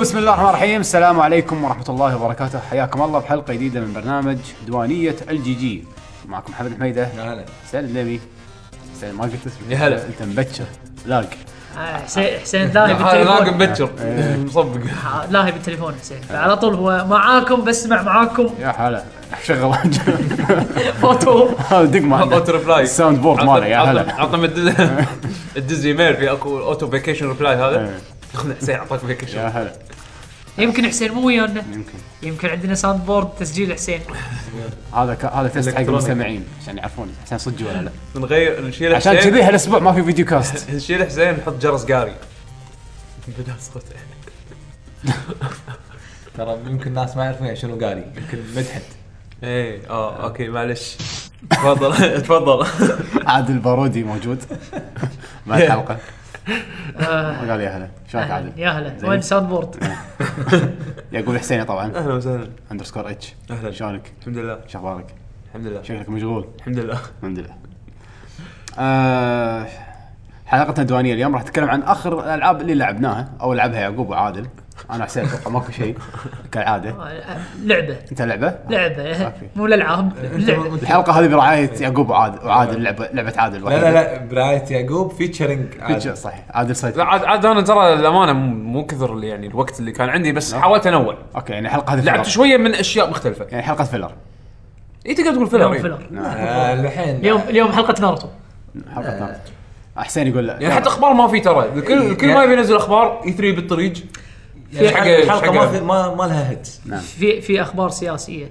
بسم الله الرحمن الرحيم السلام عليكم ورحمة الله وبركاته حياكم الله بحلقة جديدة من برنامج دوانية الجي جي معكم محمد حميدة يا هلا سلمي سلمي ما قلت اسمك يا هلا. انت مبكر لاق آه، حسين حسين لاهي هذا لاقي بالتليفون مبكر مصبق آه، لاهي بالتليفون حسين فعلى طول هو معاكم بسمع معاكم يا هلا شغل فوتو هذا دق معنا اوتو ريبلاي الساوند بورد ماله يا هلا عطنا الدز ايميل في اكو اوتو فيكيشن ريبلاي هذا إيه. خذ حسين اعطاك فيكيشن يا هلا يمكن حسين مو ويانا يمكن يمكن عندنا ساوند بورد تسجيل حسين هذا ك... هذا تست حق إلكترونيك. إيه. المستمعين عشان يعرفون حسين صدق ولا لا نغير نشيل عشان حسين كذي هالاسبوع ما في فيديو كاست نشيل حسين نحط جرس قاري بدأ صوته ترى يمكن الناس ما يعرفون يعني شنو قاري يمكن مدحت ايه اه اوكي معلش تفضل تفضل عادل البارودي موجود مع الحلقة قال يا هلا شلونك عادل؟ آه، يا هلا زين. وين ساوند بورد يقول حسيني طبعا اهلا وسهلا اندرسكور اتش أهلاً. شلونك؟ الحمد لله شو اخبارك؟ الحمد لله شكلك مشغول الحمد لله الحمد لله. آه حلقتنا الديوانيه اليوم راح نتكلم عن اخر الالعاب اللي لعبناها او لعبها يعقوب وعادل. انا حسين اتوقع ماكو شيء كالعاده. آه، لعبه انت لعبه؟ لعبه أوكي. مو الالعاب لعبه الحلقه هذه برعايه يعقوب وعادل وعادل لعبه لعبه عادل لا لا لا براية يعقوب فيتشرنج فيتشر، صح عادل سايد لا عاد عاد انا ترى الامانه مو- مو كثر اللي- يعني الوقت اللي كان عندي بس حاولت انوع اوكي يعني الحلقه هذه لعبت filler. شويه من اشياء مختلفه يعني حلقه فيلر اي تقدر تقول فيلر اليوم إيه. فيلر آه، الحين اليوم اليوم حلقه ناروتو حلقه نار. حسين يقول لا يعني حتى اخبار ما في ترى الكل الكل ما يبي ينزل E اخبار اي 3 بالطريق يعني حق- الحلقه ما حق- في- ما ما لها هيت في في اخبار سياسيه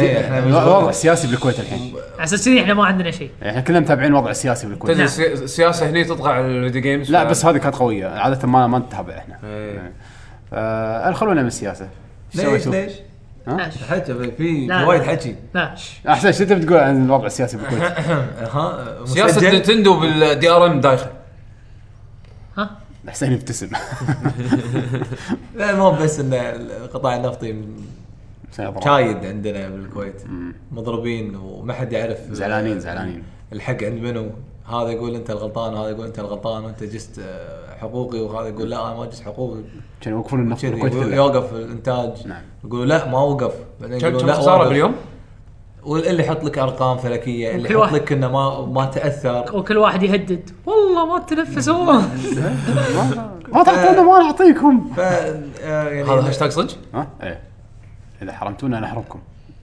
إيه، إحنا الوضع السياسي بالكويت الحين على اساس كذي احنا ما عندنا شيء يعني احنا كلنا متابعين الوضع السياسي بالكويت تدري السي- السياسه هني تطغى على الفيديو جيمز لا ف- بس هذه كانت قويه عاده ما ما نتابع احنا إيه. آه خلونا من السياسه إيش ليش سويتوا؟ ليش؟ لا حتى في لا. وايد حكي لا احسن شو تبي تقول عن الوضع السياسي بالكويت؟ ها سياسه مسجل؟ نتندو بالدي ار ام دايخه ها حسين يبتسم لا مو بس ان القطاع النفطي م- حسين يضرب. شايد عندنا بالكويت مضروبين وما حد يعرف زعلانين زعلانين الحق عند منو هذا يقول انت الغلطان وهذا يقول انت الغلطان وانت جست آه، حقوقي وهذا يقول لا انا ما جست حقوقي كانوا يوقفون النفط كذي بالكويت كله. يوقف الانتاج نعم. يقولوا لا ما وقف بعدين كم يقولوا كم لا خساره وقف. باليوم؟ واللي يحط لك ارقام فلكيه اللي وكل يحط واحد- لك انه ما ما تاثر وكل واحد يهدد والله ما تنفسوا ما آه. تعطونا ما نعطيكم ف آه، يعني هذا هاشتاج صدق؟ ها؟ ايه اذا حرمتونا نحرمكم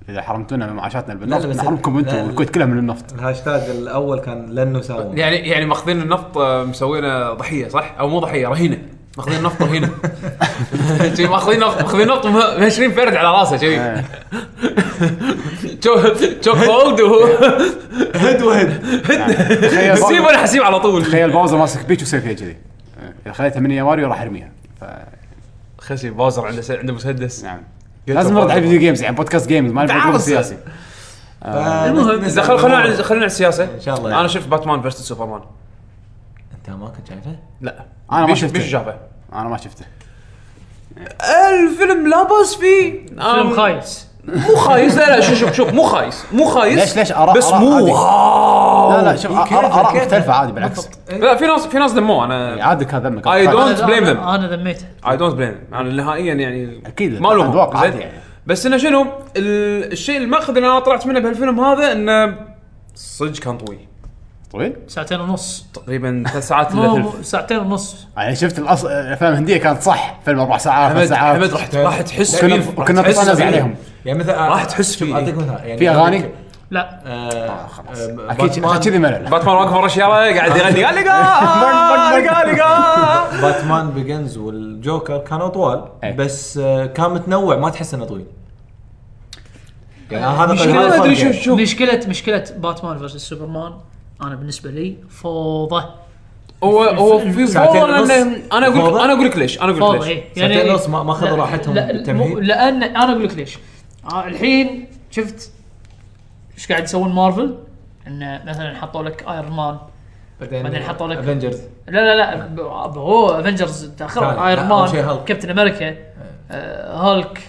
اذا حرمتونا من معاشاتنا لا، بالنفط لا، بس- نحرمكم لا، انتم لا. الكويت كلها من النفط الهاشتاج الاول كان لن نساوم يعني يعني ماخذين النفط آه، مسوينه ضحيه صح؟ او مو ضحيه رهينه ماخذين النفط رهينه شي ماخذين نفط ماخذين نفط مه- 20 فرد على راسه شي تشوك هولد وهو هد وهد تخيل نسيب ولا حسيب على طول تخيل باوزر ماسك بيك وسوي فيها كذي إيه، اذا خليتها من يا ماريو راح ارميها ف- خشي باوزر عنده س- عنده مسدس نعم لازم نرد على الفيديو جيمز يعني بودكاست جيمز ما نبي تعال نقول بس. سياسي المهم، إذا خل- خلونا عن- خلونا على السياسه ان شاء الله. انا شفت باتمان فيرسس سوبرمان انت ما كنت شايفه؟ لا أنا ما بيش- شفته. بيش شافه انا ما شفته الفيلم لا باس فيه فيلم خايس مو خايس لا لا شوف شوف شوف مو خايس مو خايس ليش- ليش آراء- بس آراء مو هذه؟ واو لا لا شوف آه، آراء- كيفه، اراء كيفه. مختلفه عادي بالعكس لا في ناس في ناس ذموه انا عادي كان ذمك I don't- أنا- blame them. انا ذميته اي دونت بليم انا نهائيا يعني أكيد، ما لهم أتوقع زين؟ عادي يعني. بس انه شنو ال- الشيء الماخذ اللي انا طلعت منه بهالفيلم هذا انه صدق كان طويل طويل ساعتين ونص تقريبا ثلاث ساعات الا مو- ثلث مو- ساعتين ونص انا يعني شفت الأص... الافلام الهنديه كانت صح فيلم اربع ساعات ثلاث حمد ساعات حمد راح راح تحس وكنا- فيه، راح وكنا تحس طنز فيه. عليهم. يعني مثلا راح تحس شوف، فيه. اعطيك مثال يعني في اغاني لا آه، آه، اكيد باتمان- ش- كذي ملل باتمان واقف ورا الشياره قاعد يغني قال لي قال قال قال باتمان بيجنز والجوكر كانوا طوال أي. بس آه، كان متنوع ما تحس انه طويل يعني هذا مشكلة- قد- هذا آه، ما أدري الفرق يعني. شوف. مشكله مشكله باتمان فيرسس سوبرمان انا بالنسبه لي فوضى هو هو في ساعتين فوضى ونص. لأن- انا اقول فوضى؟ انا اقول لك ليش انا اقول لك فوضى ليش إيه. ساعتين ونص ما- ما أخذوا لا- راحتهم لا- بالتمهيد؟ مو- لان انا اقول لك ليش آه، الحين شفت ايش قاعد يسوون مارفل انه مثلا حطوا لك ايرون مان بعدين حطوا لك- افنجرز لا لا لا ب- ب- هو افنجرز ثاني. تاخر لا، ايرون أول شيء مان هالك. كابتن امريكا آه، هالك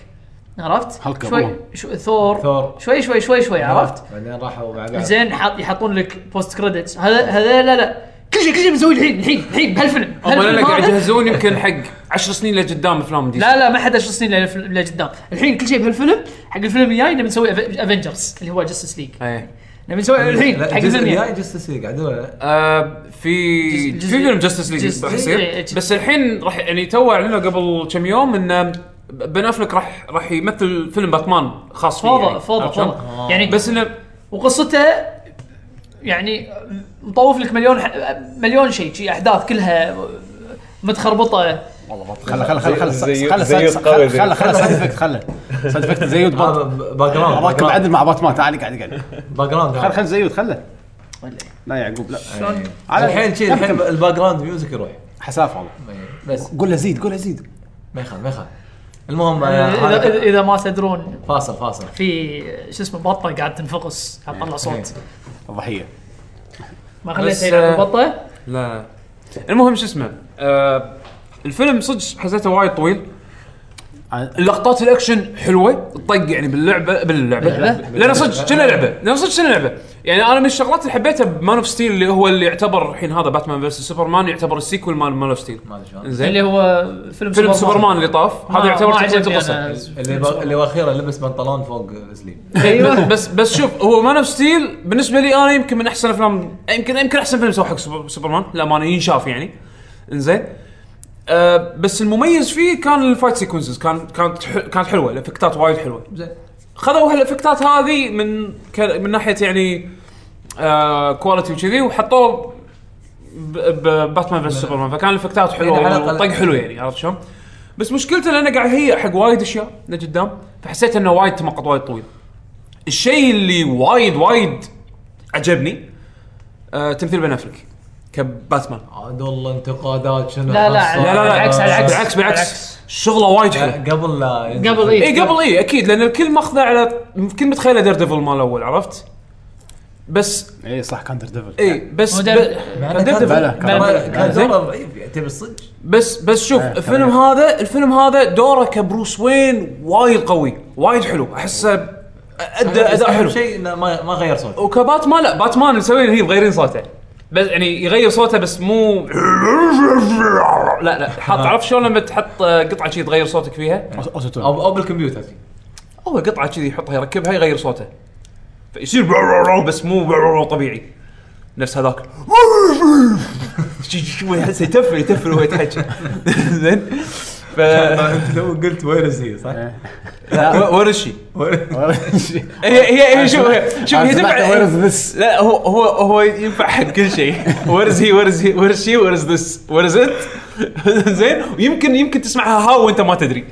عرفت؟ هالك شوي أبوه. شو ثور ثور. شوي شوي شوي شوي عرفت؟ بعدين راحوا مع بعض زين حط يحطون لك بوست كريدتس هذا هذا لا لا كل شيء كل شيء بنسويه الحين الحين الحين بهالفيلم هم لا هالفيلم قاعد هذا. يجهزون يمكن حق 10 سنين لقدام افلام دي لا لا ما حد 10 سنين للف- لقدام الحين كل شيء بهالفيلم حق الفيلم الجاي نبي نسوي افنجرز اللي هو جاستس ليج ايه نبي نسوي الحين لا، حق الجزء الفيلم الجاي الجاي جستس ليج عدل ولا لا؟ آه، في جزء- في فيلم جاستس ليج جزء- راح إيه، يصير إيه. بس الحين راح يعني تو اعلنوا قبل كم يوم ان بن افلك راح راح يمثل فيلم باتمان خاص فيه فوضى يعني. فوضى عرفت شلون؟ فوضى يعني بس انه وقصته يعني مطوف لك مليون ح... مليون شيء شي احداث كلها متخربطه والله خله خله خله خله زي- خله زي القوي ذي. خله خله سايد افكت خله سايد افكت زيود هذا بط آه، ب- باك راكب جراوند عدل مع باتمان تعال قاعد قاعد باك جراوند خل هذا. خل زيود خله لا يعقوب لا يعني شلون على- الحين شي الحين الباك جراوند ميوزك يروح حسافه والله إيه، بس قول له زيد قول له زيد ما يخالف ما يخالف المهم اذا إذا- أنا- اذا ما تدرون فاصل فاصل في شو اسمه بطه قاعد تنفقس قاعد تطلع صوت الضحيه ما بس، خليتها يلعب آه، البطه لا المهم شو اسمه آه الفيلم صدق حسيته وايد طويل لقطات الاكشن حلوه الطق يعني باللعبه باللعبه باللعبة؟ لان صدق كنا لعبه لان صدق كنا لعبه يعني انا من الشغلات اللي حبيتها بمان اوف ستيل اللي هو اللي يعتبر الحين هذا باتمان فيرس سوبرمان يعتبر السيكول مال مان اوف ستيل ما ادري شلون زين اللي هو فيلم إيه؟ فيلم سوبرمان اللي طاف ما- هذا يعتبر ما تكمله عجبني القصه أنا. اللي با- اللي واخيرا لبس بنطلون فوق السليب ايوه بس بس شوف هو مان اوف ستيل بالنسبه لي انا يمكن من احسن افلام يمكن يمكن احسن فيلم سوى حق سوبر- سوبرمان للامانه ينشاف يعني انزين أه بس المميز فيه كان الفايت سيكونسز كان كانت ح- كانت حلوه الافكتات وايد حلوه زين خذوا هالافكتات هذه من ك- من ناحيه يعني آه كواليتي وكذي وحطوه ب- ب- باتمان فيرس سوبرمان فكان الافكتات يعني على حلوه الأقل- والطق حلو يعني عرفت شلون؟ بس مشكلته لانه قاعد هي حق وايد اشياء لقدام فحسيت انه وايد تمقط وايد طويل. الشيء اللي وايد وايد عجبني آه تمثيل بن افلك كباتمان عاد والله انتقادات شنو لا، لا، حصل. لا لا لا بالعكس، على العكس. بالعكس بالعكس بالعكس. شغله وايد حلو لا، آه، قبل لا ينزل. قبل إيه. اي قبل اي اكيد لان الكل ماخذه على كل متخيله دير ديفل مال الاول عرفت؟ بس اي إيه، صح كاندر ديفل اي بس هو ب... دير- مع إنه كان دير كان- ديفل. بلا، كان- بلا، كان زين. دوره ضعيف يعني تبي الصدق بس بس شوف آه، الفيلم تمام. هذا الفيلم هذا دوره كبروس وين وايد قوي وايد حلو احسه ادى اداء أهم حلو شيء إنه ما ما غير صوته وكباتمان لا باتمان اللي مسوين هي مغيرين صوته بس يعني يغير صوته بس مو لا لا حاط عرفت شلون لما تحط آه، قطعه شي تغير صوتك فيها اوتو تون او او بالكمبيوتر هو قطعه كذي يحطها يركبها يغير صوته فيصير بس مو طبيعي نفس هذاك شوي يحس يتفل يتفل وهو يتحكى زين ف انت تو قلت وين هي صح؟ وين الشيء؟ إيه، شوف هي هي هي شوف هي- شوف هي وير تنفع ذس لا هو هو هو ينفع حق كل شيء ورز هي ورز هي ورز شي ورز ذس ورز ات زين ويمكن يمكن تسمعها ها وانت ما تدري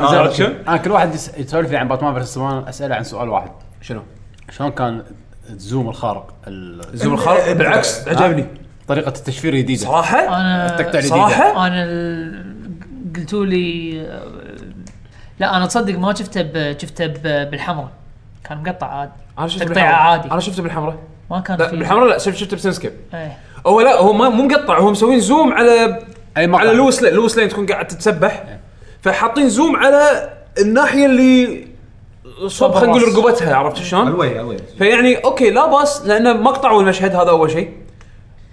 آه، عرفت شلون؟ انا كل واحد يس- يسولف لي عن باتمان فيرس سوبرمان اساله عن سؤال واحد شنو؟ شلون كان الزوم الخارق ال- زوم الخرق بالعكس عجبني طريقه التشفير الجديده صراحه انا التقطيع الجديده صراحه انا ال- قلتوا لي لا انا تصدق ما شفته ب... شفته ب... بالحمراء كان مقطع عادي انا شفته تقطيع بالحمراء عادي. انا شفته بالحمراء ما كان لا في بالحمراء لا شف- شفته بسنسكيب ايه. هو لا هو ما مو مقطع هو مسوين زوم على اي مقطع على لوس لين لوس لين تكون قاعد تتسبح فحاطين زوم على الناحيه اللي صوب خلينا نقول الراس. رقبتها عرفت شلون؟ الوي الوي فيعني اوكي لا باس لانه مقطع والمشهد هذا اول شيء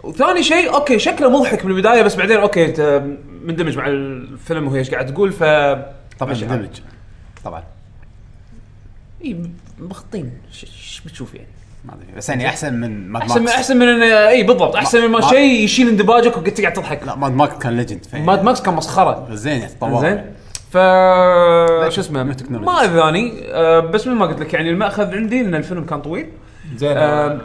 وثاني شيء اوكي شكله مضحك بالبدايه بس بعدين اوكي أنت مندمج مع الفيلم وهي ايش قاعد تقول ف طبعا ماشي دمج طبعا إي، مخطين إيش- ايش بتشوف يعني ما ادري بس يعني احسن من ماد احسن من ماكس احسن من إنه- اي بالضبط احسن من ما ما- شيء يشيل اندباجك وتقعد تضحك لا ماد ماكس كان ليجند ماد ماكس كان مسخره زين يعني زين طوال طيب، ف شو اسمه من التكنولوجيا. ما اذاني آه، بس مثل ما قلت لك يعني الماخذ عندي ان الفيلم كان طويل آه، زين آم.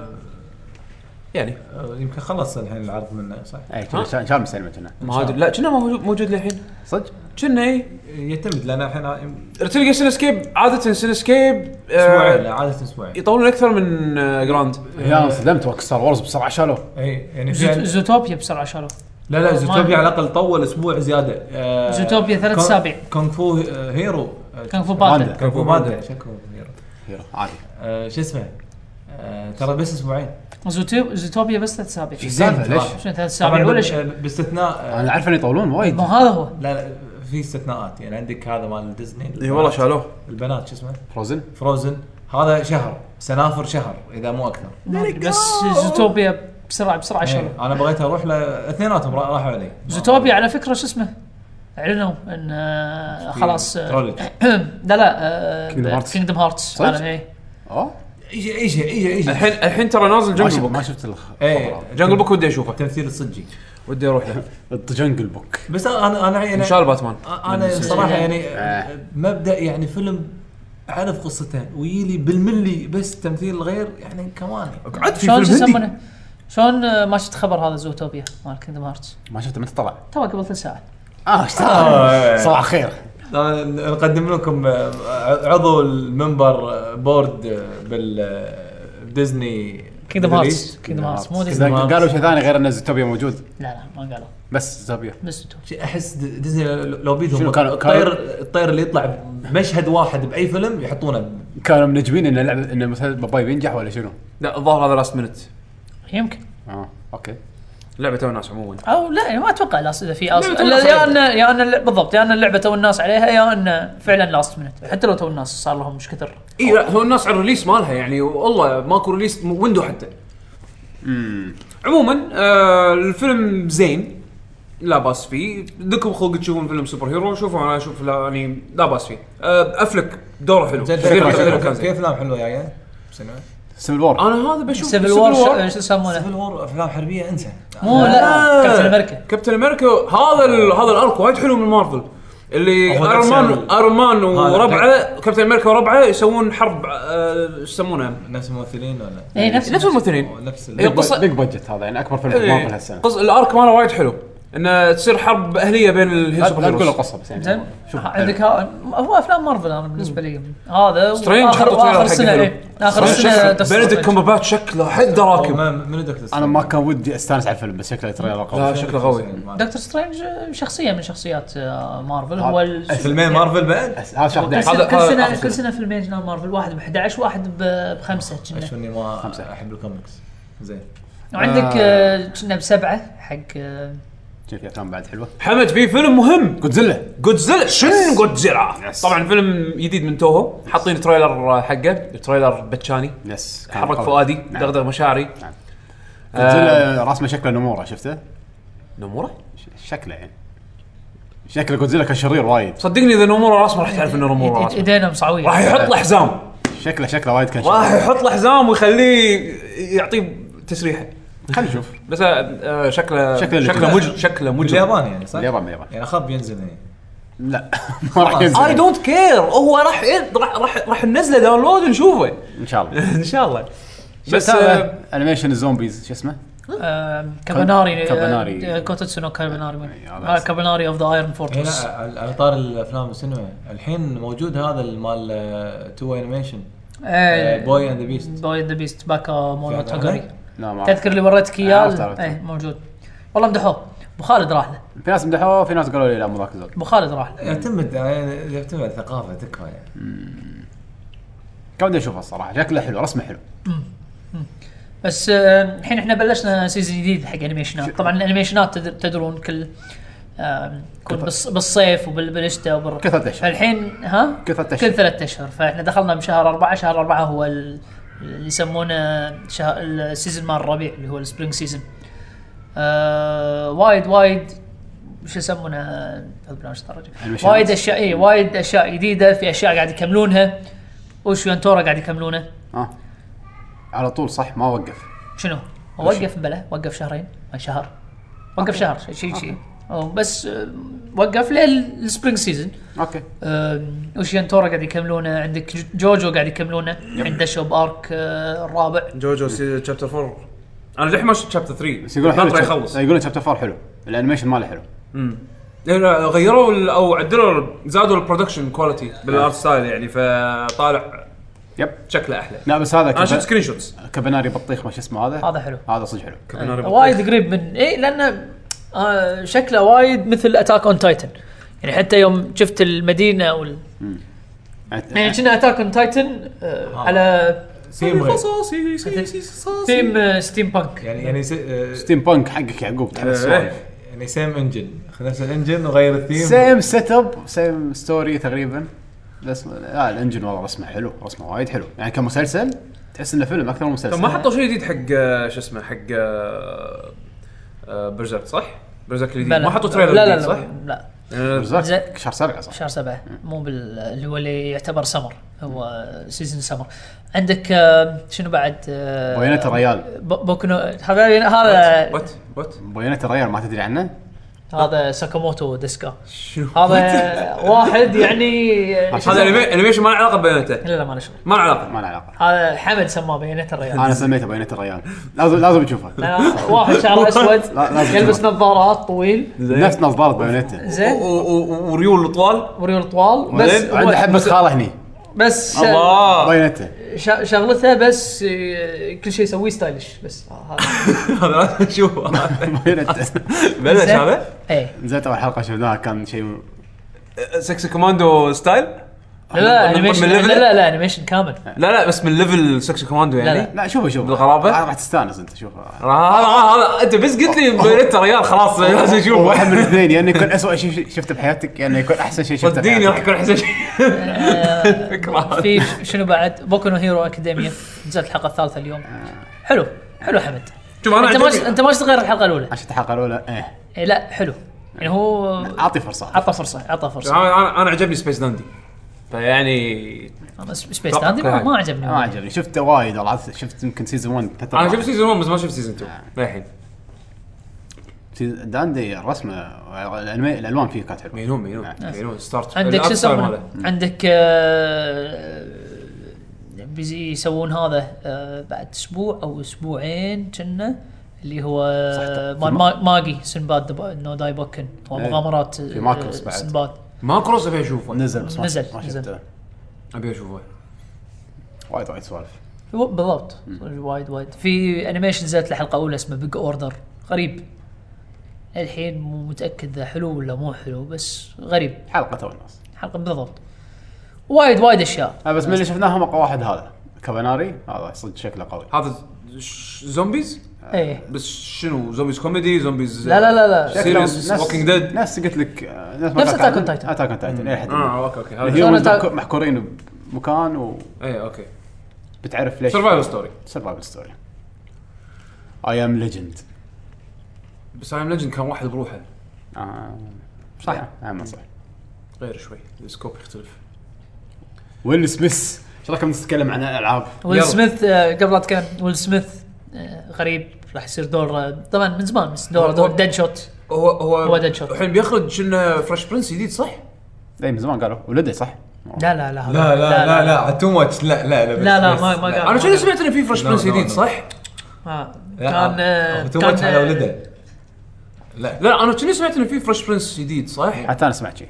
يعني آه، يمكن خلص الحين العرض منه صح؟ اي كنا شام سلمت هنا ما ادري لا كنا موجود موجود للحين صدق كنا إيه، اي يعتمد لان الحين آه، تلقى سينسكيب عاده سينسكيب آه، اسبوعين عاده اسبوعين أه، يطولون اكثر من آه، جراند يا أنا انصدمت وقت ستار وورز بسرعه شالوه اي يعني في زوت- عن- زوتوبيا بسرعه شالوه لا لا ما- زوتوبيا على الاقل طول اسبوع زياده آه، زوتوبيا ثلاث كون- أسابيع. كونغ فو آه، هيرو آه، كان فو واندا. باندا كونغ فو مادا شكو هيرو عادي آه، شو اسمه آه، ترى بس اسبوعين زوتو- زوتوبيا بس ثلاث اسابيع ايش السالفه زين، ليش؟ طبعاً. شنو ثلاث طبعا اسابيع ولا بال- شيء باستثناء آه، انا عارف ان يطولون وايد مو هذا هو لا لا في استثناءات يعني عندك هذا مال ديزني اي والله شالوه البنات شو اسمه فروزن فروزن هذا شهر سنافر شهر اذا مو اكثر ما أدري، بس زوتوبيا بسرعه إيه. بسرعه شالوا انا بغيت اروح له اثنيناتهم را- راحوا علي زوتوبيا على فكره شو اسمه اعلنوا ان آه، خلاص آه، ترولج لا آه، لا Kingdom Hearts. كينجدم هارتس صدق؟ إيه. اوه ايش ايش ايش ايش الحين الحين ترى نازل ما جنجل شفت ما بوك شفت الخ... إيه. ايه جنجل بوك ودي اشوفه تمثيل الصجي ودي اروح له جنجل بوك بس انا انا ان يعني شاء الله باتمان انا صراحه يعني آه. مبدا يعني فيلم اعرف قصته ويلي بالملي بس تمثيل غير يعني كمان قعدت في شلون شو فيلم هندي يسمونه؟ شلون آه، ما شفت خبر هذا زوتوبيا مال كينجدم هارتس ما شفته متى طلع؟ آه، تو قبل ثلاث ساعات اه ايش آه. صباح خير آه، نقدم لكم آه، عضو المنبر آه، بورد آه، بال آه، ديزني كينجدم ريليز. هارتس كينجدم هارتس مو Kingdom ديزني Hearts. إذا قالوا شيء ثاني غير ان زوتوبيا موجود لا لا ما قالوا بس زوتوبيا بس زوتوبيا شي- احس د- ديزني لو بيدهم شنو كانوا- الطير الطير اللي يطلع بمشهد واحد باي فيلم يحطونه كانوا منجمين ان لعبه ان مثلا باباي بينجح ولا شنو؟ لا الظاهر هذا لاست مينت يمكن اه اوكي لعبه تو الناس عموما او لا يعني ما اتوقع لاست اذا في لاست لا، لا، يا لا. ان يا ان الل- بالضبط يا ان اللعبه تو الناس عليها يا ان فعلا لاست منت حتى لو تو الناس صار لهم مش كثر اي لا هو الناس على الريليس مالها يعني والله ماكو ريليس م- ويندو حتى عموما آه الفيلم زين لا باس فيه دكم خلق تشوفون فيلم سوبر هيرو شوفوا انا اشوف لا يعني لا باس فيه آه افلك دوره حلو زين شرير- شرير كان في زين. افلام حلوه جايه بالسينما سيفل وور انا هذا بشوف سيفل Civil وور War. آه، آه، شو يسمونه سيفل وور افلام حربيه انسى مو لا لا. كابتن امريكا كابتن امريكا هذا ال- هذا الارك وايد حلو من مارفل اللي هو ايرون نفس مان ال- ايرون مان هذا. وربعه كابتن امريكا وربعه يسوون حرب آه، شو يسمونها نفس الممثلين ولا اي إيه، نفس نفس الممثلين نفس ال- إيه، قصة- إيه. بيج بادجت هذا يعني اكبر فيلم في مارفل هالسنه قص الارك ماله وايد حلو انه تصير حرب اهليه بين لا السوبر لا تقول هيروز القصه بس زين آه، يعني شوف عندك ها- هو افلام مارفل انا بالنسبه لي هذا سترينج واخر حطوا تريلر واخر حق سنه فيلم. إيه. اخر بس سنه شكله- دكتور بنediكت سترينج. كومبرباتش شكله حد هو راكب ما- منو دكتور سترينج؟ انا ما كان ودي استانس على الفيلم بس شكله تريلر لا قوي شكله قوي دكتور سترينج شخصيه من شخصيات آه، مارفل هو هذا- ال- فيلمين مارفل بعد؟ هذا شهر كل 11 سنه هذا- كل هذا سنه, آخر كل سنة. سنة فيلمين جنرال مارفل واحد ب 11 واحد ب- بخمسه أشوف كنا اني ما خمسة. احب الكوميكس زين وعندك آه، كنا بسبعه حق آه، شوف في افلام بعد حلوه حمد في فيلم مهم جودزيلا جودزيلا شن جودزيلا Yes. طبعا فيلم جديد من توهو حاطين تريلر حقه تريلر بتشاني يس كان حرك قوي. فؤادي نعم. دغدغ مشاعري آه، جودزيلا رسمه شكله نموره شفته؟ نموره ش- شكله يعني شكله جودزيلا كان شرير وايد صدقني اذا نموره راسمه راح تعرف انه نموره إيد- راسمه ايدينا مصعويه راح يحط له حزام شكله شكله وايد كان راح شرير يحط له حزام ويخليه يعطيه تسريحه خلينا نشوف بس آه، آه، شكله شكله- شكله مجرم شكله مجرم باليابان يعني صح؟ اليابان اليابان يعني اخاف ينزل يعني لا ما راح ينزل اي دونت كير هو راح إيه؟ راح راح راح ننزله داونلود ونشوفه ان شاء الله ان شاء الله بس بس آه، انيميشن الزومبيز شو اسمه؟ آه، كاباناري كاباناري. آه، كوتوتسو نو كاباناري وين؟ آه، آه، كاباناري اوف ذا ايرون هنا فورترس على طار الافلام والسينما الحين موجود هذا المال آه، تو انيميشن آه، بوي اند ذا بيست بوي ذا بيست باكا مونو فعلاً؟ تاكاري لا ما أعرف. تذكر اللي وريتك عرفت- اياه عرفت. ايه موجود والله مدحوه ابو خالد راح له في ناس مدحوه في ناس قالوا لي لا مو ذاك الزود ابو خالد راح له يعتمد يعني يعتمد على الثقافه تكفى يعني كان بدي اشوفه الصراحه شكله حلو رسمه حلو بس آه، الحين احنا بلشنا سيزون جديد حق انيميشنات طبعا الانيميشنات تد- تدرون كل آه، يكون بالص- بالصيف وبالشتاء وبال كل ثلاث أشهر. فالحين ها كل ثلاث أشهر. كل ثلاث اشهر فاحنا دخلنا بشهر اربعه شهر اربعه هو ال- اللي يسمونه شهر السيزون مال الربيع اللي هو السبرينج سيزون آه وايد وايد شو يسمونه أعوذ بالله من الشيطان الرجيم. المشاهد. وايد اشياء اي وايد اشياء جديده في اشياء قاعد يكملونها وشيون تورا قاعد يكملونه اه على طول صح ما وقف شنو؟ هو وقف بلا وقف شهرين ما شهر وقف شهر شيء شيء شي. أو بس آه، وقف للسبرينج سيزون اوكي اوشيان آه، يعني تورا قاعد يكملونه عندك ج- جوجو قاعد يكملونه عند شوب ارك آه، الرابع جوجو شابتر 4 انا للحين ما شفت شابتر 3 بس يقولون حلو ناطره يخلص يخلص يقولون شابتر 4 حلو الانيميشن ماله حلو لا، لا، غيروا ال- او عدلوا ال- زادوا البرودكشن كواليتي بالارت آه. ستايل يعني فطالع يب شكله احلى لا بس هذا انا شفت كب- سكرين شوتس كبناري بطيخ ما شو اسمه هذا هذا حلو آه، هذا صدق حلو وايد قريب من اي لانه آه شكله وايد مثل اتاك اون تايتن يعني حتى يوم شفت المدينه او ال- نعم. يعني كنا اتاك اون تايتن آه، آه. على طيب، آه، ثيم غير ثيم ستيم بانك يعني يعني س- آه، ستيم بانك حقك يعقوب تحب السوالف يعني سيم انجن نفس الانجن وغير الثيم سيم سيت اب سيم آه، ستوري تقريبا بس لا الانجن والله رسمه حلو رسمه وايد حلو يعني كمسلسل تحس انه فيلم اكثر من طب ما مسلسل حطوا شيء جديد حق آه، شو اسمه حق برزرك صح؟ برزرك الجديد بلى. ما حطوا تريلر لا لا جديد صح؟ لا, لا. آه، بالضبط زين. شهر سبعه صح؟ شهر سبعة مو بال اللي هو اللي يعتبر سمر هو سيزون سمر عندك آه، شنو بعد آه، بوينت الريال ب- بوكنو هذا هذا وات وات بوينت الريال ما تدري عنه؟ هذا ساكاموتو ديسكا هذا واحد يعني هذا الأنيمي- الانيميشن ما له علاقه ببياناته لا لا ما له شغل ما له علاقه ما له علاقه هذا حمد سماه بيانات الريال انا سميته بوينه الريال لازم لازم تشوفه أنا واحد شعره اسود لا، لازم يلبس تشوفه. نظارات طويل نفس نظاره بوينته زين و- و- وريول طوال وريول طوال بس زين، وعنده هو- حبه خاله هني بس الله بوينته شا- شغلته بس آه، كل شيء يسويه ستايلش بس آه، هذا. هذا لازم نشوفه بوينته بلش زين. هذا ايه نزلت اول حلقه شفناها كان شيء سكسي كوماندو ستايل لا لا من- من انيميشن لا level؟ لا لا انيميشن كامل لا لا بس من ليفل سكسي كوماندو لا، يعني لا. لا شوفه شوفه بالغرابة؟ آه، راح تستانس انت شوفه هذا هذا انت بس قلت لي بياناته ريال خلاص لازم واحد اشوفه من الاثنين يا انه يكون اسوء شيء شفته بحياتك يا انه يكون احسن شيء شفته صدقني راح بحياتك يكون احسن شيء آه، فكرة. في ش- شنو بعد بوكو نو هيرو اكاديميا نزلت الحلقه الثالثه اليوم حلو حلو حمد شوف انا انت ما عجبني. انت ما شفت غير الحلقه الاولى عشان الحلقه الاولى ايه إيه لا حلو يعني هو اعطي فرصه عطى فرصه عطى فرصه انا انا- انا عجبني سبيس داندي فيعني أنا س- سبيس داندي ما ما عجبني ما عجبني شفته وايد والله شفت يمكن سيزون 1 انا شفت سيزون 1 بس ما شفت سيزون 2 آه. للحين داندي رسمه الأنمي- الالوان فيه كانت حلوه مينون مينون نعم. مينون ستارت آه. عندك شو الأرت ستايل يسمونه ماله. عندك آه، بيجي يسوون هذا آه، بعد اسبوع او اسبوعين كنا اللي هو آه، مال ما- ماجي سنباد دب- نو داي بوكن هو إيه. مغامرات آه، في ماكروس بعد. سنباد ما كروس ابي اشوفه نزل بس ما- نزل، ما نزل. شفته ابي اشوفه وايد وايد سوالف هو بالضبط وايد وايد في انيميشن نزلت الحلقه الاولى اسمه بيج اوردر غريب الحين مو متاكد اذا حلو ولا مو حلو بس غريب حلقه تو الناس حلقه بالضبط وايد وايد اشياء آه، بس من اللي شفناهم اقوى واحد هذا كاباناري هذا صدق شكله قوي هذا ش- زومبيز ايه بس شنو زومبيز كوميدي زومبيز لا لا لا لا شكله نفس- سيريس ووكينج ديد نفس قلت لك آه، نفس Attack on Titan. آه، اتاك اون تايتن الى حد ما. اه اوكي اوكي هذا إيه، الهيروز أنا محك- محكورين بمكان اي اوكي وبتعرف ليش سرفايفل ستوري سرفايفل ستوري اي ام ليجند بس ايم ليجند كان واحد بروحه آه، صح اهم آه، صح غير شوي السكوب يختلف ويل سميث ايش رايكم نتكلم عن الالعاب؟ ويل يلا. سميث آه، قبل لا كان ويل سميث آه، غريب راح يصير دور آه، طبعا من زمان بس دور دور ديد شوت هو هو هو Dead Shot. الحين بيخرج شنو فريش برنس جديد صح؟ اي إيه، من زمان قالوا ولده صح؟ لا لا لا لا لا لا لا تو ماتش لا لا لا بس- لا، لا، بس- ما- ما قال. انا شنو سمعت انه في فريش لا، برنس لا، جديد لا. صح؟ آه، لا، كان آه، تو ماتش على آه، ولده لا لا انا شنو سمعت انه في فريش برنس جديد صح؟ حتى انا سمعت شيء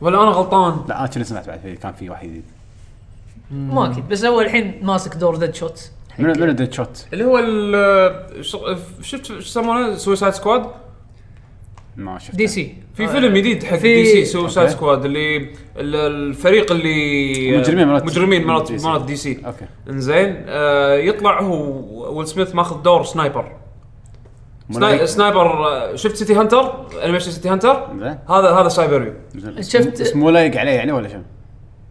ولا انا غلطان؟ لا انا كنت سمعت بعد في- كان في واحد جديد ما اكيد بس هو الحين ماسك دور ديد شوت من من الديد شوت اللي هو ال شغ- شفت شو يسمونه سويسايد سكواد؟ ما شفت دي سي في فيلم جديد حق في- دي سي سوسايد أوكي. سكواد اللي ال- الفريق اللي المجرمين مرات- مجرمين مرات دي سي. مرات دي سي اوكي انزين آه، يطلع هو ويل سميث ماخذ دور سنايبر سناي- ملايك- سنايبر آه، شفت سيتي هانتر انيميشن سيتي هانتر زين هذا هذا سايبريو زين. شفت- بس مو لايق عليه يعني ولا شنو؟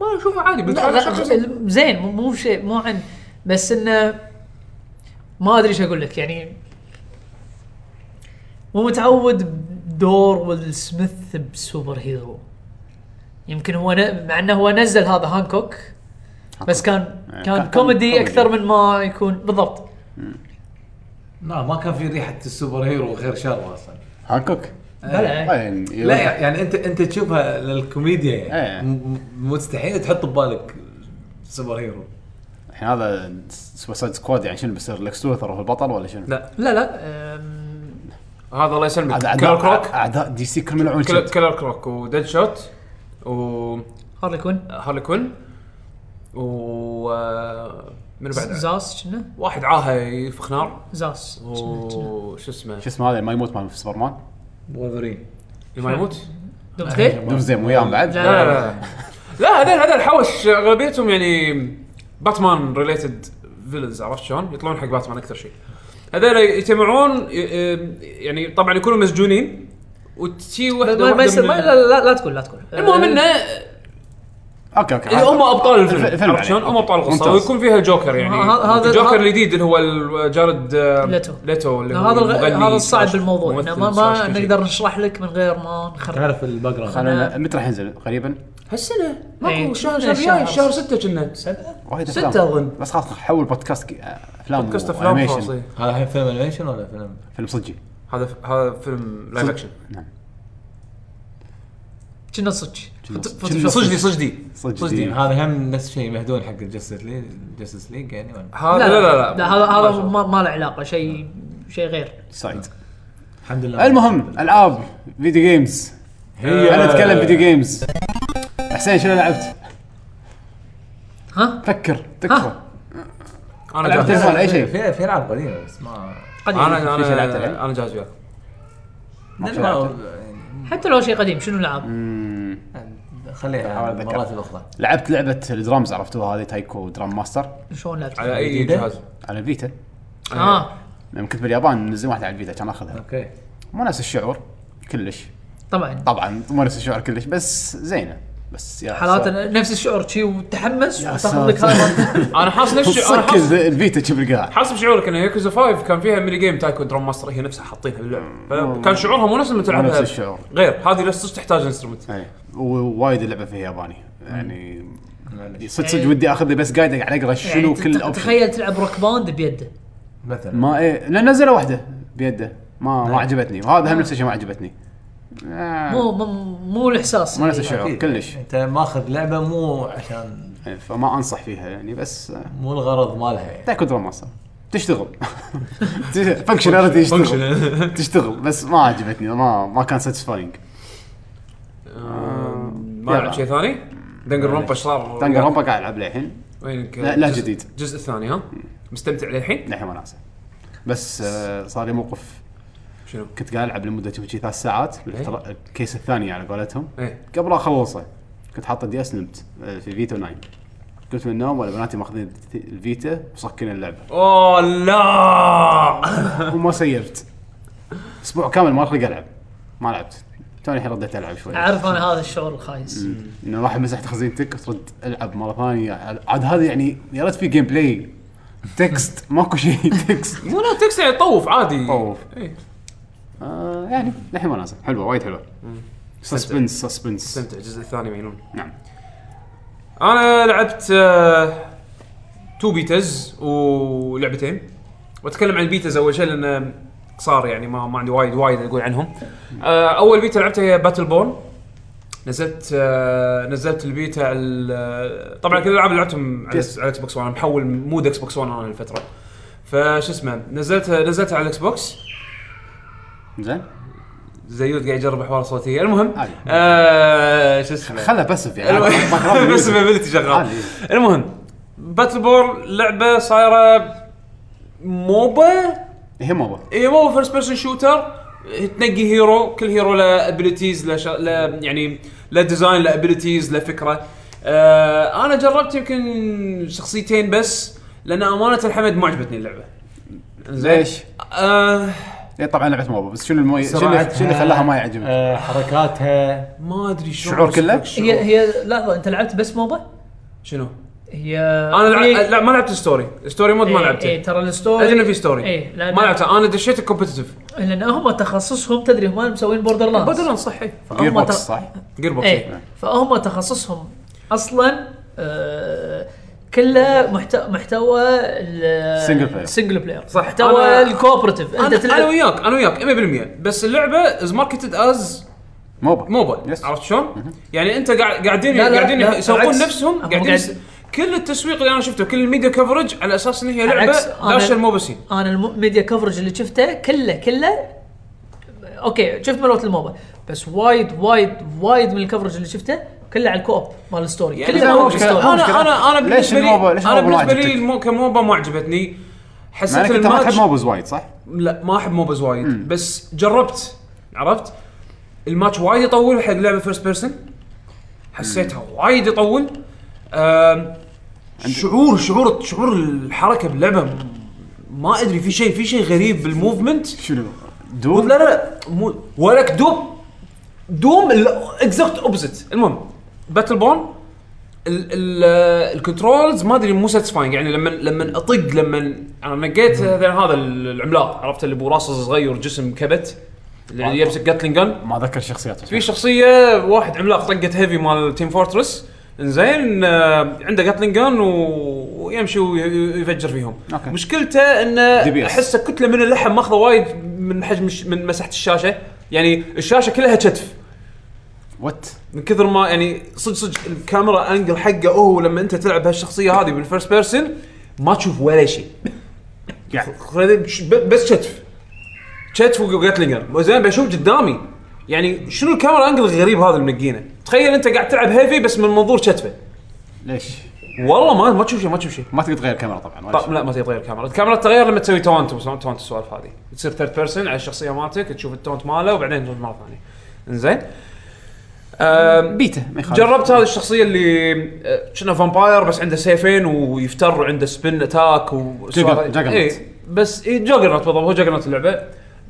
ما اشوفه عادي لا بالفعل شخص- لا زين مو مو شيء مو عن بس انه ما ادري ايش اقول لك يعني مو متعود بدور ويل سميث بسوبر هيرو يمكن هو ن... مع انه هو نزل هذا هانكوك بس كان إيه، كان كان- كوميدي كوميدي. اكثر من ما يكون بالضبط لا ما كان في ريحه السوبر هيرو غير شر اصلا هانكوك بلى. وين؟ لا يعني انت انت تشوفها للكوميديا إيه. يعني م- م- مستحيل تحط ببالك سوبر هيرو الحين هذا سوسايد سكواد يعني شنو بيصير لكس لوثر هو البطل ولا شنو؟ لا. لا لا أم... هذا الله يسلمك أعداء- كلر كروك اعداء دي سي كلهم يلعبون كل- شت. كلر كروك وديد شوت وهارلي هارلي كوين كوين و آه، من بعد زاس كنا واحد عاهه ينفخ نار زاس شنو- شنو؟ وش اسمه شو اسمه هذا ما يموت مال سوبرمان؟ وولفرين اللي ما يموت دومزداي دومزدي وياهم بعد؟ لا، لا لا آه. لا هذول هذول الحوش اغلبيتهم يعني باتمان ريليتد فيلنز عرفت شلون؟ يطلعون حق باتمان اكثر شيء. هذول يجتمعون ي- ي- يعني طبعا يكونوا مسجونين وتشي ما- وحده ما ما واحده يصير من- أه، ما- لا لا لا تقول لا تقول المهم انه اوكي اوكي إيه، هم ابطال الف- الفيلم يعني. الفيلم عرفت شلون؟ عليه. هم ابطال القصه ممتاز. ويكون فيها الجوكر يعني ه- هذا- الجوكر هذا- الجديد اللي هو ال- جارد آه، ليتو. ليتو اللي هو هذا الغ... المغني هذا الصعب سلاش بالموضوع ممثل إنه ما, سلاش ما كل شيء. نقدر نشرح لك من غير ما نخرب تعرف الباك جراوند خلينا متى راح ينزل قريبا هالسنه إيه، ماكو شهر شهر شهر- جاي شهر شهر- 6 كنا وايد ستة أفلام. أظن. بس خلاص حول بودكاست كي- افلام بودكاست افلام وأنيميشن. خلاص إيه. هذا الحين فيلم انيميشن ولا فيلم؟ فيلم صجي هذا ف- هذا فيلم لايف اكشن نعم كنا صدق كنا فت- صدق. فت- كنا صجدي صجدي صجدي. صجدي هذا هذا هم نفس الشيء يمهدون حق الجستس ليج جستس ليج يعني ولا لا لا لا لا هذا شاء هذا الله. ما, ما له علاقه شيء شيء غير سايد الحمد نعم. لله المهم العاب فيديو جيمز هي- انا اتكلم فيديو جيمز حسين شنو لعبت؟ ها فكر تكفى ها؟ انا ألعب جاهز تليفون، أي شيء. في في العاب قديمه بس ما قديم انا في شيء لعبت الحين؟ انا انا جاهز وياك ما في ما- لعبة. يعني- حتى لو شيء قديم شنو لعب؟ مم. أحاول خليها أتذكر. المرات الاخرى لعبت لعبه الدرامز عرفتوها هذه تايكو درام ماستر شلون لعبت؟ على اي جديدة؟ جهاز على الفيتا اه لما كنت باليابان نزل واحد على الفيتا كان اخذها اوكي مو نفس الشعور كلش طبعا طبعا مو نفس الشعور كلش بس زينه بس يا حالات ساتر. نفس الشعور شي وتحمس يا وتاخذ لك ساتر. هذا انا حاس نفس الشيء- انا صك حاس الفيتا شوف القاع حسب شعورك ان ياكوزا 5 كان فيها ميني جيم تايكو درام ماستر هي نفسها حاطينها باللعب فكان شعورها مو نفس لما تلعبها نفس الشعور. غير هذه نفس صدق تحتاج انسترومنت إيه. ووايد اللعبه فيها ياباني يعني معلش. صدق صدق ودي اخذ لي بس قاعد قاعد اقرا شنو إيه. يعني كل تت- الاوبشن تخيل تلعب روك باند بيده مثلا ما ايه لان نزلوا واحده بيده ما ما عجبتني وهذا هم نفس الشيء ما عجبتني آه، مو مو, مو الاحساس مو نفس اللي- الشعور أكيد. كلش انت ماخذ لعبه مو عشان إيه، فما انصح فيها يعني بس آه، مو الغرض مالها يعني تاكل دراما اصلا تشتغل فانكشناليتي يشتغل تشتغل بس ما عجبتني ما ما كان ساتيسفاينج آه، ما لعب شيء ثاني دنجر رومبا صار دانجر رومبا قاعد العب للحين وينك لا- لا الجزء- جديد. الجزء الثاني ها مستمتع للحين للحين ما ناسه بس آه، صار لي موقف شنو كنت قاعد العب لمده شي ثلاث ساعات بالاحترا- الكيس الثاني على قولتهم ايه قبل لا اخلصه كنت حاطه دي اس نمت آه، في فيتو 9 قلت من النوم ولا بناتي ماخذين الفيتا وصكين اللعبه اوه لا وما سيرت اسبوع كامل ما خلق العب ما لعبت توني الحين رديت العب شوي اعرف انا هذا الشعور الخايس انه راح مسحت خزينتك وترد العب مره ثانيه عاد هذا يعني يا ريت في جيم بلاي تكست ماكو شيء تكست مو لا تكسر طوف عادي طوف. إيه. آه يعني للحين ما نازل حلوه وايد حلوه سسبنس سسبنس استمتع الجزء الثاني مجنون نعم. انا لعبت آه، تو بيتز ولعبتين واتكلم عن البيتز اول شيء لان صار يعني ما, ما عندي وايد وايد اقول عنهم آه، اول بيتا لعبتها هي باتل بون نزلت آه، نزلت البيتا ال- طبعا كل الالعاب اللي لعبتهم على Yes. على اكس بوكس 1 أنا محول مود اكس بوكس 1 انا الفتره فشو اسمه نزلتها نزلتها على الاكس بوكس زين زيود قاعد يجرب حوار صوتيه المهم عادي. آه شو اسمه خله بسف يعني ما المهم ترى بس ability شغال عادي. المهم باتل بور لعبه صايره موبا إيه، هي موبا هي موبا فيرست بيرسون شوتر تنقي هيرو كل هيرو له ابيلتيز له شا... له يعني له ديزاين له ابيلتيز له فكره آه انا جربت يمكن شخصيتين بس لان امانه الحمد ما عجبتني اللعبه ليش؟ إيه، آه هي طبعا لعبه موبا بس شنو المي شنو اللي- شنو اللي خلاها ما يعجبك؟ آه، حركاتها ما ادري شلون شعور كله؟ أوصف لك هي شعور. هي لحظه انت لعبت بس موبا؟ شنو؟ هي انا لع... في- لا ما لعبت ستوري ستوري مود ما يعني إيه، لعبته إيه، ترى الستوري إيه، ادري إنه في ستوري اي ما لعبته انا دشيت الكومبتتف لان هم تخصصهم تدري هم مسوين بوردر لاندز بدل أن صحي جير هم بوكس ت- صح؟ جير بوكس اي فهم تخصصهم اصلا آه، كله محت- محتوى Single player. سنجل بلاير صح. محتوى أنا- الكوبرتيف انت انا أنا تلعب وياك انا وياك 100% بس اللعبه از ماركتد از موبا موبا يس. عرفت شلون؟ يعني انت قاعد قاعدين لا، لا، قاعدين لا، يسوقون بالعكس. نفسهم هم قاعدين قاعد- يس- كل التسويق اللي انا شفته كل الميديا كفرج على اساس ان هي لعبه بالعكس، أنا- داشه الموبا سين انا الميديا كفرج اللي شفته كله كله اوكي شفت ملوت الموبا بس وايد وايد وايد من الكفرج اللي شفته كله على الكوب مال الستوري يعني لا، كله مو مال مشكلة، الستوري مو انا مشكلة. انا انا ليش بالنسبه لي الموبا- ليش انا الموبا ما بالنسبه لي عجبتك؟ المو كموبا ما عجبتني معناك حسيت انت ما الماتش تحب موبز وايد صح؟ لا ما احب موبز وايد بس جربت عرفت الماتش وايد يطول حق لعبه فيرست بيرسون حسيتها وايد يطول أم، شعور شعور شعور الحركه باللعبه م- ما ادري في شيء في شيء غريب بالموفمنت شنو؟ لا دوم؟ لا لا مو ولك دوم دوم الاكزاكت اوبزيت المهم باتل بون ال ال الكنترولز ما ادري مو ساتسفاينج يعني لما لما اطق لما انا نقيت هذا هذا العملاق عرفت اللي براسه صغير جسم كبت اللي يمسك جاتلين جن ما اذكر شخصياته في شخصيه واحد عملاق طقت هيفي مال تيم فورترس انزين آه، عنده جاتلين جان و- ويمشي وي- ويفجر فيهم أوكي. مشكلته انه DPS. احسه كتله من اللحم ماخذه وايد من حجم الش- من مساحه الشاشه يعني الشاشه كلها كتف وات من كثر ما يعني صدق صدق الكاميرا انجل حقه هو لما انت تلعب هالشخصيه هذه بالفيرست بيرسون ما تشوف ولا شيء يعني خلينا- ش- ب- بس شتف شتف وجاتلينجر زين بشوف قدامي يعني شنو الكاميرا انجل الغريب هذا اللي منقينه تخيل انت قاعد تلعب هيفي بس من منظور شتفه ليش؟ والله ما ما تشوف شيء ما تشوف شيء ما تقدر تغير كاميرا طبعا ولا طب شيء. لا ما تغير الكاميرا الكاميرا تتغير لما تسوي تونت تونت السوالف هذه تصير ثيرد بيرسون على الشخصيه مالتك تشوف التونت ماله وبعدين ترد مره ثانيه انزين أم، بيته ما يخالف جربت هذه الشخصيه اللي آه، شنو فامباير بس عنده سيفين ويفتر وعنده سبين اتاك و جوجر- جوجرنوت. إيه بس إيه جوجرنوت بالضبط هو جوجرنوت اللعبه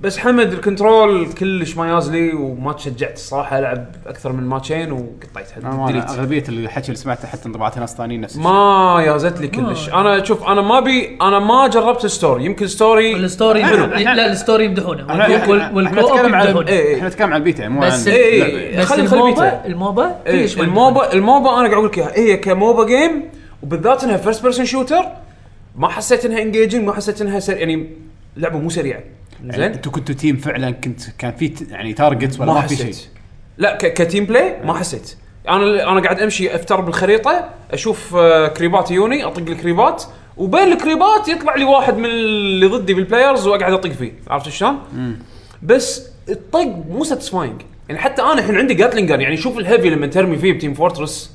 بس حمد الكنترول كلش ما يازلي وما تشجعت الصراحه العب اكثر من ماتشين وقطيتها أنا- أنا delete. اغلبيه الحكي اللي سمعته حتى انطباعات ناس ثانيين نفس الشيء ما يازت لي كلش انا شوف انا ما بي انا ما جربت الستوري يمكن ستوري الستوري حلو. لا الستوري يمدحونه احنا والكو- وال- إحنا والكو أوب نتكلم عن يمدحونه إيه. احنا نتكلم عن البيتا مو عن بس إيه، إيه، اللعبة. إيه. بس خلي- خلي الموبا بيته. الموبا إيه، كلش ما يمدحونه. الموبا الموبا انا قاعد اقول لك اياها هي كموبا جيم وبالذات انها فيرست بيرسون شوتر ما حسيت انها انجيجنج ما حسيت انها سر يعني لعبه مو سريعه يعني زين انتوا كنتوا تيم فعلا كنت كان في ت- يعني تارجتس ولا ما ما, في شيء حسيت لا ك- كتيم بلاي ما حسيت انا انا قاعد امشي افتر بالخريطه اشوف آه، كريبات يوني اطق الكريبات وبين الكريبات يطلع لي واحد من اللي ضدي بالبلايرز واقعد اطق فيه عرفت شلون؟ بس الطق مو ساتسفاينج يعني حتى انا الحين عندي جاتلين جان يعني شوف الهيفي لما ترمي فيه بتيم فورترس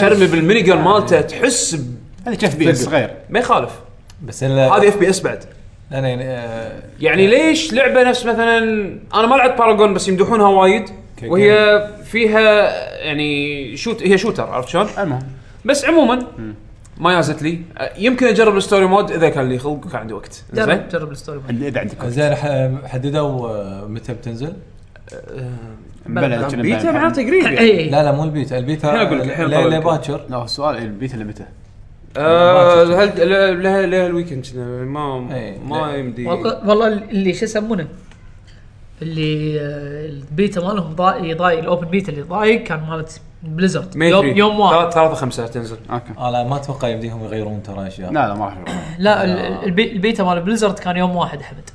ترمي بالميني جان مالته تحس ب- هذا كيف بي صغير ما يخالف بس انا هذه اف بي اس بعد انا يعني آه، يعني ليش لعبه نفس مثلا انا ما لعبت باراجون بس يمدحونها وايد وهي فيها يعني شوت هي شوتر عرفت شلون؟ المهم بس عموما ما يازت لي أه، يمكن اجرب الستوري مود اذا كان لي خلق وكان عندي وقت جرب زين جرب الستوري مود. اللي اذا عندك وقت. زين ح- حددوا آه، متى بتنزل؟ uh, مبلى كنا بيتا مبلى. معناته قريب يعني اي لا لا مو البيتا البيتا الحين أقول لك، الحين ليه أطلع ليه لك. باكر لا إيه، هو السؤال البيتا لمتى؟ آه، هل لا- لها لها الويكند ما إيه. ما يمدي والله والله اللي شو يسمونه اللي آه، البيتا مالهم ضايق ضايق الاوبن بيتا اللي ضايق كان مالت بليزرد ماي يوم ثري. يوم واحد ثلاث- ثلاثة خمسة تنزل اوكي انا ما اتوقع يبديهم يغيرون ترى اشياء لا لا ما راح يروح. لا ال- ال- البي- البيتا مال بليزرد كان يوم واحد حمد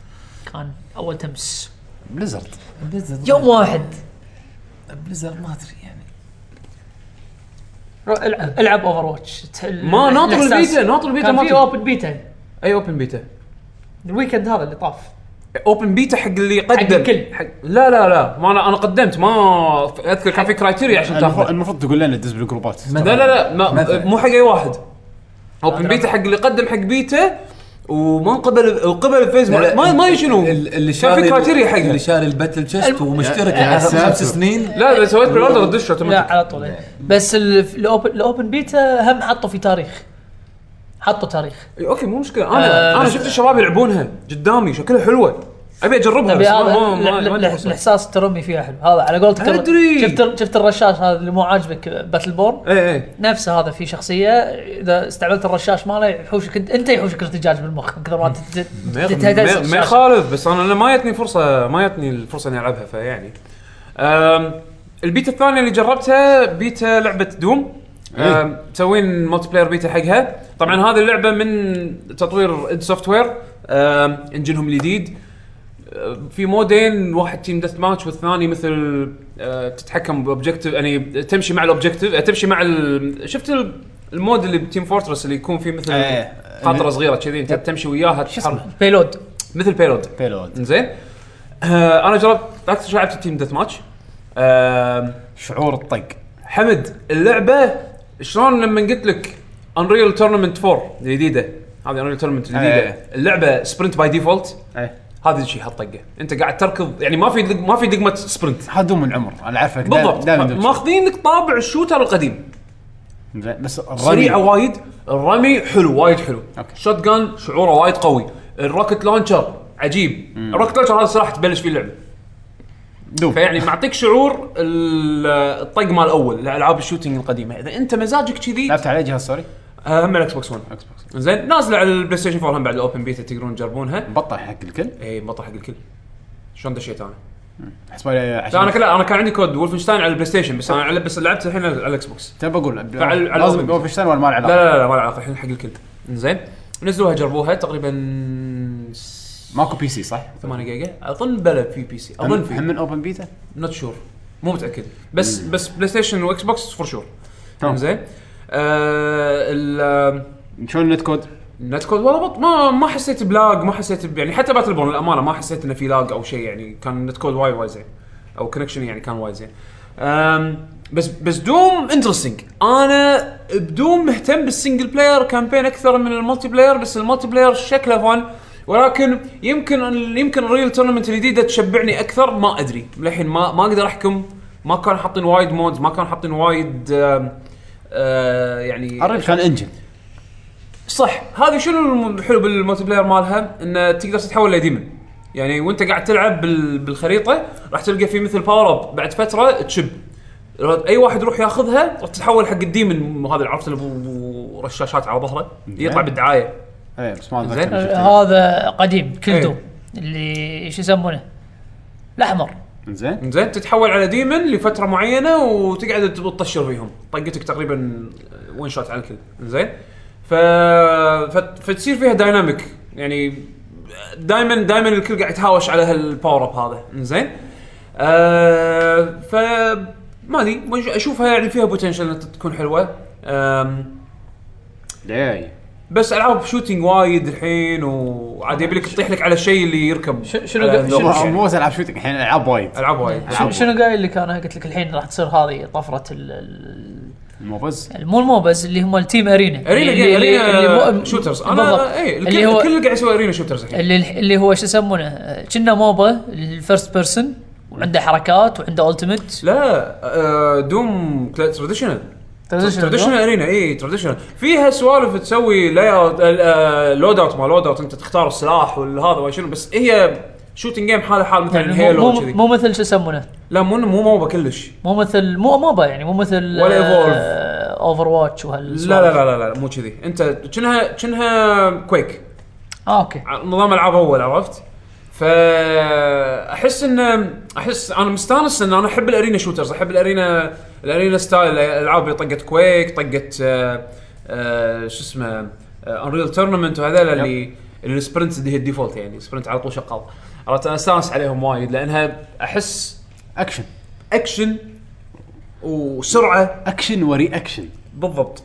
كان اول تمس بليزرد بليزرد يوم واحد بليزرد ما ادري يعني العب العب اوفر واتش ما ناطر البيتا ناطر البيتا كان في ما اوبن بيتا اي اوبن بيتا الويكند هذا اللي طاف اوبن بيتا حق اللي قدم الكل. حق لا لا لا ما انا انا قدمت ما ف- اذكر كان في كرايتيريا عشان المفروض, تاخذ المفروض تقول لنا دز بالجروبات لا لا لا ما مثلاً. مو حق اي واحد اوبن أدري. بيتا حق اللي قدم حق بيتا وما انقبل وقبل الفيز ما ما ما أدري شنو ال- اللي كان في كرايتيريا حقه. اللي شاري الباتل تشيست الم- أه، ومشترك يا- يا آخر ساتر. خمس سنين لا اذا سويت بري اوردر دش لا اوتوماتيك على طول إيه. بس ال- الاوبن الاوبن بيتا هم حطوا في تاريخ حطوا تاريخ اوكي مو مشكله انا آه، انا بس- شفت الشباب يلعبونها قدامي شكلها حلوه ابي اجربها تبي بس ما هذا ما- ال- ما ال- ما ال- عندي فرصة. الاحساس الترمي فيها حلو هذا على قولتك ترى- أدري. شفت شفت الرشاش هذا اللي مو عاجبك باتل بورن اي اي نفسه هذا في شخصيه اذا استعملت الرشاش ماله يحوشك انت انت يحوشك ارتجاج بالمخ من كثر ما تت- تت- ما يخ- تتهدس ما- ما الشاشة. يخالف بس انا أنا ما جتني فرصه ما جتني الفرصه اني العبها فيعني أم، البيتا الثانيه اللي جربتها بيتا لعبه دوم إيه. أم، مسوين ملتي بلاير بيتا حقها طبعا هذه اللعبه من تطوير اد سوفت وير انجنهم الجديد أم، في مودين واحد تيم ديث ماتش والثاني مثل أه، تتحكم باوبجكتيف يعني تمشي مع الاوبجكتيف أه، تمشي مع ال- شفت ال- المود اللي بتيم فورترس اللي يكون فيه مثل إيه. قطره صغيره كذي انت بتمشي وياها تحرك بيلود مثل بيلود بيلود زين آه انا جربت اكثر شيء لعبت التيم ديث ماتش آه شعور الطق حمد اللعبه شلون لما قلت لك انريل تورنمنت 4 الجديده هذه انريل تورنمنت الجديده إيه. اللعبه سبرنت باي ديفولت ايه هذا الشيء هالطقه انت قاعد تركض يعني ما في دق- ما في دقمه سبرنت هذا دوم من عمر انا عارفك دايماً- بالضبط دايماً دوم. ماخذين لك طابع الشوتر القديم زين، بس سريعه الرمي وايد الرمي حلو وايد حلو أوكي. شوت جان شعوره وايد قوي الروكت لونشر عجيب الروكت لونشر هذا سلاح تبلش فيه اللعبه دوم فيعني معطيك شعور ال- الطق مال اول الالعاب الشوتينج القديمه اذا انت مزاجك كذي لعبت على جهاز سوري آه، هم الاكس بوكس 1 اكس بوكس زين نازله على البلاي ستيشن 4 هم بعد الاوبن بيتا تقدرون تجربونها مبطل حق الكل اي مطرح حق الكل شلون دشيت انا؟ احسب لي لا انا عشان كلا انا كان عندي كود ولفنشتاين على البلاي ستيشن بس انا على- بس لعبت الحين على الاكس بوكس تبى اقول فعل- على لازم الأول. بوفشتاين ولا ما له لا علاقه لا لا ما له علاقه الحين حق الكل زين نزلوها جربوها تقريبا س- ماكو بي سي صح؟ 8 جيجا اظن بلا في بي سي اظن هم في من اوبن بيتا؟ نوت شور مو متاكد بس بس بلاي ستيشن واكس بوكس فور شور تمام. زين آه ال- شلون النت كود؟ النت كود والله بط ما ما حسيت بلاج ما حسيت ب- يعني حتى باتل بون للامانه ما حسيت انه في لاج او شيء يعني كان النت كود وايد وايد زين او كونكشن يعني كان وايد زين أم، بس بس دوم انترستنج انا بدوم مهتم بالسنجل بلاير كامبين اكثر من الملتي بلاير بس الملتي بلاير شكله فن ولكن يمكن ال- يمكن الريل تورنمنت الجديده تشبعني اكثر ما ادري للحين ما ما اقدر احكم ما كان حاطين وايد مودز ما كان حاطين وايد أم، أه، يعني الريل كان انجن صح هذه شنو الحلو بالملتي بلاير مالها انه تقدر تتحول لديمن يعني وانت قاعد تلعب بال- بالخريطه راح تلقى في مثل باور اب بعد فتره تشب اي واحد يروح ياخذها راح تتحول حق الديمن هذا اللي عرفت اللي أبو رشاشات على ظهره يطلع بالدعايه اي إيه، بس ما زين. اتذكر شفته. هذا قديم إيه. كل دوم اللي شو يسمونه الاحمر زين زين تتحول على ديمن لفتره معينه وتقعد تطشر فيهم طقتك تقريبا وين شوت على الكل زين ف... فت... فتصير فيها دايناميك يعني دائما دائما الكل قاعد يتهاوش على هالباور اب هذا زين آه ف ما ادري وش- اشوفها يعني فيها بوتنشل انها تكون حلوه آم... داي بس العاب شوتينج وايد الحين وعاد يبي لك تطيح لك على الشيء اللي يركب ش- شنو- على شنو- ذوقك مو- يعني. مو بس العاب شوتنج الحين العاب وايد العاب وايد شنو- شنو قايل لك انا قلت لك الحين راح تصير هذه طفره ال- ال- الموفز مو الموبز اللي هم التيم ارينا ارينا اللي- اللي- ارينا اللي مو- شوترز بالضبط. انا اي الكل اللي هو الكل إيه، قاعد يسوي ارينا شوترز الحين اللي اللي هو شو يسمونه كنا موبا الفيرست بيرسون وعنده حركات وعنده التيمت لا آه، دوم تراديشنال Traditional تراديشنال ارينا اي تراديشنال إيه، فيها سوالف تسوي آه، لاي اوت لود اوت ما لود اوت انت تختار السلاح والهذا وشنو بس هي شوتنج جيم حالها حال مثلا يعني مو هيلو مو- كذي مو مثل شو يسمونه لا مو مو موبا كلش مو مثل مو موبا يعني مو مثل ولا Evolve. اوفر واتش وهال لا لا لا لا, لا مو كذي انت كأنها كأنها كويك آه اوكي نظام العاب اول عرفت؟ فاحس ان احس انا مستانس ان انا احب الارينا شوترز احب الارينا الارينا ستايل الالعاب اللي طقت كويك طقت آه، آه، شو اسمه آه، انريل تورنمنت وهذول اللي اللي السبرنت اللي هي الديفولت يعني سبرنت على طول شغال عرفت انا استانس عليهم وايد لانها احس اكشن اكشن وسرعه اكشن وري اكشن بالضبط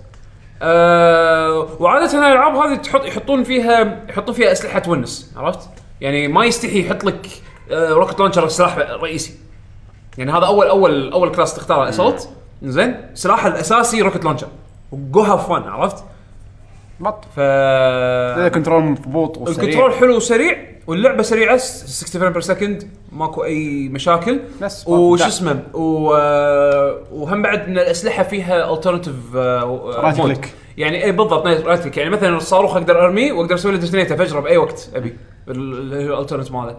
أه وعاده الالعاب هذه تحط يحطون فيها يحطون فيها اسلحه تونس عرفت؟ يعني ما يستحي يحط لك أه روكت لانشر سلاح رئيسي. يعني هذا اول اول اول كلاس تختاره اسولت زين سلاحه الاساسي روكت لانشر جو هاف فن عرفت؟ بط ف هذا كنترول مضبوط وسريع الكنترول حلو وسريع واللعبه سريعه س- 60 فريم بير سكند ماكو اي مشاكل بس ماكو وش داعي. اسمه و... آه، وهم بعد ان الاسلحه فيها الترناتيف Right click. يعني اي بالضبط رايت كليك يعني مثلا الصاروخ اقدر ارميه واقدر اسوي له ديتونيت افجره باي وقت ابي الالترنت ماله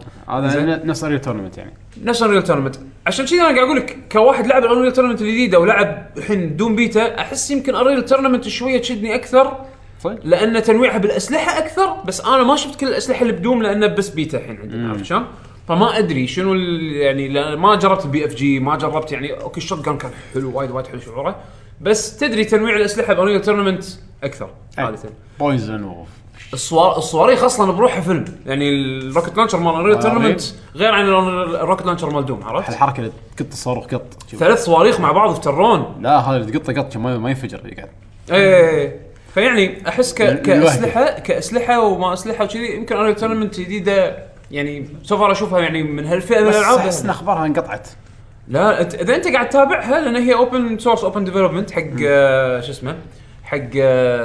زين. هذا ن- نفس اريو تورنمنت يعني نفس انريل تورنمنت عشان كذا انا قاعد اقول لك كواحد لعب انريل تورنمنت الجديده ولعب الحين دوم بيتا احس يمكن انريل تورنمنت شويه تشدني اكثر صدق لان تنويعها بالاسلحه اكثر بس انا ما شفت كل الاسلحه اللي بدوم لانه بس بيتا الحين عندنا عرفت شلون؟ فما ادري شنو ال- يعني لا- ما جربت البي اف جي ما جربت يعني اوكي الشوت جان كان حلو وايد وايد حلو شعوره بس تدري تنويع الاسلحه بانريل تورنمنت اكثر أي. عاده بويزن و الصوار الصواريخ اصلا بروحها فيلم يعني الروكت لانشر مال انريل تورنمنت غير عن ال- الروكت لانشر مال دوم عرفت؟ الحركه اللي تقط الصاروخ قط شوف. ثلاث صواريخ مع بعض افترون لا هذا اللي تقطه قط شوف ما ما ينفجر يقعد ايه فيعني احس ك... من- كاسلحه كاسلحه وما اسلحه وكذي يمكن انا تورنمنت جديده يعني سوف اشوفها يعني من هالفئه من بس الالعاب احس ان اخبارها انقطعت لا أت- اذا انت قاعد تتابعها لان هي اوبن سورس اوبن ديفلوبمنت حق آه، شو اسمه حق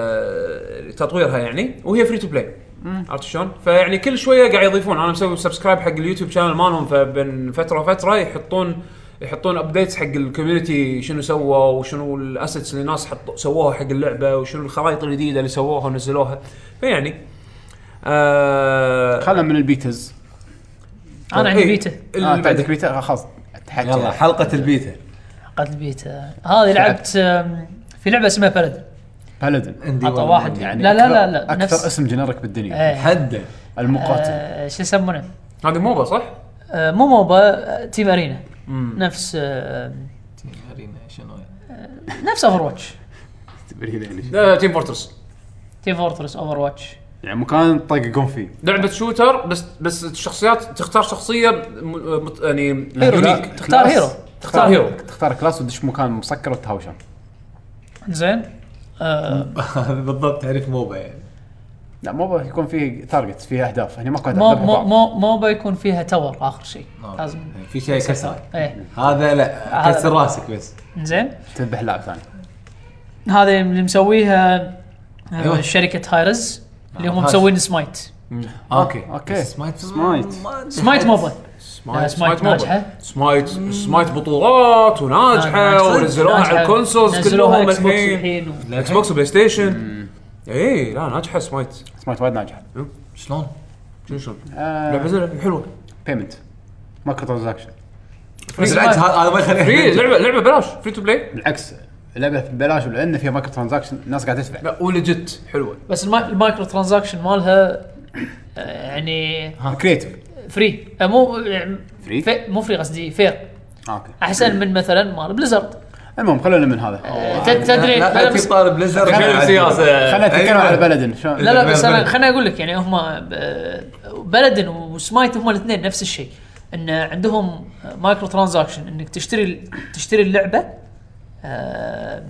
آه، تطويرها يعني وهي فري تو بلاي عرفت شلون؟ فيعني كل شويه قاعد يضيفون انا مسوي سبسكرايب حق اليوتيوب شانل مالهم فبين فتره وفتره يحطون يحطون ابديتس حق الكوميونتي شنو سووا وشنو الاسيتس اللي الناس حطوا سووها حق اللعبه وشنو الخرائط الجديده اللي سووها ونزلوها فيعني آه خلنا من البيتز انا عندي إيه، بيتا طيب، ال- آه انت عندك بيتا خلاص تحكي يلا حلقه البيتا حقت البيتا هذه لعبت آم، في لعبه اسمها بلد بلدن عندي عطى واحد يعني يعني لا لا لا أكثر- لا اكثر نفس اسم جنرك بالدنيا إيه. حده المقاتل آه، شو يسمونه هذه موبا صح؟ آه، مو موبا آه، تيم ارينا مم. نفس آه، ارينا شنو هي؟ نفس اوفر واتش تبريد يعني شيء. لا، تيم فورترس تيم فورترس اوفر واتش يعني مكان طققون فيه لعبه شوتر بس بس الشخصيات تختار شخصيه م- مت- يعني يونيك تختار كلاس- هيرو. تختار هيرو. تختار كلاس وتدش مكان مسكر وتهاوشان زين آه، هذا بالضبط تعريف موبا يعني لا مو بقى يكون فيه تارجت فيه اهداف هنا ماكو مو اهداف مو ذبحوا بعض. مو مو بيكون فيها تور اخر شيء آه، أوكي. لازم في شيء كسر ايه هذا لا هذا- كسر راسك بس زين تذبح لاعب ثاني هذه اللي مسويها آه، أيوة. شركه هايرز اللي هم آه، هايرز. مسوين سمايت آه، اوكي أوكي. بس سمايت سمايت. ما- سمايت موبا سمايت سمايت سمايت موبا ناجحة. سمايت سمايت بطولات وناجحه ناجحة. ونزلوها على الكونسولز آه، نزلوها كلهم Xbox الحين الحين و- اكس بوكس وبلاي ستيشن اي لا ناجحه سمايت سمارت وايد ناجح شلون؟ شنو شنو آه. لعبه زينة، حلوه بيمنت مايكرو ترانزاكشن بس لعبت هذا هذا ما فري يخليني لعبه لعبه بلاش فري تو بلاي بالعكس اللعبه ببلاش ولان فيها مايكرو ترانزاكشن الناس قاعده تدفع لا ولجت حلوه بس الما- المايكرو ترانزاكشن مالها آه، يعني كريتيف فري آه، مو يعني فري؟ في- مو فري قصدي فير اوكي احسن من مثلا مال بليزرد المهم خلونا من هذا آه، ت- تدري لا لا لا بس في طالب ليزر خلينا سياسه خلينا نتكلم أيوة. على بلدن شلون لا لا بس انا بلد. خليني اقول لك يعني هم آه، بلدن وسمايت هم الاثنين نفس الشيء ان عندهم مايكرو ترانزاكشن انك تشتري تشتري اللعبه آه،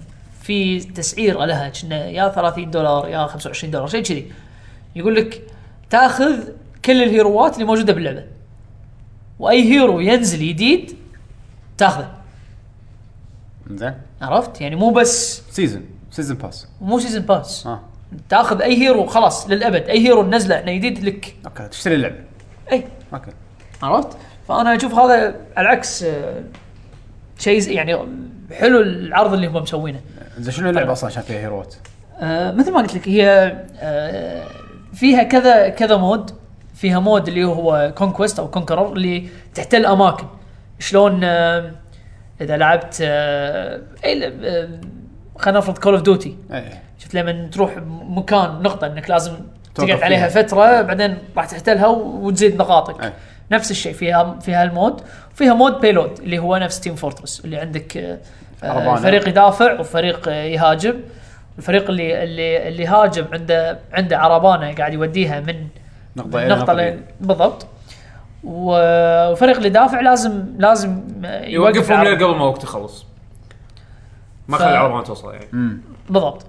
في تسعير لها كنا يا 30 دولار يا 25 دولار شيء كذي يقول لك تاخذ كل الهيروات اللي موجوده باللعبه واي هيرو ينزل جديد تاخذه زين عرفت يعني مو بس سيزون سيزون باس مو سيزون باس اه تاخذ اي هيرو خلاص للابد اي هيرو نزله انه جديد لك إيه. اوكي تشتري اللعبه اي اوكي عرفت؟ فانا اشوف هذا على العكس آه، شيء زي- يعني حلو العرض اللي هم مسوينه زين شنو اللعبه اصلا عشان فيها هيروات؟ آه، مثل ما قلت لك هي آه، فيها كذا كذا مود فيها مود اللي هو كونكويست او كونكرر اللي تحتل اماكن شلون آه، اذا لعبت آه، أي لعب- آه، خلينا نفرض كول اوف ديوتي ايه شفت لما تروح مكان نقطه انك لازم توقف تقعد عليها فيها. فتره بعدين راح تحتلها وتزيد نقاطك أي. نفس الشيء فيها فيها المود وفيها مود بيلود اللي هو نفس تيم فورترس اللي عندك آه، أربعة آه، فريق يدافع وفريق آه، يهاجم الفريق اللي اللي اللي هاجم عنده عنده عربانه قاعد يوديها من نقطه من إيه نقطه بي. ل- بالضبط و- وفريق اللي يدافع لازم لازم آه، يوقفهم ليه العربة. قبل ما وقت يخلص ما ف- خلي العربان توصل يعني بالضبط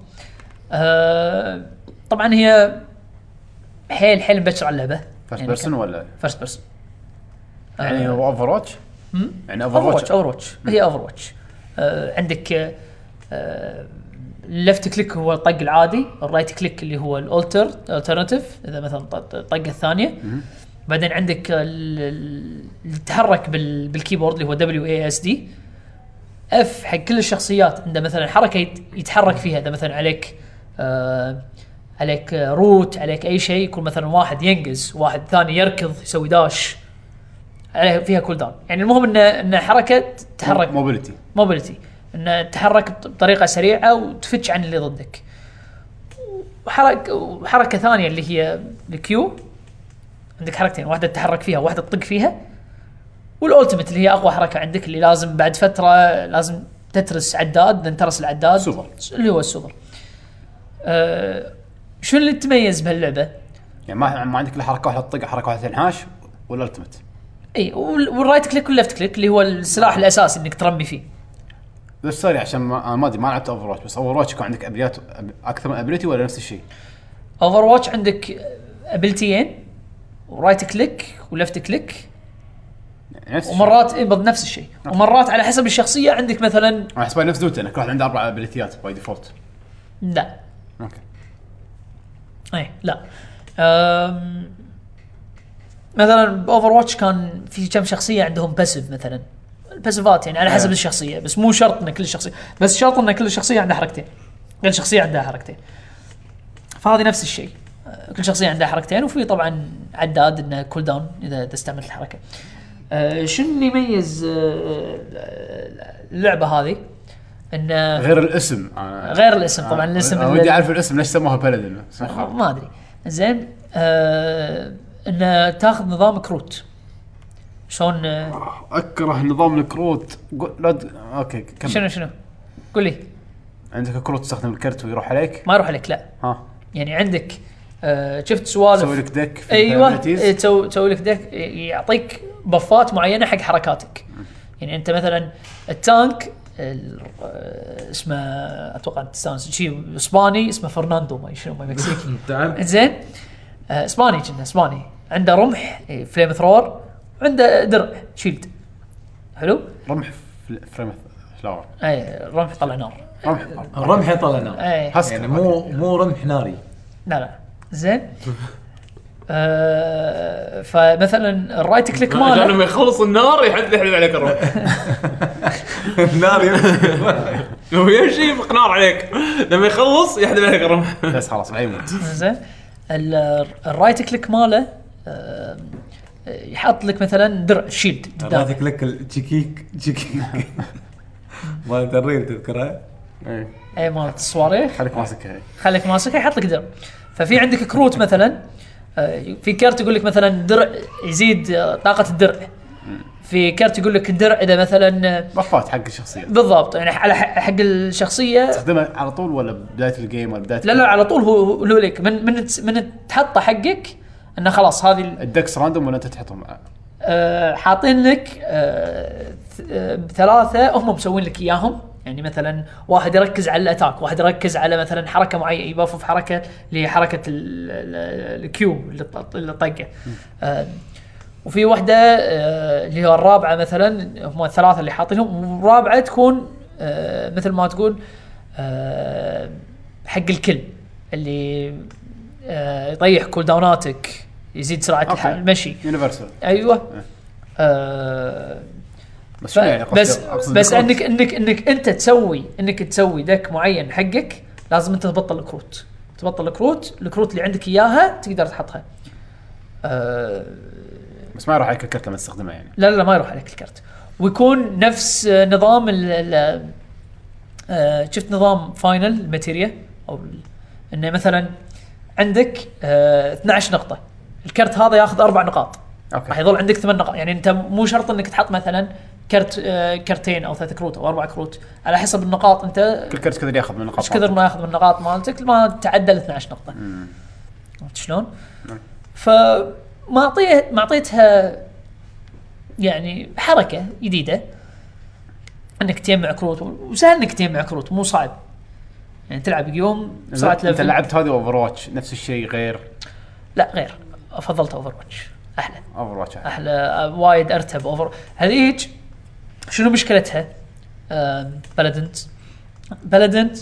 آه طبعا هي حيل حيل مبكر على يعني اللعبه فيرست بيرسون ولا فيرست بيرسون آه. يعني اوفر واتش؟ يعني اوفر اوفر واتش واتش اوفر واتش هي اوفر واتش آه عندك آه اللفت كليك هو الطق العادي الرايت كليك اللي هو الالتر الترناتيف اذا مثلا ط- الطقه الثانيه بعدين عندك ال- ال- اللي تتحرك بال- بالكيبورد اللي هو دبليو اي اس دي اف حق كل الشخصيات عنده مثلا حركه يت- يتحرك فيها اذا مثلا عليك آه عليك آه، روت عليك اي شيء يكون مثلا واحد ينقز واحد ثاني يركض يسوي داش عليها فيها كول داون يعني المهم انه انه حركه تتحرك موبيلتي موبيلتي انه تتحرك بط- بطريقه سريعه وتفتش عن اللي ضدك وحرك وحركه ثانيه اللي هي الكيو عندك حركتين واحده تتحرك فيها واحده تطق فيها والالتيميت اللي هي اقوى حركه عندك اللي لازم بعد فتره لازم تترس عداد لان ترس العداد سوبر. اللي هو السوبر أه شو اللي تميز بهاللعبه؟ يعني ما ما عندك الا حركه واحده تطق حركه واحده تنحاش والالتمت اي وال- والرايت كليك واللفت كليك اللي هو السلاح الاساسي انك ترمي فيه بس سوري عشان ما أنا ما ادري ما لعبت اوفر واتش بس اوفر واتش يكون عندك ابليات أب- اكثر من ابيلتي ولا نفس الشيء؟ اوفر واتش عندك ابيلتيين ورايت كليك ولفت كليك يعني نفس الشيء. ومرات إيه، بض- نفس الشيء ومرات على حسب الشخصيه عندك مثلا انا احسبها نفس دوتا ان كل واحد عنده اربع ابيلتيات باي ديفولت لا اوكي اي إيه، لا أم مثلا باوفر واتش كان في كم شخصيه عندهم باسيف مثلا الباسيفات يعني على حسب إيه. الشخصيه بس مو شرط ان كل شخصيه بس شرط ان كل شخصيه عندها حركتين كل شخصيه عندها حركتين فهذه نفس الشيء أه، كل شخصيه عندها حركتين وفي طبعا عداد انه كول داون اذا تستعمل الحركه آه، شنو اللي يميز آه، اللعبه هذه؟ انه غير الاسم أنا- غير الاسم طبعا الاسم أنا اللي- ودي اعرف الاسم ليش سموها بلدن بس ما يخالف. ما ادري زين آه انه تاخذ نظام كروت شلون آه، اكره نظام الكروت قو- لا ت- اوكي كمل شنو شنو؟ قول لي عندك كروت تستخدم الكرت ويروح عليك ما يروح لك لا ها يعني عندك آه شفت سوالف تسوي لك ديك في ايوه الابيلتيز. إيه، تسوي تسوي لك ديك يعطيك بفات معينه حق حركاتك يعني انت مثلا التانك ال- آه، اسمه اتوقع أنت تستانس شيء اسباني اسمه فرناندو ما شنو ما مكسيكي تعب زين آه، اسباني كنا اسباني عنده رمح إيه، فليم ثرور وعنده درع شيلد حلو؟ رمح فل- فريم فلاور اي رمح طلع نار رمح يعني الرمح يطلع نار اي هسك يعني مو مو رمح ناري لا لا زين آه فمثلا الرايت كليك عشان ماله لما يخلص النار يحد يحلب عليك الروح ناري لو يمشي يفق نار عليك لما يخلص يحلب عليك الرمح بس خلاص بعدين يموت زين ال- الرايت كليك ماله آه يحط لك مثلا درع شيلد قدامك اعطيك لك الجيكيك جيكيك مالت الريل تذكرها؟ إيه. اي مالت الصواريخ خليك ماسكها هي. خليك ماسكه يحط لك درع ففي عندك كروت مثلا آه، في كارت يقول لك مثلا درع يزيد آه، طاقه الدرع في كارت يقول لك الدرع اذا مثلا آه، بفات حق الشخصيه بالضبط يعني على ح- حق الشخصيه تستخدمها على طول ولا بدايه الجيم ولا بدايه لا لا على طول هو هو له لك من من تس- من تحطه حقك انه خلاص هذه ال- الدكس راندوم ولا انت تحطهم آه، حاطين لك آه، ث- آه، ثلاثه هم مسوين لك اياهم يعني مثلا واحد يركز على الاتاك، واحد يركز على مثلا حركه معينه يباف في حركه لحركه ال- ال- الكيو اللي ط- اللي طقه. آه، وفي واحده آه، اللي هو الرابعه مثلا هم الثلاثه اللي حاطينهم والرابعه تكون آه، مثل ما تقول آه، حق الكل اللي آه، يطيح كول داوناتك يزيد سرعه الح- أوكي. المشي يونيفرسال ايوه آه بس ف... شنو إيه. يعني قصدي- بس أقصد بس الكروت. انك انك انك انت تسوي انك تسوي دك معين حقك لازم انت تبطل الكروت تبطل الكروت الكروت اللي عندك اياها تقدر تحطها آه بس ما يروح عليك الكرت لما تستخدمها يعني لا لا ما يروح عليك الكرت ويكون نفس آه، نظام ال ال- آه شفت نظام فاينل الماتيريا او ال- انه مثلا عندك آه 12 نقطه الكرت هذا ياخذ اربع نقاط راح اوكي يظل عندك ثمان نقاط يعني انت مو شرط انك تحط مثلا كرت آه، كرتين او ثلاث كروت او اربع كروت على حسب النقاط انت كل كرت كذا ياخذ من النقاط ايش كثر ما ياخذ من النقاط مالتك ما تعدى ال 12 نقطه مم. نعم. عرفت شلون؟ فمعطيه معطيتها يعني حركه جديده انك تجمع كروت وسهل انك تجمع كروت مو صعب يعني تلعب يوم بسرعه انت لفل- لعبت هذه اوفر واتش نفس الشيء غير لا غير فضلت اوفر واتش احلى اوفر واتش احلى آه، وايد ارتب اوفر هذيك شنو مشكلتها؟ بلدنت بلدنت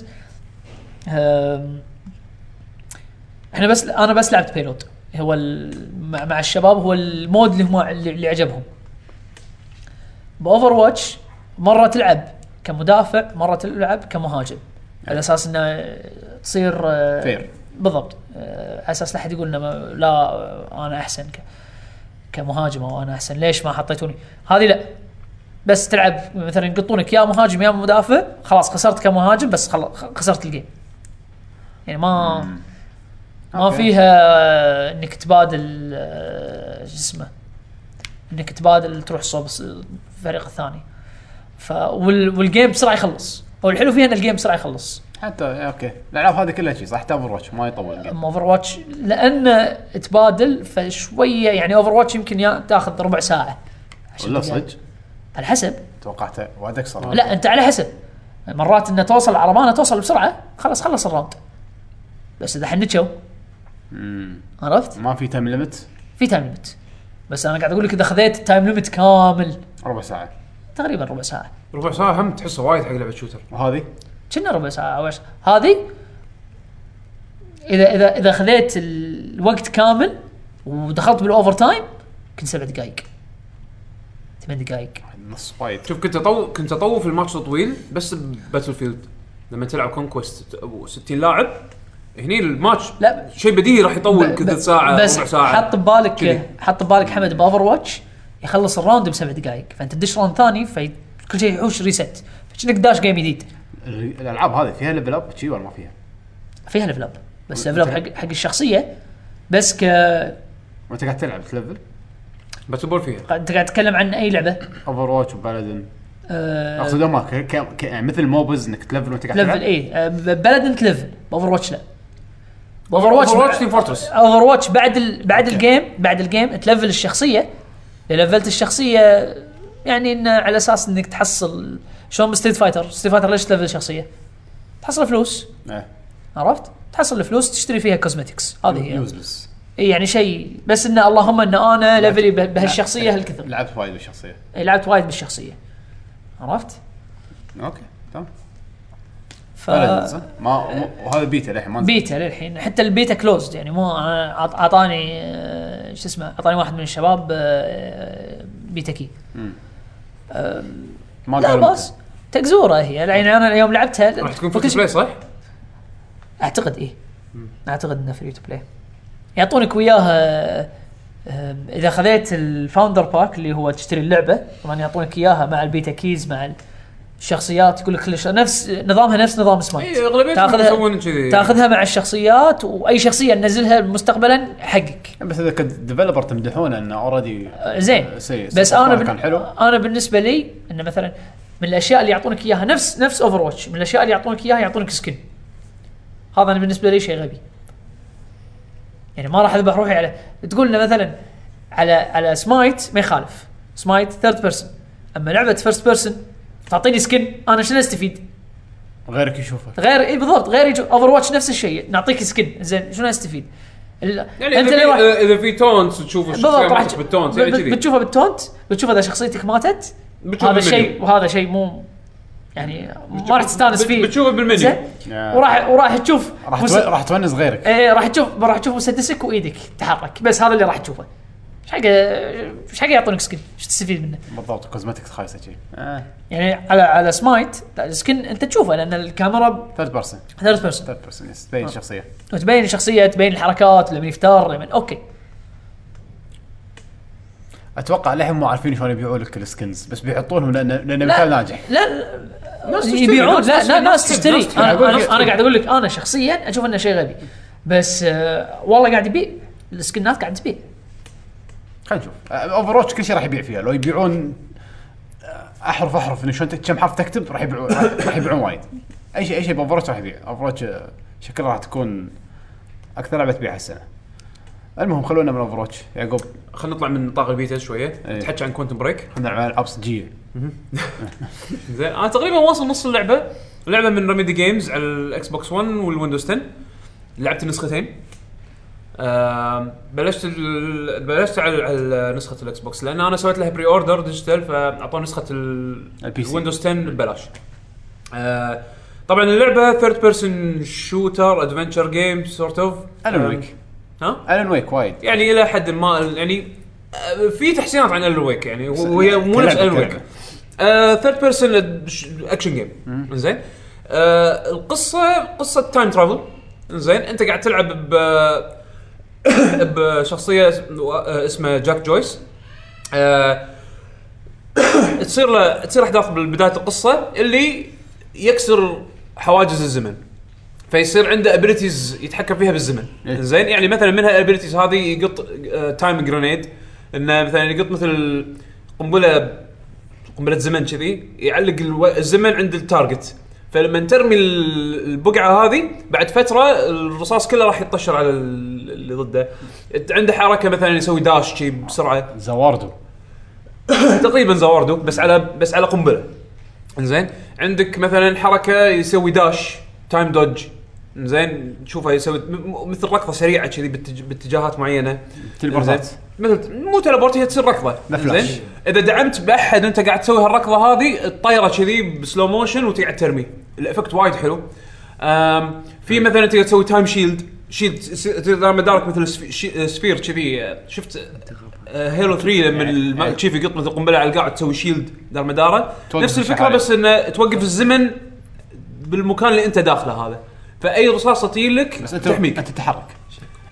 احنا بس انا بس لعبت بيلوت هو ال- مع, مع الشباب هو المود اللي هم اللي اللي عجبهم باوفر واتش مره تلعب كمدافع مره تلعب كمهاجم على اساس انه تصير آه، Fair. بالضبط آه، على اساس لا احد يقول انه ما- لا آه، انا احسن ك- كمهاجم او انا احسن ليش ما حطيتوني هذه لا بس تلعب مثلا يقطونك يا مهاجم يا مدافع خلاص خسرت كمهاجم بس خلاص خسرت الجيم يعني ما ما أوكي. فيها انك تبادل آه، شو اسمه انك تبادل تروح صوب الس- الفريق الثاني ف وال... والجيم بسرعه يخلص هو الحلو فيها ان الجيم بسرعه يخلص حتى اوكي الالعاب هذه كلها شيء صح حتى اوفر واتش ما يطول الجيم. اما اوفر واتش لان تبادل فشويه يعني اوفر واتش يمكن يا- تاخذ ربع ساعه عشان ولا تلقى- صدق على حسب توقعته وعد اكثر لا انت على حسب مرات انه توصل العربانه توصل بسرعه خلاص خلص الراوند بس اذا حنتشوا عرفت؟ ما في تايم ليمت في تايم ليمت بس انا قاعد اقول لك اذا خذيت التايم ليمت كامل ربع ساعه تقريبا ربع ساعه ربع ساعه هم تحسه وايد حق لعبه شوتر وهذه كنا ربع ساعه او عشر. هذه اذا اذا اذا خذيت الوقت كامل ودخلت بالاوفر تايم كنت سبع دقائق ثمان دقائق نص وايد شوف كنت اطو كنت اطوف الماتش طويل بس باتل فيلد لما تلعب كونكوست 60 لاعب هني الماتش لا. شيء بديهي راح يطول ب- كذا ب- ساعه بس ربع ساعه حط ببالك كذي. حط ببالك حمد باوفر واتش يخلص الراوند بسبع دقائق فانت تدش راوند ثاني فكل شيء يحوش ريست فكأنك داش جيم جديد ال- الالعاب هذه فيها ليفل اب شي ولا ما فيها؟ فيها ليفل اب بس ليفل اب حق حق الشخصيه بس ك انت وانت قاعد تلعب تلفل باتل بول فيها قاعد تتكلم عن اي لعبه اوفر واتش وبالادن آه، اقصد هم ك... ك... ك... يعني مثل موبز انك تلفل وانت قاعد تلعب ليفل اي أه، بلد انت ليفل اوفر واتش لا اوفر اوفر واتش تيم فورترس اوفر واتش بعد ال... بعد الجيم بعد الجيم تلفل الشخصيه اذا لفلت الشخصيه يعني انه على اساس انك تحصل شلون ستريت فايتر ستريت فايتر ليش تلفل الشخصيه؟ تحصل فلوس إيه. عرفت؟ تحصل الفلوس تشتري فيها كوزمتكس هذه هي يوزلس إي يعني شيء بس انه اللهم ان انا ليفلي به- بهالشخصيه هالكثر لعبت وايد بالشخصيه إي، لعبت وايد بالشخصيه عرفت؟ اوكي تمام ف Paladin، صح؟ ما مو- وهذا بيتا للحين ما نزل. بيتا للحين حتى البيتا كلوزد يعني مو أنا عط- اعطاني آه، شو اسمه اعطاني واحد من الشباب آه، بيتا كي ما لا قالوا باس تكزوره هي الحين انا اليوم لعبتها راح تكون فكل فوكس شيء- بلاي صح؟ اعتقد ايه اعتقد انه فري تو بلاي يعطونك وياها آه، اذا خذيت الفاوندر باك اللي هو تشتري اللعبه طبعا يعطونك اياها مع البيتا كيز مع الشخصيات يقول لك كل شيء- نفس نظامها نفس نظام سمايت اي اغلبيتهم تاخذها- يسوون إيه، كذي تاخذها مع الشخصيات واي شخصيه ننزلها مستقبلا حقك بس اذا كنت ديفلوبر تمدحونه انه اوريدي آه، زين سي- بس سي- انا بن... كان حلو انا بالنسبه لي انه مثلا من الاشياء اللي يعطونك اياها نفس نفس اوفر واتش من الاشياء اللي يعطونك اياها يعطونك سكن هذا انا بالنسبه لي شيء غبي يعني ما راح اذبح روحي على تقول لنا مثلا على على سمايت ما يخالف سمايت ثيرد بيرسون اما لعبه فيرست بيرسون تعطيني سكن انا شنو استفيد؟ غيرك يشوفه غير اي بالضبط غير اوفر واتش نفس الشيء نعطيك سكن زين شنو استفيد؟ ال- يعني اذا اللي راح- آه، في- اذا في تونس تشوف الشخصيه بالضبط راح ماتت بالتونس يعني بت- كذي بتشوفها بالتونت بتشوف اذا شخصيتك ماتت بتشوف هذا بالمنيو. شيء وهذا شيء مو يعني ما راح تستانس بت- فيه بتشوفه بالمنيو. زين؟ يا. وراح وراح تشوف راح مس- تو... راح تونس غيرك إيه، راح تشوف راح تشوف مسدسك وايدك تحرك بس هذا اللي راح تشوفه ايش حق ايش حق يعطونك سكن ايش تستفيد منه بالضبط كوزمتكس خايسه شي آه. يعني على على سمايت السكن انت تشوفه لان الكاميرا ثيرد بيرسون ثيرد بيرسون ثيرد بيرسون يس تبين الشخصيه وتبين الشخصيه تبين الحركات لما يفتر لما اوكي اتوقع للحين مو عارفين شلون يبيعوا لك السكنز بس بيحطونهم لان لان مثال ناجح لا ناس ناس تشتري، يبيعون ناس لا تشتري، لا ناس ناس تشتري، تشتري ناس انا تشتري. انا انا قاعد اقول لك انا شخصيا اشوف انه شيء غبي بس آه والله قاعد يبيع السكنات قاعد تبيع خلينا نشوف اوفر واتش آه، كل شيء راح يبيع فيها لو يبيعون آه، احرف احرف إن شلون ت- كم حرف تكتب راح يبيعون راح- راح يبيعون وايد اي شيء اي شيء باوفر واتش راح يبيع اوفر واتش آه، شكلها راح تكون اكثر لعبه تبيع هالسنه المهم خلونا من اوفر واتش يعقوب خلينا نطلع من نطاق البيتا شويه إيه. نتحكى عن كوانتم بريك خلينا نلعب على العاب صجيه زين انا تقريبا واصل نص اللعبه اللعبه من ريميدي جيمز على الاكس بوكس 1 والويندوز 10 لعبت النسختين آم، بلشت ال- بلشت على على نسخه الاكس بوكس لان انا سويت لها بري اوردر ديجيتال فاعطوني نسخه البي سي. الويندوز 10 ببلاش آه، طبعا اللعبه ثيرد بيرسون شوتر ادفنتشر جيم سورت اوف الون ويك ها الون ويك وايد يعني الى حد ما يعني آه، في تحسينات عن الويك يعني وهي مو كلعبة- نفس آه، الويك كلعبة. ثيرد بيرسون اكشن جيم زين آه القصه قصه تايم ترافل زين انت قاعد تلعب ب بشخصيه اسمها جاك جويس آه تصير له تصير احداث ببدايه القصه اللي يكسر حواجز الزمن فيصير عنده ابيلتيز يتحكم فيها بالزمن إيه. زين يعني مثلا من هالابيلتيز هذه يقط آه، تايم جرينيد انه مثلا يقط مثل قنبله قنبله زمن كذي يعلق الو... الزمن عند التارجت فلما ترمي ال- البقعه هذه بعد فتره الرصاص كله راح يتطشر على ال- اللي ضده عنده حركه مثلا يسوي داش شي بسرعه زواردو تقريبا زواردو بس على بس على قنبله زين عندك مثلا حركه يسوي داش تايم دوج زين تشوفه يسوي م- م- مثل ركضه سريعه كذي باتج- باتجاهات معينه تليبورتات. زين؟ مثل مو تلبورت هي تصير ركضه لا فلاش. زين؟ اذا دعمت باحد وانت قاعد تسوي هالركضه هذه الطايره كذي بسلو موشن وتقعد ترميه الافكت وايد حلو أم في مثلا تقدر تسوي تايم شيلد شيلد س- تقدر مدارك مثل سف- شي- سفير كذي أه، شفت أه، هيلو 3 لما يعني الم- الشيف يقط مثل قنبله على القاع تسوي شيلد دار مداره توقف نفس الفكره الشحالة. بس انه توقف الزمن بالمكان اللي انت داخله هذا فاي رصاصه تجي لك بس انت تحميك انت تتحرك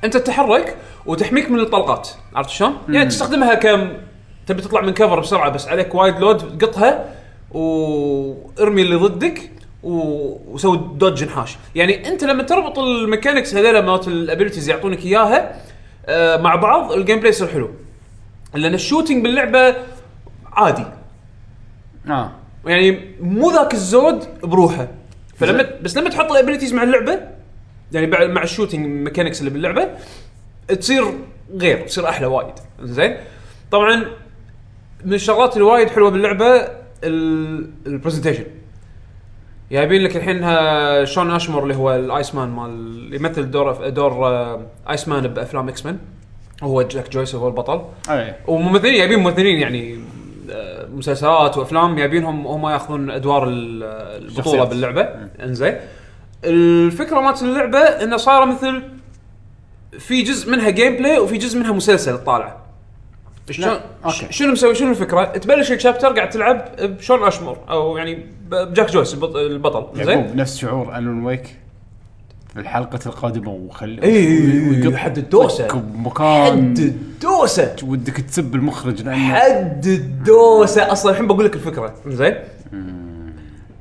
انت تتحرك وتحميك من الطلقات عرفت شلون؟ يعني تستخدمها كم تبي تطلع من كفر بسرعه بس عليك وايد لود قطها وارمي اللي ضدك و- وسوي دوج نحاش يعني انت لما تربط الميكانكس هذول مالت الابيلتيز يعطونك اياها آه، مع بعض الجيم بلاي يصير حلو لان الشوتنج باللعبه عادي اه يعني مو ذاك الزود بروحه فلما بس لما تحط الابيلتيز مع اللعبه يعني بع- مع الشوتنج ميكانكس اللي باللعبه تصير غير تصير احلى وايد زين طبعا من الشغلات الوايد حلوه باللعبه البرزنتيشن جايبين لك الحين ها شون اشمور اللي هو الايس مان مال اللي يمثل دور دور آه، ايس مان بافلام اكس مان هو جاك جويس هو البطل اي وممثلين جايبين ممثلين يعني آه، مسلسلات وافلام جايبينهم هم ياخذون ادوار ال- البطوله الشخصيات. باللعبه انزين الفكره مالت اللعبه انه صايره مثل في جزء منها جيم بلاي وفي جزء منها مسلسل طالع شلون أوكي. شنو مسوي شنو الفكره؟ تبلش الشابتر قاعد تلعب بشون اشمور او يعني بجاك جويس البط- البطل زين يعقوب نفس شعور الون ويك في الحلقة القادمة وخل إي إي إي. ويقط حد الدوسة. طق بمكان الدوسه ودك تسب المخرج لانه حد الدوسه اصلا الحين بقول لك الفكره زين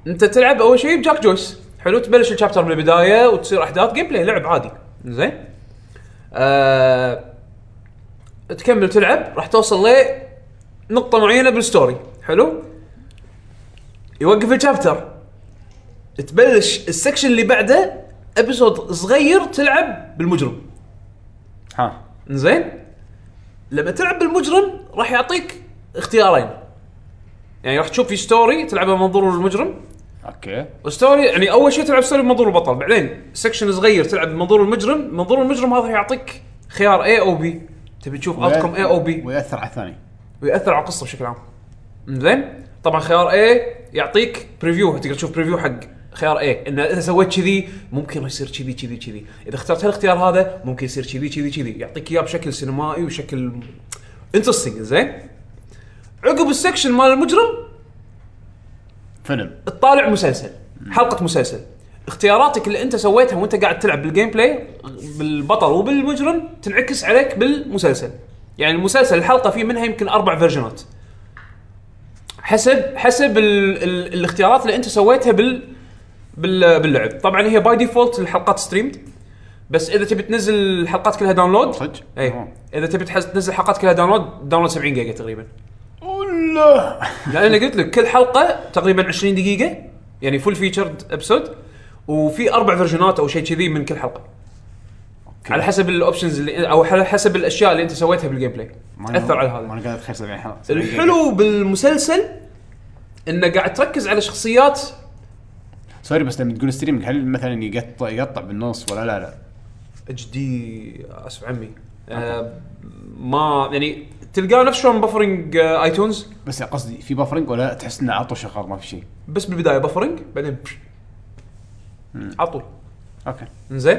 انت تلعب اول شيء بجاك جويس حلو تبلش الشابتر من البدايه وتصير احداث جيم بلاي لعب عادي زين آه... تكمل تلعب راح توصل لنقطه معينه بالستوري حلو يوقف الشابتر تبلش السكشن اللي بعده ابيسود صغير تلعب بالمجرم ها زين لما تلعب بالمجرم راح يعطيك اختيارين يعني راح تشوف في ستوري تلعبها من منظور المجرم اوكي وستوري يعني اول شيء تلعب ستوري بمنظور البطل بعدين سكشن صغير تلعب بمنظور المجرم منظور المجرم هذا يعطيك خيار اي او بي تبي تشوف اوتكم اي او بي ويأثر على الثاني ويأثر على القصه بشكل عام زين طبعا خيار اي يعطيك بريفيو تقدر تشوف بريفيو حق خيار اي انه اذا سويت كذي ممكن يصير كذي كذي كذي اذا اخترت هالاختيار هذا ممكن يصير كذي كذي كذي يعطيك اياه بشكل سينمائي وشكل انترستنج زين عقب السكشن مال المجرم فيلم تطالع مسلسل حلقه مسلسل اختياراتك اللي انت سويتها وانت قاعد تلعب بالجيم بلاي بالبطل وبالمجرم تنعكس عليك بالمسلسل يعني المسلسل الحلقه فيه منها يمكن اربع فيرجنات حسب حسب ال ال الاختيارات اللي انت سويتها بال بال باللعب طبعا هي باي ديفولت الحلقات ستريمد بس اذا تبي تنزل الحلقات كلها داونلود صدق؟ اي أوه. اذا تبي تحس- تنزل الحلقات كلها داونلود داونلود 70 جيجا تقريبا والله لا انا قلت لك كل حلقه تقريبا 20 دقيقه يعني فول فيتشرد ابسود وفي اربع فيرجنات او شيء كذي من كل حلقه أوكي. على حسب الاوبشنز اللي او على حسب الاشياء اللي انت سويتها بالجيم بلاي اثر على ما هذا انا قاعد اتخيل 70 حلقة الحلو بالمسلسل انه قاعد تركز على شخصيات سوري بس لما تقول ستريمنج هل مثلا يقطع يقطع بالنص ولا لا لا؟ اتش دي اسف عمي آه ما يعني تلقاه نفس شلون بفرنج آه ايتونز بس قصدي في بافرنج ولا تحس انه عطوا شغل ما في شيء؟ بس بالبدايه بفرنج بعدين بش. على طول اوكي زين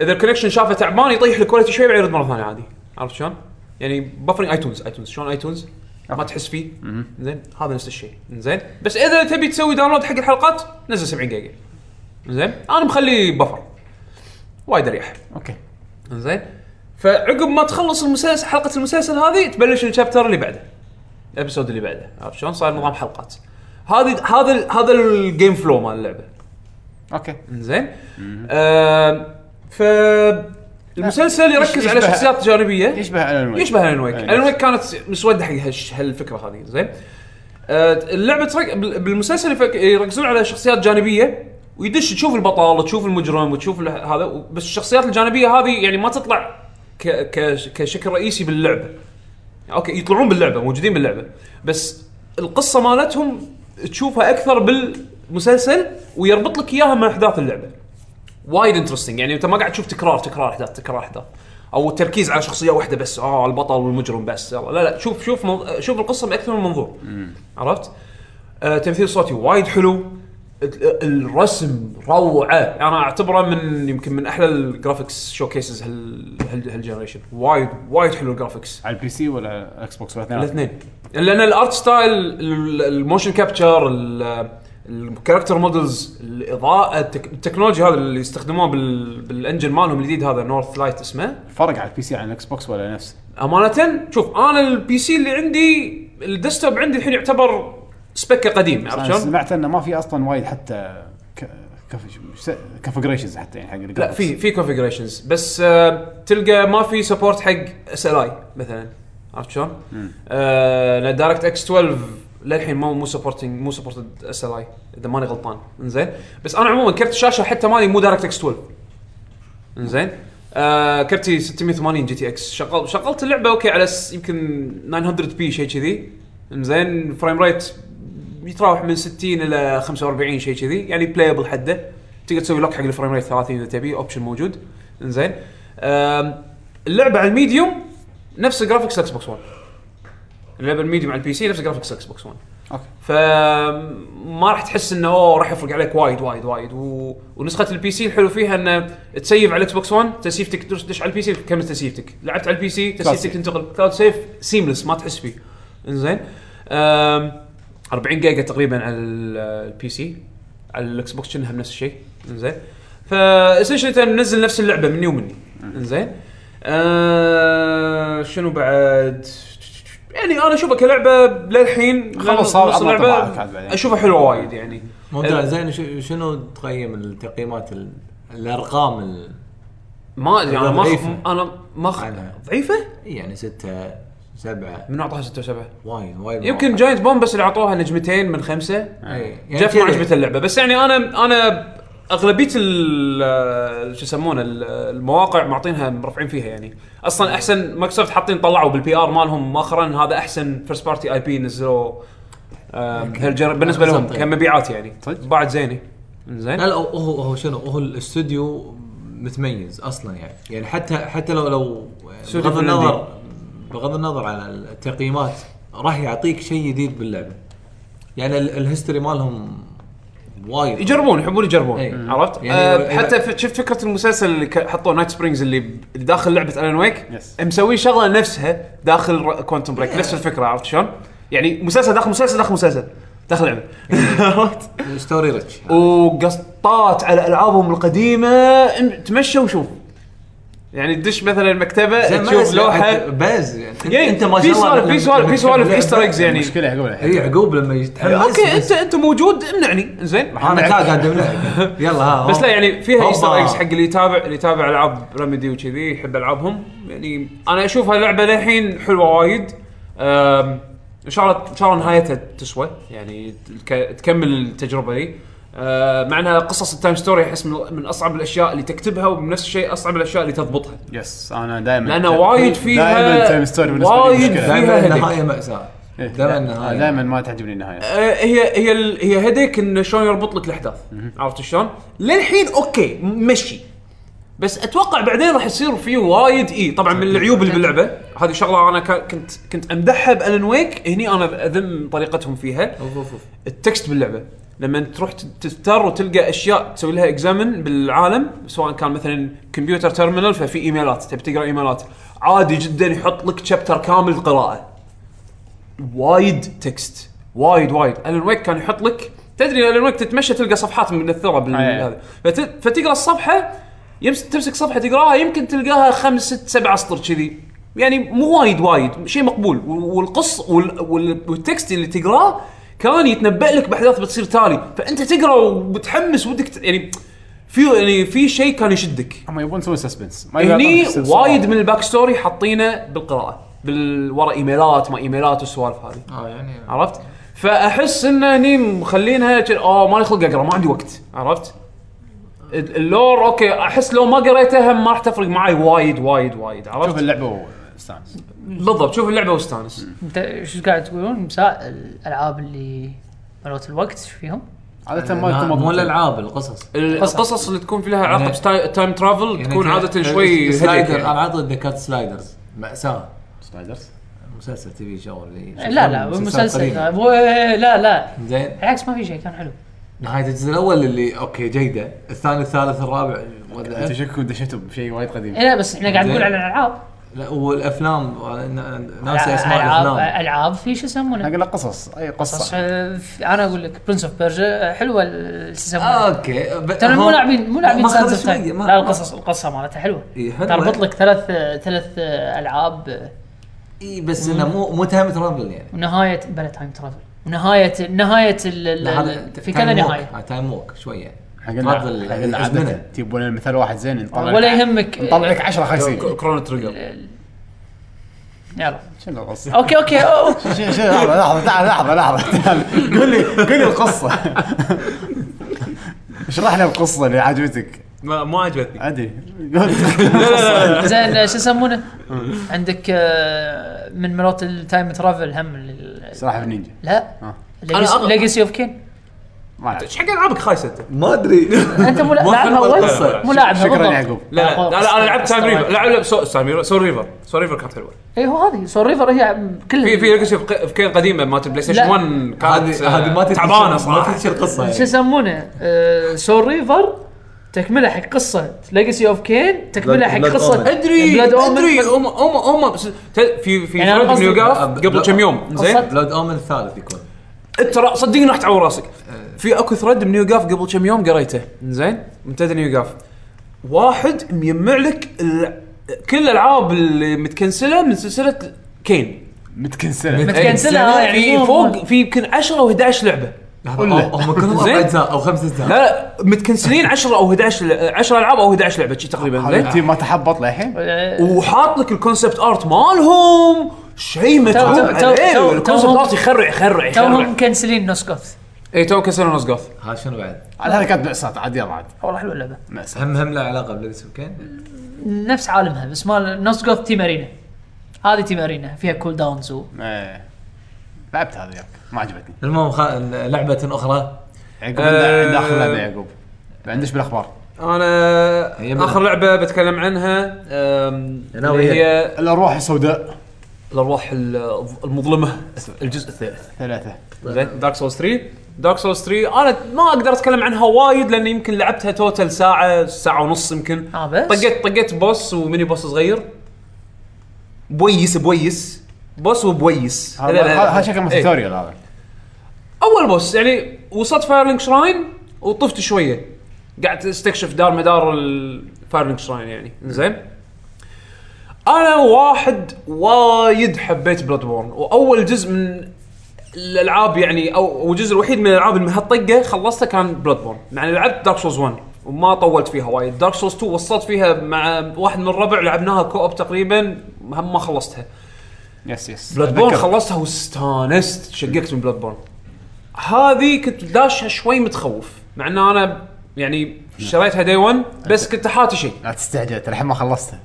اذا الكونكشن شافه تعبان يطيح الكواليتي شوي بعدين يرد مره ثانيه عادي عرفت شلون؟ يعني بفرنج ايتونز ايتونز شلون ايتونز؟ ما تحس فيه زين هذا نفس الشيء زين بس اذا تبي تسوي داونلود حق الحلقات نزل 70 جيجا زين انا مخلي بفر وايد اريح اوكي زين فعقب ما تخلص المسلسل حلقه المسلسل هذه تبلش الشابتر اللي بعده الابيسود اللي بعده عرفت شلون؟ صار نظام حلقات هذه هذا ال- هذا الجيم فلو مال اللعبه اوكي زين آه ف المسلسل يركز على يشبه- شخصيات جانبيه يشبه الون ويك يشبه الون ويك أي. الون ويك كانت مسوده حق هالش- هالفكره هذه زين آه اللعبه ترك... بال- بالمسلسل يفك- يركزون على شخصيات جانبيه ويدش تشوف البطاله تشوف المجرم وتشوف ال- هذا و- بس الشخصيات الجانبيه هذه يعني ما تطلع ك... ك... كشكل رئيسي باللعبه اوكي يطلعون باللعبه موجودين باللعبه بس القصه مالتهم تشوفها اكثر بالمسلسل ويربط لك اياها مع احداث اللعبه وايد انترستنج يعني انت ما قاعد تشوف تكرار تكرار احداث تكرار احداث او التركيز على شخصيه واحده بس اه البطل والمجرم بس يلا لا لا شوف شوف من... شوف القصه من اكثر من منظور عرفت؟ آه تمثيل صوتي وايد حلو ال- الرسم روعه انا اعتبره من يمكن من احلى الجرافكس شوكيسز هال هال هالجنريشن وايد وايد حلو الجرافكس على البي سي آه. ولا اكس بوكس ولا اثنين؟ الاثنين لان الارت ستايل ال- الموشن كابتشر ال- الكاركتر مودلز الاضاءه التك... التكنولوجيا هذا اللي يستخدموها بال... بالانجن مالهم الجديد هذا نورث لايت اسمه فرق على البي سي عن الاكس بوكس ولا نفس امانه شوف انا البي سي اللي عندي الديسktop عندي الحين يعتبر سبكه قديم عرفت أنا شلون؟ سمعت انه ما في اصلا وايد حتى كونفجريشنز حتى يعني حق لا في في كونفجريشنز بس آه تلقى ما في سبورت حق اس ال اي مثلا عرفت شلون؟ آه دايركت اكس 12 للحين مو مو سبورتنج مو سبورتد اس ال اي اذا ماني غلطان انزين بس انا عموما كرت الشاشه حتى مالي مو دايركت اكس 12 انزين آه كرتي 680 جي تي اكس شغل شغلت اللعبه اوكي على س... يمكن 900 بي شيء كذي انزين فريم ريت يتراوح من 60 الى 45 شيء كذي يعني بلايبل حده تقدر تسوي لوك حق الفريم ريت 30 اذا تبي اوبشن موجود انزين آم، اللعبه على الميديوم نفس جرافيكس اكس بوكس 1 اللعبه الميديوم على البي سي نفس جرافيكس اكس بوكس 1 اوكي فما راح تحس انه اوه راح يفرق عليك وايد وايد وايد و... ونسخه البي سي الحلو فيها انه تسيف على الاكس بوكس 1 تسيفتك تدش دش على البي سي تكمل تسيفتك لعبت على البي سي تسيفتك safe. تنتقل كلاود سيف سيملس ما تحس فيه انزين أم، 40 جيجا تقريبا على ال- البي سي على الاكس بوكس كأنها نفس الشيء انزين فاسنشلي ننزل نفس اللعبه مني ومني انزين آه شنو بعد يعني انا اشوفها كلعبه للحين خلص لنص صار اللعبة أبغى أطلع بعدين. اشوفها حلوه وايد يعني ممتاز زين شو- شنو تقيم التقييمات ال- الارقام ال- ما ادري انا ما ضعيفة. انا ما خ... عنها. ضعيفه يعني ستة سبعة من اعطاها 6 و7 وايد وايد يمكن مواقع. جاينت بوم بس اللي اعطوها نجمتين من خمسه إي. يعني جاف ما كذا. عجبته اللعبه بس يعني انا انا اغلبيه ال- شو يسمونه ال- المواقع معطينها مرفعين فيها يعني اصلا احسن مايكروسوفت حاطين طلعوا بالبي ار مالهم مؤخرا هذا احسن فيرست بارتي اي بي نزلوه آم، هالجر- بالنسبه لهم صدق. كمبيعات يعني صدق؟ باعت زينه زين لا لا هو هو شنو هو الاستوديو متميز اصلا يعني يعني حتى حتى لو لو استوديو بغض فنلندي. النظر بغض النظر على التقييمات راح يعطيك شيء جديد باللعبه يعني ال- الهيستوري مالهم وايد يجربون يحبون يجربون إي. عرفت؟ يعني آه إذا- حتى ف- شفت فكره المسلسل اللي ك- حطوه نايت سبرينجز اللي ب- داخل لعبه الان ويك Yes. مسوي شغله نفسها داخل كوانتم بريك نفس إيه. الفكره عرفت شلون؟ يعني مسلسل داخل مسلسل داخل مسلسل داخل لعبه عرفت؟ ستوري ريتش وقسطات على العابهم القديمه إن- تمشى وشوف يعني تدش مثلا مكتبه زين ما تشوف يسمع لوحه حتى باز يعني يعني في سوالف في سوالف في سوالف ايستر ايجز يعني مشكله اقولها اي إيه، عقوب لما يتحمس اوكي انت انت موجود امنعني زين انا كاد قاعد أمنعك. يلا ها بس لا يعني فيها هوبا. ايستر ايجز حق اللي يتابع اللي يتابع العاب رمدي وكذي يحب العابهم يعني انا اشوفها لعبه للحين حلوه وايد أم، ان شاء الله ان شاء الله نهايتها تسوى يعني تك- تكمل التجربه دي أه، مع انها قصص التايم ستوري احس من من اصعب الاشياء اللي تكتبها وبنفس الشيء اصعب الاشياء اللي تضبطها يس انا دائما لانها وايد دائما فيها تايم ستوري بالنسبه لي وايد مشكلة. فيها دائما هدك. النهايه ماساه إيه، دائما لا، النهايه دائما ما تعجبني النهايه آه، هي هي ال- هي هديك انه شلون يربط لك الاحداث عرفت شلون؟ للحين اوكي م- مشي بس اتوقع بعدين راح يصير في وايد اي طبعا من العيوب اللي باللعبه هذه شغله انا كا- كنت كنت امدحها بالن ويك هني انا اذم طريقتهم فيها أوف، أوف، أوف. التكست باللعبه لما تروح ت- تفتر وتلقى اشياء تسوي لها اكزامن بالعالم سواء كان مثلا كمبيوتر تيرمينال ففي ايميلات تبي تقرا ايميلات عادي جدا يحط لك شابتر كامل قراءه وايد تكست وايد وايد الن ويك كان يحط لك تدري الن ويك تتمشى تلقى صفحات مكثره أي. بالهذا فت... فتقرا الصفحه يمس... تمسك صفحه تقراها يمكن تلقاها خمس ست سبع اسطر كذي يعني مو وايد وايد شيء مقبول وال- والقص وال... وال... والتكست اللي تقراه كان يتنبأ لك باحداث بتصير تالي فانت تقرا ومتحمس ودك ت... يعني في يعني في شيء كان يشدك هم يبون يسوون سسبنس هني وايد من الباك ستوري حاطينه بالقراءه بالورا ايميلات ما ايميلات والسوالف هذه اه يعني عرفت؟ فاحس انه هني مخلينها ج- اه مالي خلق اقرا ما عندي وقت عرفت؟ ال- اللور اوكي احس لو ما قريتها ما راح تفرق معي وايد وايد وايد شوف عرفت؟ اللعبه واستانس بالضبط شوف اللعبه واستانس انت شو قاعد تقولون مساء الالعاب اللي مالوت الوقت شو فيهم؟ عاده ما يكون يعني مو مضبوط الالعاب القصص ال- القصص اللي تكون في لها علاقه يعني- بتاي- تايم ترافل يعني تكون ت- عاده ت- شوي سلايدر هديك يعني. انا عاطي ذكرت سلايدرز ماساه سلايدرز مسلسل تي في شغل يعني اللي لا لا مسلسل قديم. هو- لا لا زين بالعكس ما في شيء كان حلو نهايه الجزء الاول اللي اوكي جيده الثاني الثالث الرابع انت ولا شكلك دشيتوا بشيء وايد قديم إيه لا بس احنا قاعد نقول زين. على الالعاب لا والافلام أنا- أنا ناسي اسماء العاب الافلام العاب في شو يسمونه؟ اقول لك قصص اي بس، قصه آه، في- انا اقول لك برنس اوف بيرجا حلوه آه، ال- شو يسمونه اوكي ب- ترى مو هم- لاعبين مو لاعبين ما خذ سادس شوية، لا ما- ما- القصص القصه مالتها حلوه إي، حلوة. تربط لك ثلاث ثلاث العاب اي بس انه مو مو تايم ترافل يعني ونهايه بلا تايم ترافل ونهايه نهايه ال- ال- لا، هذا في تايم كذا ووك. نهايه آه، تايم ووك شويه احنا قلنا هذا اللي- إحنا قلنا اللي عادة حزبنا. تبون مثال واحد زين نطلع ولا لك- يهمك نطلع لك 10 خايسين كرون تريجر يلا شنو القصه؟ اوكي اوكي أو- شنو- شنو- لحظه لحظه تعال، لحظه لحظه تعال. قول لي قول لي القصه اشرح لنا القصه اللي عجبتك ما ما عجبتني ادري قول زين شو يسمونه عندك آه، من مرات التايم ترافل هم ال- سلاحف النينجا لا آه. أنا أغ- ليجسي اوف كين ما أعرف. ايش حق العابك خايسه انت؟ ما ادري انت مو ما لاعبها فهمت القصة. اول مو لاعبها شكراً بالضبط. يعقوب. لا لا لا, لا انا لعبت تايم استوعب. ريفر لا لا سو تايم ريفر سول ريفر سول ريفر كانت حلوه اي إيه، هو هذه سول ريفر هي كل في في ليجاسي في كيل قديمه مالت البلاي ستيشن لا. 1 كانت هذه هذه ما آه، تدري تعبانه شو- ما صراحه تدري شو القصه شو يعني. يسمونه آه، سول ريفر تكمله حق قصه ليجسي اوف كين تكمله حق Blood- Blood قصه Omen. ادري Blood Omen. ادري هم هم هم بس- ت- في في يعني أنا ثريد قصدي- من يوغاف أب- قبل لا. كم يوم زين قصة- بلود اومن الثالث يكون ترى صدقني راح تعور راسك في اكو ثريد من يوغاف قبل كم يوم قريته زين منتدى يوغاف واحد مجمع لك ال- كل الالعاب اللي متكنسله من سلسله كين متكنسله متكنسلة، إيه، آه، يعني في مو- فوق في يمكن 10 او 11 لعبه لحظة، قول له. هم هم كلهم زين. اربع اجزاء او خمس اجزاء لا لا متكنسلين 10 او 11 ل- 10 العاب او 11 لعبه شي تقريبا هذا زين التيم ما تحبط للحين آه، وحاط لك الكونسبت ارت مالهم شيء تو- متعوب تو- تو- عليه الكونسبت توهم- ارت يخرع يخرع يخرع توهم مكنسلين نوسكوث إيه، اي تو كسروا نص جوث هذا شنو بعد؟ عاد هذا كانت مأساة عاد يلا عاد والله حلوه اللعبه مأساة هم هم له علاقه بليدس اوف كين نفس عالمها بس مال نوسكوث تيم ارينا هذه تيم ارينا فيها كول داونز و... إيه. لعبت هذا ياك ما عجبتني المهم خ... لعبه اخرى يعقوب آه. عنده عنده اخر لعبه يعقوب عندش بالاخبار انا يبدأ. اخر لعبه بتكلم عنها أم، ناوي اللي هي الارواح السوداء الارواح ال- المظلمه الجزء الثالث ثلاثه زين دارك سولز 3 دارك سولز 3 انا ما اقدر اتكلم عنها وايد لان يمكن لعبتها توتال ساعه ساعه ونص يمكن آه بس؟ طقيت طقيت بوس وميني بوس صغير بويس بويس بوس وبويس لا، لا، هذا لا. هذا شكله إيه. توتوريال هذا اول بوس يعني وصلت فايرلينك شراين وطفت شويه قعدت استكشف دار مدار الفايرلينك شراين يعني زين انا واحد وايد حبيت بلاد بورن واول جزء من الالعاب يعني او أو الجزء الوحيد من الالعاب اللي من هالطقه خلصته كان بلاد بورن يعني لعبت دارك سولز 1 وما طولت فيها وايد دارك سولز 2 وصلت فيها مع واحد من الربع لعبناها كو اوب تقريبا هم ما خلصتها يس يس بلاد بورن أتذكر. خلصتها واستانست شققت من بلاد بورن هذه كنت داشها شوي متخوف مع ان انا يعني شريتها دي 1 بس كنت حاتي شيء لا تستعجل ترى الحين ما خلصته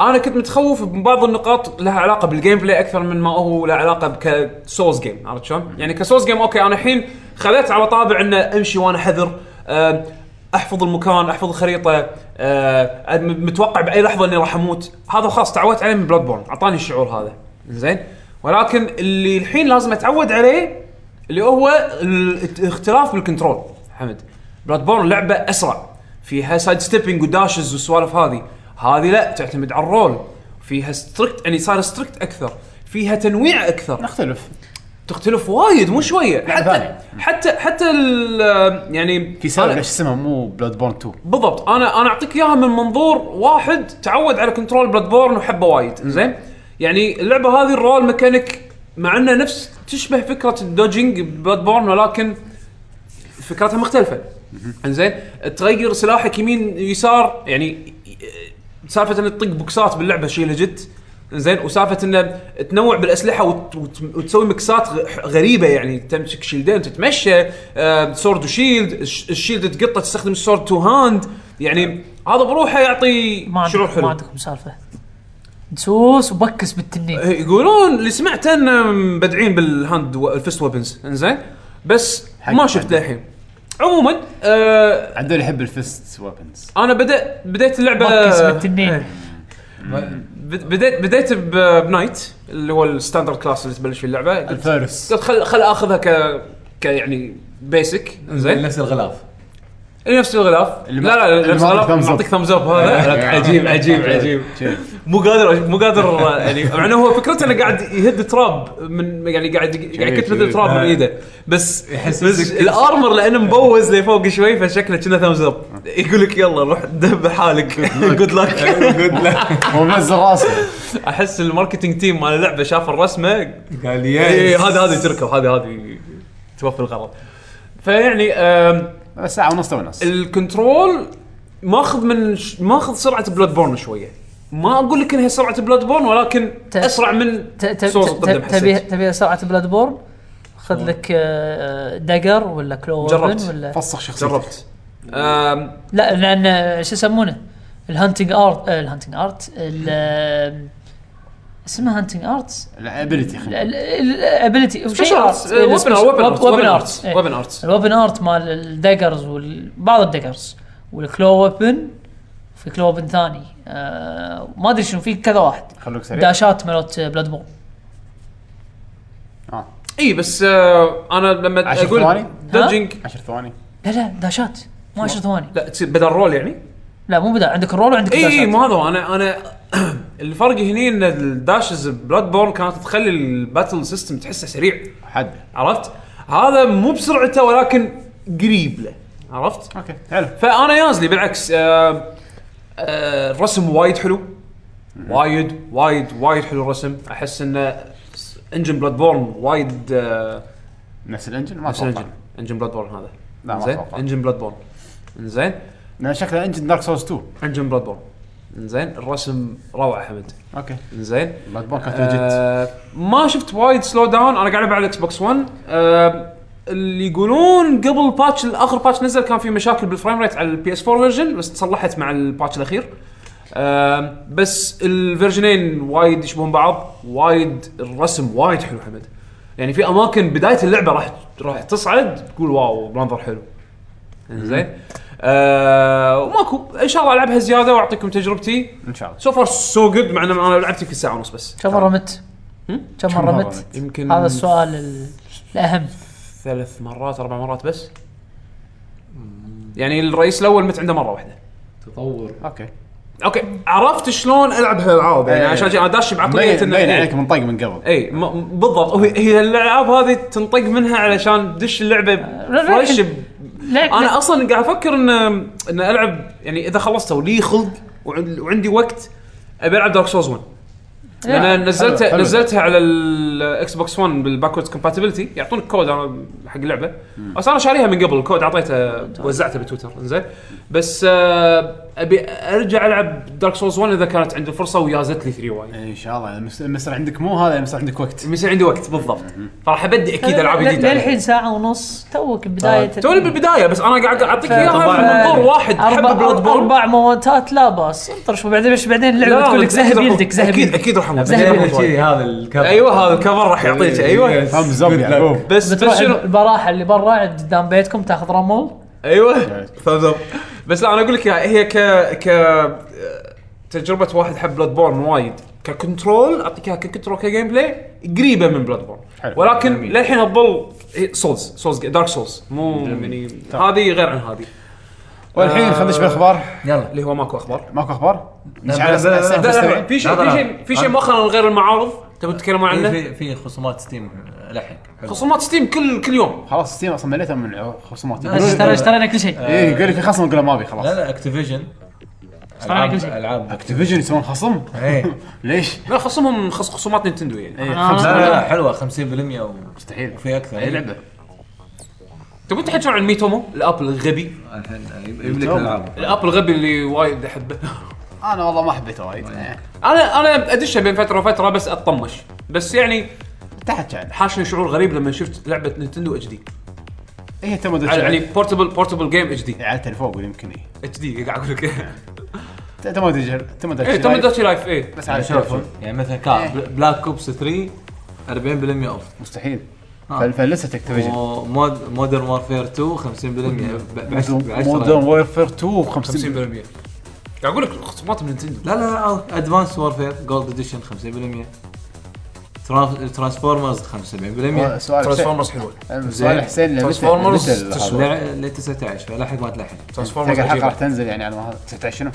انا كنت متخوف من بعض النقاط لها علاقه بالجيم بلاي اكثر من ما هو لها علاقه كسولز جيم عرفت شلون؟ يعني كسولز جيم اوكي انا الحين خذيت على طابع انه امشي وانا حذر آه، احفظ المكان احفظ الخريطه آه، م- متوقع باي لحظه اني راح اموت هذا خلاص تعودت عليه من بلاد بورن اعطاني الشعور هذا زين ولكن اللي الحين لازم اتعود عليه اللي هو ال- الاختلاف بالكنترول حمد بلاد بورن لعبه اسرع فيها سايد ستيبنج وداشز والسوالف هذه هذه لا تعتمد على الرول فيها ستريكت يعني صار ستريكت اكثر فيها تنويع اكثر نختلف تختلف وايد مو شويه حتى ثانية. حتى حتى ال- يعني في سبب أنا- ليش اسمها مو بلاد بورن 2 بالضبط انا انا اعطيك اياها من منظور واحد تعود على كنترول بلاد بورن وحبه وايد زين يعني اللعبه هذه الرول ميكانيك مع انها نفس تشبه فكره الدوجنج بلاد بورن ولكن فكرتها مختلفه انزين تغير سلاحك يمين يسار يعني سالفه انك تطق بوكسات باللعبه شيء لجت زين وسالفه انه تنوع بالاسلحه وت... وت... وتسوي مكسات غ- غريبه يعني تمسك شيلدين تتمشى آه... سورد وشيلد الش- الشيلد تقطه تستخدم السورد تو هاند يعني هذا بروحه يعطي ما شعور عندكم ما حلو عندكم سالفه تسوس وبكس بالتنين إيه، يقولون اللي سمعته انه مبدعين بالهاند و... الفست ويبنز انزين بس حق ما شفت حد. للحين عموما آه... عدول يحب الفيست ويبنز انا بدأت بديت اللعبه بكس بالتنين. إيه. بد- بديت بديت ب- بنايت اللي هو الستاندرد كلاس اللي تبلش فيه اللعبه قلت الفارس قلت خل خل اخذها ك ك يعني بيسك زين نفس الغلاف اللي نفس الغلاف اللي لا لا اللي اللي نفس معطيك الغلاف thumbs up. معطيك ثمز اب هذا عجيب عجيب عجيب شي. مو قادر مو قادر يعني مع انه هو فكرته انه قاعد يهد تراب من يعني قاعد قاعد يكتب شوي. التراب من آه. ايده بس يحس بس بس- الارمر لانه مبوز لفوق شوي فشكله كنا ثمز اب يقول لك يلا روح دب حالك جود لك هو منزل راسه احس الماركتينج تيم مال اللعبه شاف الرسمه قال إيه، يس هذه هذه تركب هذه هذه توفي الغرض فيعني آم، بس ساعه ونص تونس الكنترول ماخذ من ش- ماخذ سرعه بلاد بورن شويه ما اقول لك انها سرعه بلاد بورن ولكن ت- اسرع من ت- ت- سورس ت- قدم ت- تبي حسيت تبي سرعه بلاد بورن خذ لك آه، دقر ولا كلو جربت. weapon ولا فسخ شخصيتك جربت آم، لا لان آه، شو يسمونه الهانتنج ارت الهانتنج ارت اسمها هانتنج ارت الابيلتي خلينا الابيلتي سبيشل ارتس آه، إيه، ويبن ارتس ويبن ارت ويبن ارتس الويبن ارت إيه. مال الدجرز وبعض الدجرز والكلو ويبن في كلو ويبن ثاني آه ما ادري شنو في كذا واحد خلوك سريع داشات مالت بلاد بورن اه اي إيه، بس آه، انا لما عشر اقول ثواني؟ دجنج 10 ثواني لا لا داشات مو 10 ثواني لا تصير بدل رول يعني لا مو بدا عندك الرول إيه، وعندك اي الداشات اي إيه، مو هذا هو. انا انا الفرق هني ان الداشز بلاد بورن كانت تخلي الباتل سيستم تحسه سريع حد عرفت؟ هذا مو بسرعته ولكن قريب له عرفت؟ اوكي حلو فانا يازلي بالعكس آه آه الرسم وايد حلو وايد وايد وايد حلو الرسم احس انه انجن بلاد بورن وايد آه نفس الانجن ما نفس الانجن اتوقع انجن بلاد بورن هذا لا، ما زين أتوقع. انجن بلاد بورن زين لان شكله انجن دارك سولز 2 انجن بلاد بورن زين الرسم روعه حمد اوكي زين بلاد بورن كانت ليجيت آه ما شفت وايد سلو داون انا قاعد العب على الاكس بوكس 1 آه اللي يقولون قبل باتش اخر باتش نزل كان في مشاكل بالفريم ريت على البي اس 4 فيرجن بس تصلحت مع الباتش الاخير آه بس الفيرجنين وايد يشبهون بعض وايد الرسم وايد حلو حمد يعني في اماكن بدايه اللعبه راح راح تصعد تقول واو منظر حلو زين آه وماكو ان شاء الله العبها زياده واعطيكم تجربتي ان شاء الله سو فار سو جود مع ان انا لعبت يمكن ساعه ونص بس كم مره مت؟ هم؟ كم كم مرة مره مت؟ مت؟ يمكن هذا السؤال ال- الاهم ثلاث مرات اربع مرات بس يعني الرئيس الاول مت عنده مره واحده تطور اوكي اوكي عرفت شلون العب هالالعاب يعني إيه. عشان شي انا داش بعقليه مبين انه مبين عليك إيه. منطق من قبل اي م- بالضبط هي هي الالعاب هذه تنطق منها علشان تدش اللعبه آه، لا، فريش لكن- لا انا اصلا قاعد افكر ان ان العب يعني اذا خلصت ولي خلق وعن- وعندي وقت ابي العب دارك سوز 1 لان لا. انا نزلتها حلو، حلو. نزلتها على الاكس بوكس 1 بالباكورد كومباتيبلتي يعطونك كود انا حق اللعبه بس انا شاريها من قبل الكود اعطيته طيب. وزعته بتويتر زين بس آه، ابي ارجع العب دارك سولز 1 اذا كانت عندي فرصه ويازت لي 3 وايد ان شاء الله المس- المسر عندك مو هذا المسر عندك وقت بيصير عندي وقت بالضبط فراح ابدي اكيد لا- العاب لا- جديده عليها. أه، للحين ساعه ونص توك بدايه ال- توني بالبدايه بس انا قاعد اعطيك طبعاً. اياها من منظور واحد حب اربع بلاد بورن اربع مواتات لا باس انطر شوي بعدين ايش بعدين لا، اللعبه بتقول لك أكيد راح ذهب أموت. يلدك ذهب اكيد يلدك اكيد راح اموت زهب زهب يلدك. يلدك. كذي أيوة، هذا الكفر ايوه هذا الكفر راح يعطيك أيوة. ايوه ثامز اب يعقوب بس بس بتروح شنو البراحه اللي برا عند قدام بيتكم تاخذ رمل ايوه أيوة. ثامز اب بس لا انا اقول لك هي ك ك تجربه واحد حب بلاد بورن وايد ككنترول اعطيك اياها ككنترول كجيم بلاي قريبه من بلاد بورن حلو. ولكن جميل. للحين تظل سولز سولز دارك سولز مو يعني هذه غير عن هذه والحين آه. خلينا نشوف الاخبار يلا اللي هو ماكو اخبار ماكو اخبار؟ لا، نشعل لا، لا، لا، لا، الساعة لا، سبعة. في شيء لا، في لا، شيء في شيء أنا- مؤخرا غير المعارض تبون تتكلمون إيه، عنه في في خصومات ستيم لحق حلو. خصومات ستيم كل كل يوم خلاص ستيم اصلا مليتها من خصومات لا، لا، اشتري اشترينا كل شيء ايه يقول لك في خصم يقول له ما ابي لا خلاص لا اكتيفيجن على كل شيء. العاب اكتيفيجن يسوون خصم إيه. ليش؟ لا خصمهم خص خصومات نينتندو يعني ايه آه. خمسة إيه، لا لا مليون. لا حلوه 50% و- مستحيل وفي اكثر اي لعبه تبون تحكون عن ميتومو الاب الغبي الحين يملك العاب الاب الغبي اللي وايد احبه انا والله ما حبيته وايد آه. إيه. انا انا ادشها بين فتره وفتره بس اطمش بس يعني تحت كان حاشني شعور غريب لما شفت لعبه نينتندو اتش دي هي تو موديل يعني شعر. بورتبل بورتبل جيم اتش دي إيه، على التليفون أقول يمكن اي اتش دي قاعد اقول لك تو موديل تو موديل إيه، اي توم داتشي لايف اي بس على التليفون يعني مثلا كا بلاك كوبس 3 40% اوف مستحيل آه. فل- فلست اكتيفيجن ومودرن وارفير 2 50% ب- بعشرة- مودرن بعشرة. وورفير 2 50 قاعد آه، اقول لك خصومات من نينتندو لا لا لا ادفانس وارفير جولد اديشن 50% ترانس- ترانسفورمرز 75% آه، سؤال حسين ترانسفورمرز حلوه سؤال حسين لمتى- Transformers متى ال- تسوى. هذا؟ لع- ل 19 فلا حق ما تلحق تلقى ترانسفورمرز الحلقه راح عجيبه تنزل يعني على ما هذا 19 شنو؟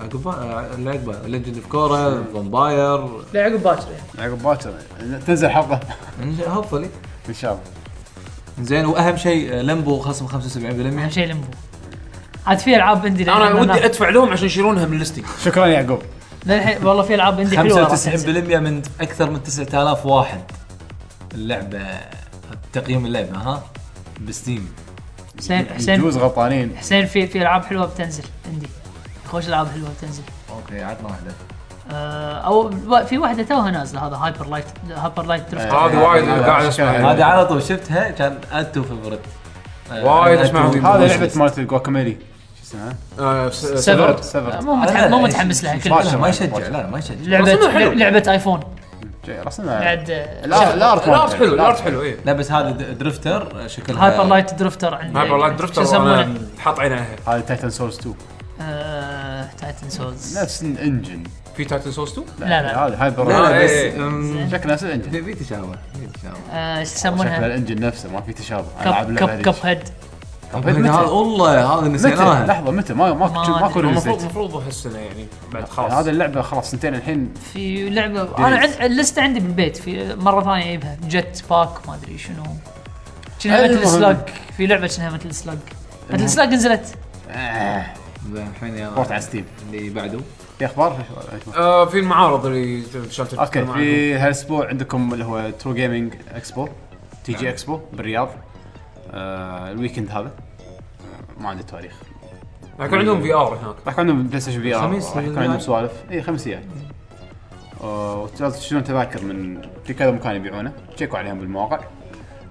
عقب اللي عقبه ليجند اوف كورا فامباير لا عقب باكر يعني عقب باكر تنزل حلقه هوبفلي ان شاء الله زين واهم شيء لمبو خصم 75% اهم شيء لمبو عاد في العاب عندي انا ودي ادفع لهم عشان يشيلونها من لستي شكرا يا يعقوب للحين والله في العاب عندي حلوه راح تنزل. 95% من اكثر من 9000 واحد اللعبه تقييم اللعبه ها بستيم حسين حسين يجوز غلطانين حسين في في العاب حلوه بتنزل عندي خوش العاب حلوه بتنزل اوكي عطنا واحده آه، او ب- في واحده توها نازله هذا هايبر لايت هايبر لايت آه، درفت هذه وايد هذا قاعد شكلها أسمعها. حلو. هذه على طول شفتها كان اد تو آه، فيفرت وايد أسمعها. هذه لعبه مالت الجواكاميلي شو اسمها؟ سيفرد. سيفرد. آه، مو متحمس مو متحمس لها كلش شاطر. لا ما يشجع لا ما يشجع لعبه رسمها حلو. لعبه ايفون آه. جاي رسمها بعد آه، لا لا الارت حلو الارت حلو إيه. اي لا بس هذه د- درفتر شكلها هايبر لايت درفتر عندي هايبر لايت شو درفتر يسمونه؟ انا حاط عيني عليها هذه تايتن سورس 2 آه، تايتن سولز نفس الانجن في تايتن سورس 2 لا، لا. هذا هايبر لا آه، لا إيه. بس أم، شكله نفس الانجن في في تشابه في تشابه آه، شو شكله يسمونها الانجن نفسه ما في تشابه العاب كب كب اللعبة كب هذيك. هيد كب هيد هذا متى؟ والله هذا متى؟ نسيناها لحظه متى ما ما ما كنت- ما أدري. كنت المفروض نسيت المفروض هالسنه يعني بعد خلاص هذا اللعبه خلاص سنتين الحين في لعبه انا دريس. عند اللسته عندي بالبيت في مره ثانيه اجيبها جت باك ما ادري شنو شنها المهم. مثل سلاج في لعبه شنها مثل سلاج مثل سلاج نزلت آه، زين، الحين رحت على يلا ستيم اللي بعده في اخبار؟ إيش- إيش- آه، في المعارض اللي شلت اوكي في هالاسبوع عندكم اللي هو ترو جيمنج اكسبو تي جي اكسبو بالرياض آه، الويكند هذا آه، ما عندي تواريخ يكون عندهم في ار هناك راح يكون عندهم بلاي ستيشن في ار خميس راح يكون بالليل. عندهم سوالف اي خميسيات آه، وتقدر تشترون تذاكر من في كذا مكان يبيعونه تشيكوا عليهم بالمواقع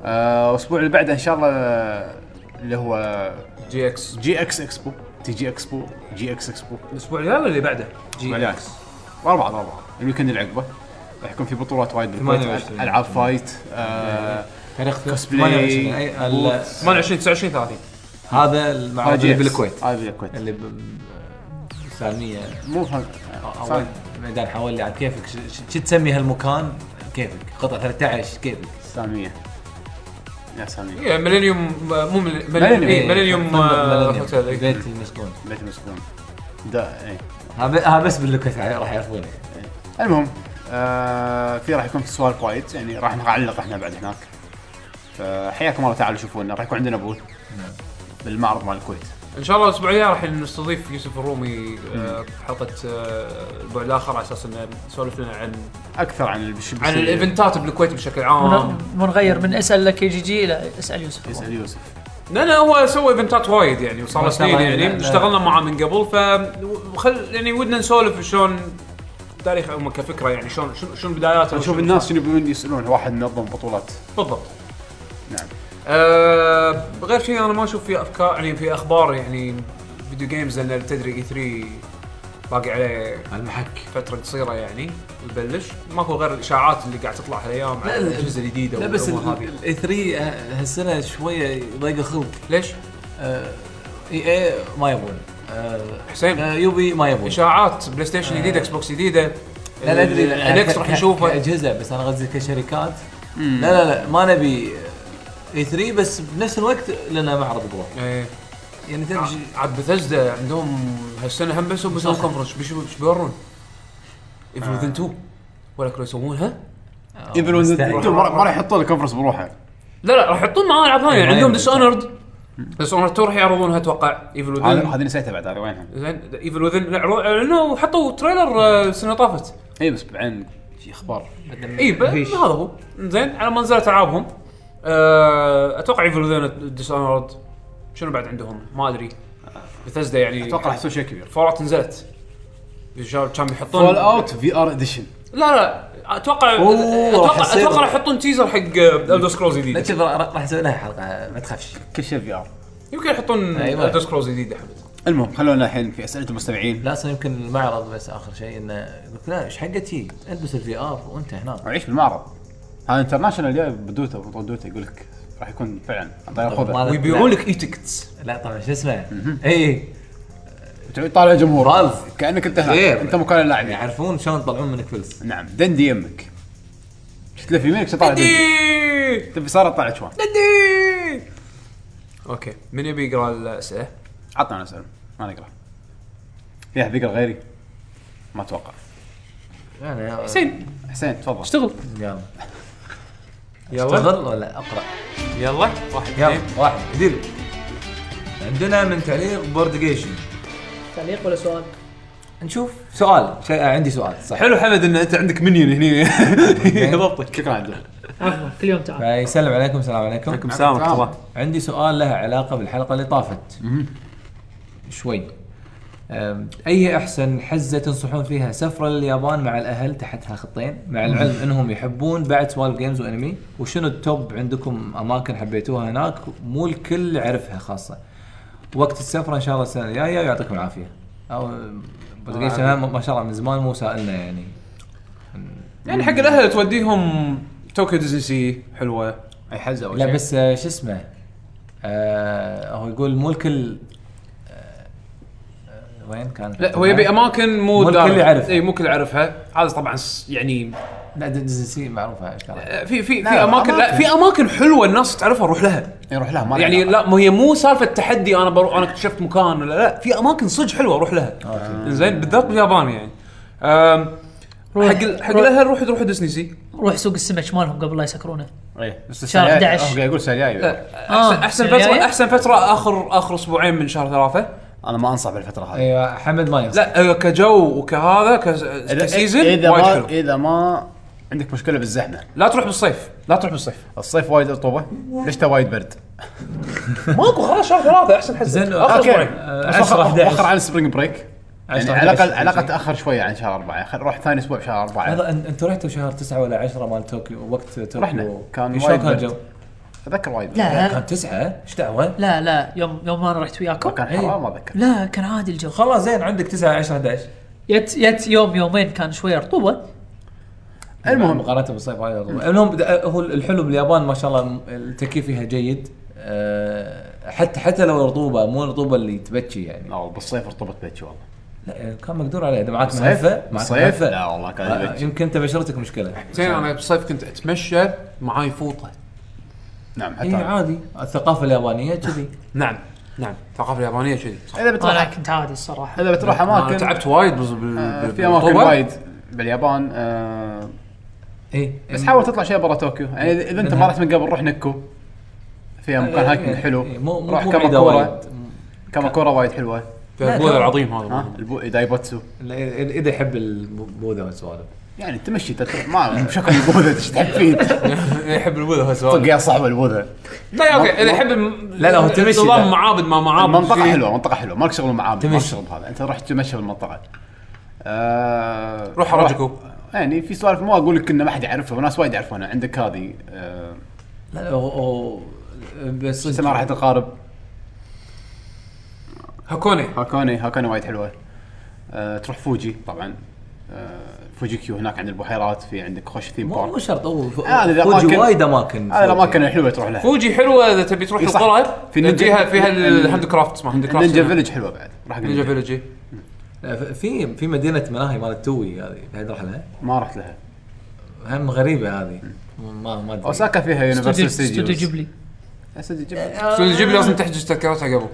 آه، الاسبوع اللي بعده ان شاء الله آه، اللي هو جي اكس جي اكس اكسبو تي جي اكسبو جي اكس اكسبو الاسبع الجاي ولا اللي بعده؟ جي بالعكس اربعة اربعة الويكند اللي عقبه راح يكون في بطولات وايد بالكويت 28. العاب فايت آه، تاريخ كوسبلاي، 28. أي- ال- 28 29 30 هذا المعرض اللي هاجيكس. بالكويت هذا آه، بالكويت اللي ب- سالميه مو فاهم اول ميدان حولي على كيفك ش- ش- شو تسمي هالمكان كيفك قطعه 13 كيفك سامية يا سامية إيه، ميلينيوم مو ميلينيوم ميلينيوم. إيه، ميلينيوم آه، هوتيل، إيه. بيت المسكون بيت مسكون دا إيه. اي ها ب- ها بس بالكويت راح يعرفونه المهم آه في راح يكون في سوالف وايد يعني راح نعلق احنا بعد هناك فحياكم الله تعالوا شوفونا راح يكون عندنا بول بالمعرض مال الكويت ان شاء الله الاسبوع الجاي راح نستضيف يوسف الرومي آه، حلقه آه، الاسبوع الاخر على اساس انه نسولف لنا عن اكثر عن البش عن الايفنتات بالكويت بشكل ون- آه. عام ونغير من اسال لك جي جي الى اسال يوسف يسال يوسف لان هو سوى ايفنتات وايد يعني وصار له ما شاء سنين الله، لا، يعني لا. اشتغلنا معاه من قبل ف وخل- يعني ودنا نسولف شلون تاريخ هم كفكره يعني شلون شلون- شلون بداياته نشوف وشلون- الناس شنو يبون يسالون واحد نظم بطولات بالضبط نعم آه غير شيء انا ما اشوف في افكار يعني في اخبار يعني فيديو جيمز لان تدري اي 3 باقي عليه المحك فتره قصيره يعني يبلش ماكو غير الاشاعات اللي قاعد تطلع هالايام على لا، لا. الاجهزه الجديده لا بس إيه، والأمور هذه الاي 3 هالسنه شويه ضيق الخلق ليش؟ اي اي ما يبون آه، حسين آه، يوبي ما يبون اشاعات بلاي ستيشن جديد اكس بوكس جديده آه. لا لا ادري لا، يعني النكس ك- راح ك- نشوفه كاجهزه بس انا قصدي كشركات لا لا لا ما نبي اي 3 بس بنفس الوقت لنا معرض بروح إيه. يعني تدري شي- عاد بثزدا عندهم هالسنه هم بس بيسوون كونفرنس بيش بيش بيورون آه. ايفل وذن 2 ولا كانوا يسوونها؟ ايفل مستحيل. وذن طيب، ما راح يحطون الكونفرنس بروحه لا لا راح يحطون معاه العاب ثانيه يعني عندهم عندهم ديس اونرد ديس اونرد 2 راح يعرضونها اتوقع ايفل هذا- وذن هذه نسيتها بعد هذه وينها زين ايفل وذن اعلنوا وحطوا تريلر آه، السنه اللي طافت اي إيه، بس بعدين في اخبار اي ب- هذا هو زين على ما نزلت العابهم آه، اتوقع ايفل وذن ديس اونرد شنو بعد عندهم ما ادري بثزدا يعني اتوقع راح يسوي شيء كبير فول اوت نزلت بيشار- كان بيحطون فول اوت في ار اديشن لا لا اتوقع أوه، راح اتوقع يصير. اتوقع راح يحطون تيزر حق الدر سكرولز لا جديد شوف را- راح نسوي لها حلقه ما تخافش كل شيء في ار يمكن يحطون أيوة. الدر سكرولز جديد حمد المهم خلونا الحين في اسئله المستمعين لا اصلا يمكن المعرض بس اخر شيء انه قلت لا ايش حقتي البس الفي ار وانت هناك عيش بالمعرض هذا انترناشونال جاي بدوته بطولة دوته يقول لك راح يكون طيب، فعلا عن طريق خوذه مالك- ويبيعون لك اي تيكتس لا طبعا شو اسمه اي تعود طالع الجمهور فالف. كانك انت هناك غير. نعم. انت مكان اللاعبين يعرفون شلون يطلعون منك فلس نعم دندي يمك شفت له في ميكس طالع دجي. تبي صار طالع شوان اوكي من يبي يقرا الاسئله؟ عطنا انا اسئله انا اقرا في احد يقرا غيري؟ ما اتوقع انا حسين حسين تفضل اشتغل يلا يلا اشتغل ولا اقرا يلا واحد اثنين يلا واحد دير عندنا من تعليق بورد جيشن تعليق ولا سؤال؟ نشوف سؤال شيء آه، عندي سؤال صح حلو حمد ان انت عندك منيون هني إيه، ضبطك شكرا عبد الله عفوا كل يوم تعال فيسلم عليكم السلام عليكم عليكم السلام ورحمه الله عندي سؤال لها علاقه بالحلقه اللي طافت شوي أم، اي احسن حزه تنصحون فيها سفره لليابان مع الاهل تحتها خطين مع العلم انهم يحبون بعد سوالف جيمز وانمي وشنو التوب عندكم اماكن حبيتوها هناك مو الكل عرفها خاصه وقت السفره ان شاء الله السنه الجايه ويعطيكم العافيه او بلقيت ما شاء الله من زمان مو سالنا يعني يعني حق الاهل توديهم طوكيو ديزني سي حلوه اي حزه اول لا شيء بس آه، شو اسمه آه هو يقول مو الكل آه، آه، وين كان لا هو يبي اماكن مو مو الكل دار- يعرفها. اي مو الكل يعرفها هذا طبعا س- يعني لا ديزني سي معروفه ترى آه، في في في لا، اماكن لا أماكن. في اماكن حلوه الناس تعرفها روح لها يروح إيه، لها ما له يعني علاقة. لا ما هي مو سالفه تحدي انا بروح انا اكتشفت مكان ولا لا في اماكن صدق حلوه روح لها زين بالذات باليابان يعني أم، روح. حق ال- حق روح. الاهل روحوا تروحوا ديزني سي روح سوق السمك مالهم قبل لا يسكرونه اي إيه، بس شهر السنة الجاية- 11. هو قاعد يقول السنه إيه. الجايه آه، احسن احسن الجاية؟ فتره احسن فتره اخر اخر اسبوعين من شهر ثلاثه انا ما انصح بالفتره هذه ايوه حمد ما ينصح لا آه، كجو وكهذا كز- كسيزن اذا وايد ما حلو اذا ما عندك مشكله بالزحمه لا تروح بالصيف لا تروح بالصيف الصيف وايد رطوبه ليش وايد برد ماكو خلاص شهر ثلاثه احسن زين، حزه اخر اوكي اسبوعين بس 10 وخر 11. وخر على السبرينج بريك يعني 10 على الاقل 11 على الاقل تاخر شويه عن شهر اربعه خل- روح ثاني اسبوع شهر اربعه لحظة، أن- انتوا رحتوا شهر 9 ولا 10 مال طوكيو وقت طوكيو رحنا. كان شلون وايد كان برد. الجو؟ آه، اتذكر وايد برد. كان لا 9 ايش دعوه؟ لا لا يوم يوم انا رحت وياكم كان إيه. حرام ما اذكر لا كان عادي الجو خلاص زين عندك 9 10 11 يت يت يوم يومين كان شويه رطوبه المهم مقارنه بالصيف وايد أفضل. المهم د- آه، هو الحلو باليابان ما شاء الله التكييف فيها جيد أه، حتى حتى لو رطوبه مو الرطوبه اللي تبكي يعني لا بالصيف رطوبه بيتشي والله لا كان مقدور عليه اذا معك صيف؟ ملفه معك صيف؟ ملفة. لا والله كان آه، يبكي. يمكن انت بشرتك مشكله زين انا بالصيف كنت اتمشى معاي فوطه نعم اي حتى أنا. إيه، عادي الثقافه اليابانيه كذي نعم نعم الثقافه اليابانيه كذي صح اذا انا بتروح كنت عادي الصراحه اذا بتروح انا اماكن تعبت وايد بز- بال- آه، بال- في اماكن بالرطوبة. وايد باليابان آه، اي بس حاول تطلع شيء برا طوكيو يعني اذا إذا انت ما رحت من قبل روح نكو فيها مكان هاكينج حلو مو إيه، مو روح مو بعيدة كاماكورا وايد كاماكورا وايد حلوه في البوذا العظيم هذا ها البو دايباتسو لا، اذا يحب البوذا والسوالف يعني تمشي تت- ما بشكل البوذا ايش تحب فيه يحب البوذا طق هالسؤال يا صاحب البوذا لا اوكي اذا يحب الم- لا، لا، هو تمشي نظام لا. معابد ما معابد المنطقه شي. حلوه منطقه حلوه مالك شغل معابد مالك تمشي. شغل بهذا انت روح تمشي بالمنطقه آه روح هاراجوكو. يعني في سوالف ما اقول لك انه ما حد يعرفها وناس وايد يعرفونها عندك هذه آه لا لا هو- هو بس سمع راح تقارب هاكوني هاكوني هاكوني وايد حلوه آه تروح فوجي طبعا آه فوجي كيو هناك عند البحيرات في عندك خوش ثيم مو مو بارك آه، شرط هو هذه الأماكن- فوجي وايد اماكن هذه فوجي. الاماكن الحلوه تروح لها فوجي حلوه اذا تبي تروح إي صح. القرى في نينجا- فيها فيها الهاند كرافت ما هاند كرافت نينجا هنا. فيلج حلوه بعد راح أقول نينجا لك. فيلج إي. لا، ف- في في مدينه ملاهي مالت توي هذه بعد راح لها ما رحت لها هم غريبه هذه ما ما ادري اوساكا فيها يونيفرسال استوديو ستوديوز جيبلي استوديو جيبلي لازم تحجز تذكرتها قبل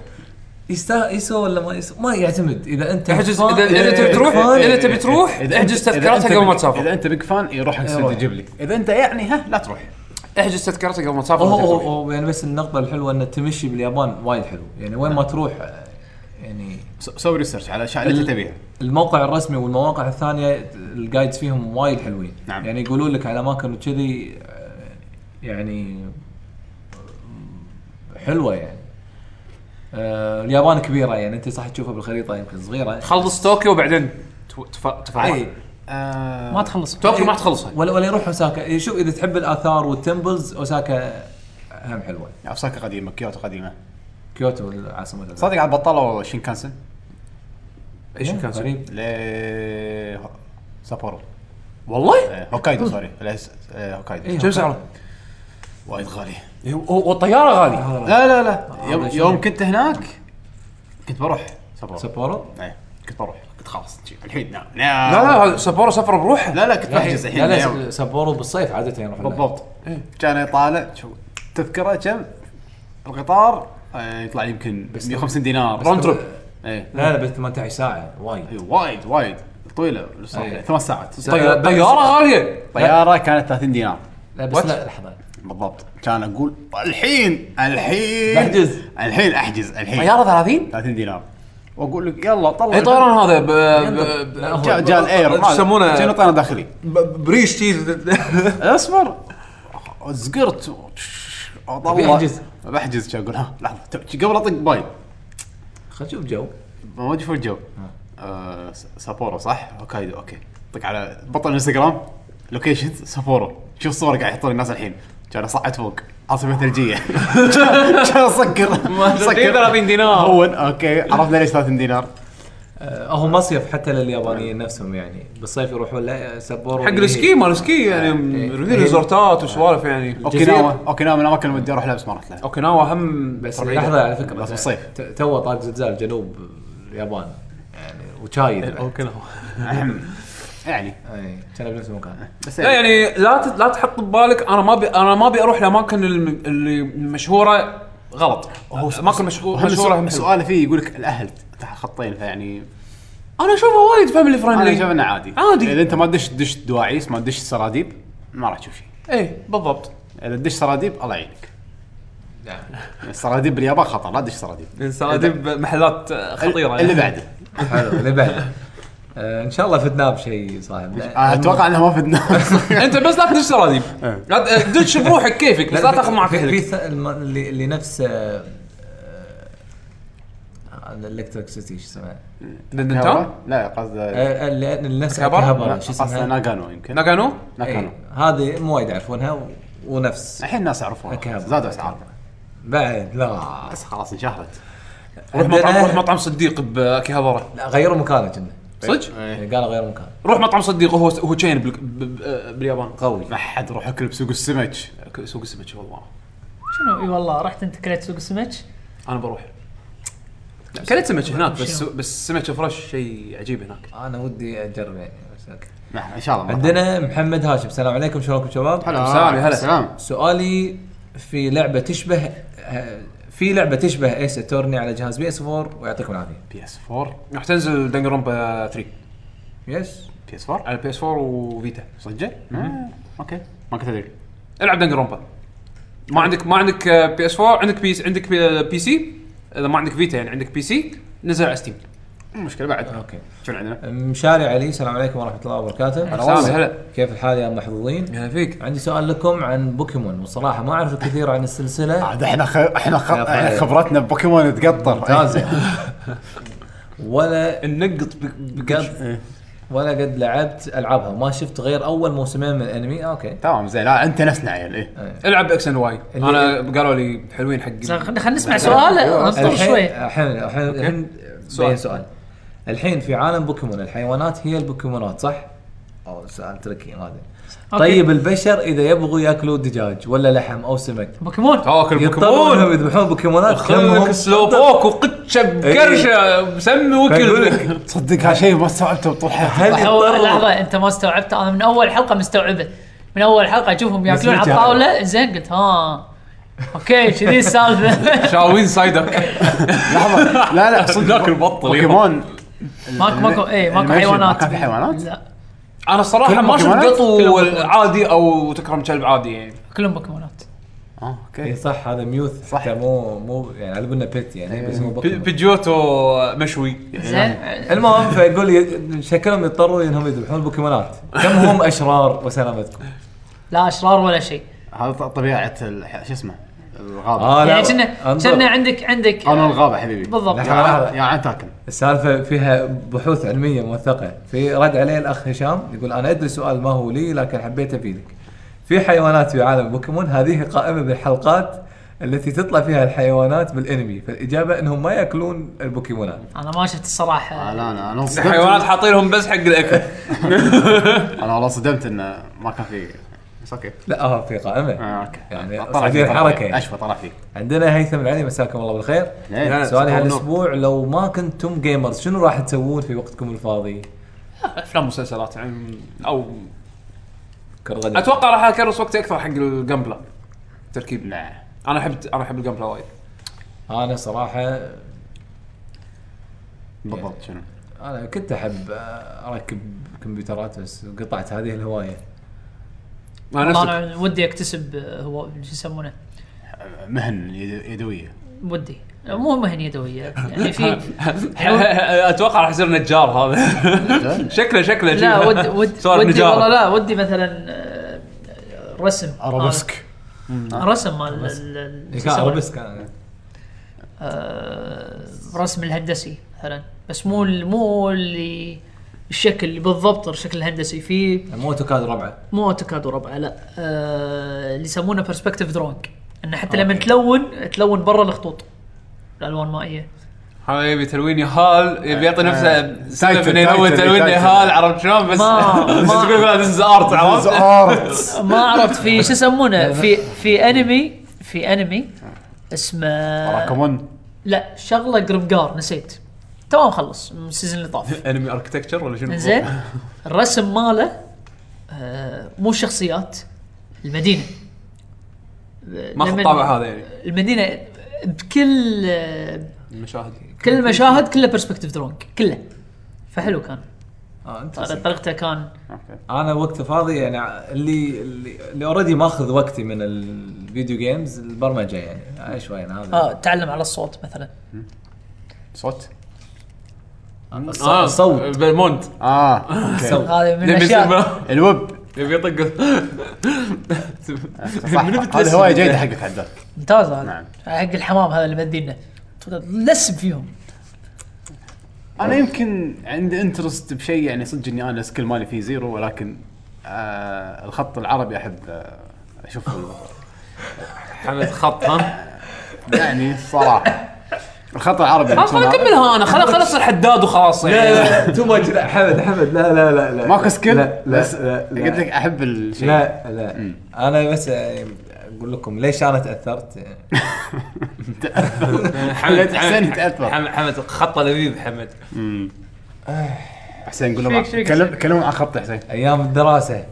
يستا يسوى ولا ما يسوى ما يعتمد اذا انت تحجز فان- اذا اذا إيه، تبي تروح اذا تبي تروح احجز تذكرتها قبل ما اذا تسافر انت بيج فان يروح حق إيه، روح. استوديو جيبلي اذا انت يعني ها لا تروح احجز تذكرتها قبل ما هو- هو تسافر هو يعني بس النقطة الحلوة ان التمشي باليابان وايد حلو، يعني وين نعم. ما تروح آه، يعني س- سوي ريسيرش إيه. على الاشياء اللي انت تبيها الموقع الرسمي والمواقع الثانية الجايدز فيهم وايد حلوين، نعم. يعني يقولون لك على اماكن وكذي آه، يعني حلوة يعني. آه، اليابان كبيرة يعني انت صح تشوفها بالخريطة يمكن صغيرة خلص طوكيو وبعدين تف- تف- اي تفرع آه، ما تخلص طوكيو ما تخلصها ولا ولا يروح اوساكا، شوف اذا تحب الاثار والتمبلز اوساكا هم حلوة. اوساكا قديمه كيوتو قديمه كيوتو العاصمة صادق على بطلوا شينكانسن ايش كان سوي؟ غريب ل سابورو والله آه، هوكايدو سوري لا، س- آه، هوكايدو إيه. كم سعره؟ وايد غالي والطياره غاليه لا لا لا يوم, هذا شنو؟ يوم كنت هناك كنت بروح إيه. سابورو سبورو اي كنت بروح خلاص الحين نعم لا لا هذا سبورة سفر بروحه لا إيه. لا كنت بحجز الحين لا يوم. لا سبورو بالصيف عاده يروح لها. بالضبط كان يطالع شو تذكره كم القطار آه، يطلع يمكن 150 دينار راوند تريب ايه لا لا بس 18 ساعه إيه، وايد وايد وايد طويله الصراحه إيه. ثمان ساعات لا، بس- طيارة غالية طياره كانت 30 دينار لا بس What? لا لحظه بالضبط كان اقول الحين الحين بحجز. الحين احجز الحين طيارة 30 30 دينار واقول لك يلا طلع اي إيه، طيران هذا ب- ب- لا، ب- هو- جاء جاء الاير شو يسمونه؟ كانه طيران داخلي ب- بريش شي اصبر زقرت والله بيحجز. بحجز شو اقول ها لحظه تو- قبل اطق بايد خلينا نشوف جو ما ادري شو الجو آه، س- سابورو صح؟ هوكايدو اوكي طق على بطل الانستغرام لوكيشن سابورو شوف الصور قاعد يحطون الناس الحين كان صعد فوق عاصفه ثلجيه كان سكر سكر 30 دينار هون اوكي عرفنا ليش 30 دينار آه، هو مصيف حتى لليابانيين نفسهم يعني بالصيف يروحون لا سبورو حق هي- السكي مال السكي يعني إيه. يريدون ريزورتات وسوالف يعني اوكيناوا اوكيناوا من الاماكن اللي ودي اروح لها بس ما رحت لها اوكيناوا هم بس ربعية. لحظه على فكره بس بالصيف. ت- تو طاق زلزال جنوب اليابان يعني وشايد بعد. اوكيناوا يعني اي كان بنفس المكان بس لا يعني لا ت- لا تحط ببالك انا ما ابي انا ما ابي اروح لاماكن الم- اللي مشهوره غلط هو اماكن مشهوره مشهوره سؤال هم سؤاله فيه يقول لك الاهل تحت خطين فيعني حلوة. انا اشوفه وايد فاميلي انا اشوف فريندلي انه عادي عادي. اذا انت ما تدش تدش دواعيس ما تدش سراديب ما راح تشوف شيء اي إيه، بالضبط اذا تدش سراديب الله يعينك نعم. السراديب باليابان خطر لا تدش سراديب سراديب محلات خطيره طيب. اللي يعني. بعده حلو اللي بعده آه، ان شاء الله فتنا بشيء صاحب أه، آه، اتوقع انها ما فدنا انت بس لا تدش سراديب إيه. لا ت- دش بروحك كيفك بس لا تاخذ معك في- في اهلك ث- الم- اللي اللي نفس آه، آه، الالكتريك سيتي شو اسمها؟ دندنتان لا قصد آه، اللي اللي نفس أكابر؟ أكابر، شو قصد اسمها؟ ناغانو يمكن ناكانو ناغانو إيه، هذه مو وايد يعرفونها و- ونفس الحين الناس يعرفونها أكابر. زادوا اسعارها بعد لا بس خلاص انشهرت روح مطعم عندنا- إيه؟ روح مطعم صديق باكيهابارا لا غيروا مكانه كنا صدق إيه. قالوا غيروا مكانه روح مطعم صديق وهو هو تشين بال- ب- ب- باليابان قوي ما حد روح اكل بسوق السمك سوق السمك والله شنو اي والله رحت انت كليت سوق السمك انا بروح لا، كلت سمك هناك بس بس سمك فريش شيء عجيب هناك انا ودي اجرب يعني بس اوكي نعم، ان شاء الله مرة. عندنا محمد هاشم السلام عليكم شلونكم شباب؟ هلا سلام، هلا. سلام سؤالي في لعبه تشبه آه، في لعبه تشبه ايس اتورني على جهاز بي اس 4 ويعطيكم العافيه بي اس 4 راح تنزل دنجر رومبا 3 يس بي اس 4 على بي اس 4 وفيتا صدق؟ آه، اوكي ما كنت ادري العب دنجر رومبا ما عندك ما عندك بي اس 4 عندك بي عندك بي سي اذا ما عندك فيتا يعني عندك بي سي نزل على ستيم المشكله بعد اوكي شنو عندنا؟ مشاري علي السلام عليكم ورحمه الله وبركاته سلام هلا كيف الحال يا محظوظين؟ هلا فيك عندي سؤال لكم عن بوكيمون والصراحه ما اعرف الكثير عن السلسله عاد احنا خ... احنا خ... يا طيب. احنا فهد. خبرتنا ببوكيمون تقطر ممتازه ولا نقط قد ولا قد لعبت العابها وما شفت غير اول موسمين من الانمي اوكي تمام زين لا انت نفسنا عيل ايه العب اكس اند واي انا قالوا لي حلوين حق زين، خلينا خلينا نسمع سؤال انطر شوي الحين الحين الحين سؤال. سؤال. سؤال الحين في عالم بوكيمون الحيوانات هي البوكيمونات صح؟ او سؤال تركي ما ادري أوكي. طيب البشر اذا يبغوا ياكلوا دجاج ولا لحم او سمك بوكيمون طيب. تاكل يضطروا انهم بوكيمون يذبحون بوكيمونات خلك دمهم- سلو بوك وقتشه بقرشه مسمي فأقول وكل لك، تصدق هالشيء ما استوعبته طول حياتي هل أول يضطروا لحظه انت ما استوعبت انا من اول حلقه مستوعبه من اول حلقه اشوفهم ياكلون على متى؟ الطاوله زين قلت ها اوكي كذي السالفه شاوين سايدر لحظه لا لا صدق ناكل بط بوكيمون ماكو ماكو اي ماكو الأنيميشن يعني ما حيوانات كان في حيوانات؟ لا انا الصراحه كلهم ما شفت بوكيمونات؟ قط عادي او تكرم كلب عادي يعني كلهم بوكيمونات اه إيه اوكي صح هذا ميوث صح. صح مو مو يعني على بالنا بيت يعني بس مو بي- بوكيمون بيجوتو مشوي يعني زين المهم فيقول ي- شكلهم يضطروا انهم يذبحون البوكيمونات كم هم اشرار وسلامتكم لا اشرار ولا شيء هذا ط- طبيعه ال- شو اسمه الغابه آه، لا، يعني كنا انظر. كنا عندك عندك قانون الغابه حبيبي بالضبط يا آه. عن- يا عن تاكل السالفه فيها بحوث علميه موثقه في رد عليه الاخ هشام يقول انا ادري سؤال ما هو لي لكن حبيت افيدك في حيوانات في عالم بوكيمون هذه قائمه بالحلقات التي تطلع فيها الحيوانات بالانمي فالاجابه انهم ما ياكلون البوكيمونات انا ما شفت الصراحه انا انا انا انصدمت الحيوانات حاطين لهم بس حق الاكل انا والله انصدمت انه ما كان في بس اوكي لا اه في قائمه آه، اوكي يعني طلع صايرين فيه حركه يعني. اشوى طلع فيه عندنا هيثم العلي مساكم الله بالخير إيه، لا، لا، سؤالي سووا هالاسبوع لو ما كنتم جيمرز شنو راح تسوون في وقتكم الفاضي؟ افلام مسلسلات يعني او كرغدة اتوقع راح اكرس وقتي اكثر حق الجمبلا تركيب لا انا احب انا احب الجمبلا وايد انا صراحه بالضبط شنو انا كنت احب اركب كمبيوترات بس قطعت هذه الهوايه ما نفسك انا ودي اكتسب آه، هو شو يسمونه مهن يد- يدويه ودي مو مهن يدويه يعني في اتوقع راح يصير نجار هذا شكله شكله لا شي. ود ود سوالف ودي نجار. والله لا ودي مثلا آه، رسم ارابسك آه، رسم مال ال- ال- شو كان يسمونه؟ اربس كان آه، رسم الهندسي مثلا بس مو ال- مو اللي الشكل اللي بالضبط الشكل الهندسي في مو اوتوكاد ربعه مو اوتوكاد وربعه لا آه، اللي يسمونه برسبكتيف دروينج انه حتى لما أوكي. تلون تلون برا الخطوط الالوان مائيه هذا يبي تلوين يهال يبي يعطي نفسه آه. سبب تايتل، انه يلون تايتل، تلوين تايتل. يهال عرفت شلون بس ما- بس ما- تقول لا ذيس ارت عرفت ارت ما عرفت في شو يسمونه في في انمي في انمي آه، اسمه راكمون لا شغله جربجار نسيت تو مخلص من السيزون اللي طاف انمي اركتكتشر ولا شنو؟ زين الرسم ماله آه، مو الشخصيات المدينه ما اخذ لما- الطابع هذا يعني المدينه بكل آه، المشاهد كل المشاهد كلها برسبكتيف درونج كله فحلو كان آه، أنت طريق- طريقته كان اوكي انا وقت فاضي يعني اللي اللي, اللي اوريدي ماخذ وقتي من الفيديو جيمز البرمجه يعني آه، شوي أنا هذا اه تعلم على الصوت مثلا صوت الص- آه، الصوت بالمونت اه أوكي. الصوت هذا من يبي يصير الاشياء بال- الويب يبي يطق صح هذه هوايه جيده حقك عدل ممتاز هذا نعم. حق الحمام هذا اللي مدينا لسب فيهم انا يمكن عندي انترست بشيء يعني صدق اني انا السكيل مالي فيه زيرو ولكن آه الخط العربي احب آه اشوف حمد خط ها يعني الصراحه الخط العربي يعني آه، خلاص خليني اكملها انا خل خل اصير حداد وخلاص لا يعني لا تو ماتش لا حمد حمد لا لا لا لا ماكو سكيل لا لا بس لا لا. قلت لك احب الشيء لا لا انا بس يعني اقول لكم ليش انا تاثرت حمد حسين يتاثر حمد حمد خطه لذيذ حمد حسين قول له شيك- كلم كلمهم عن خط حسين ايام الدراسه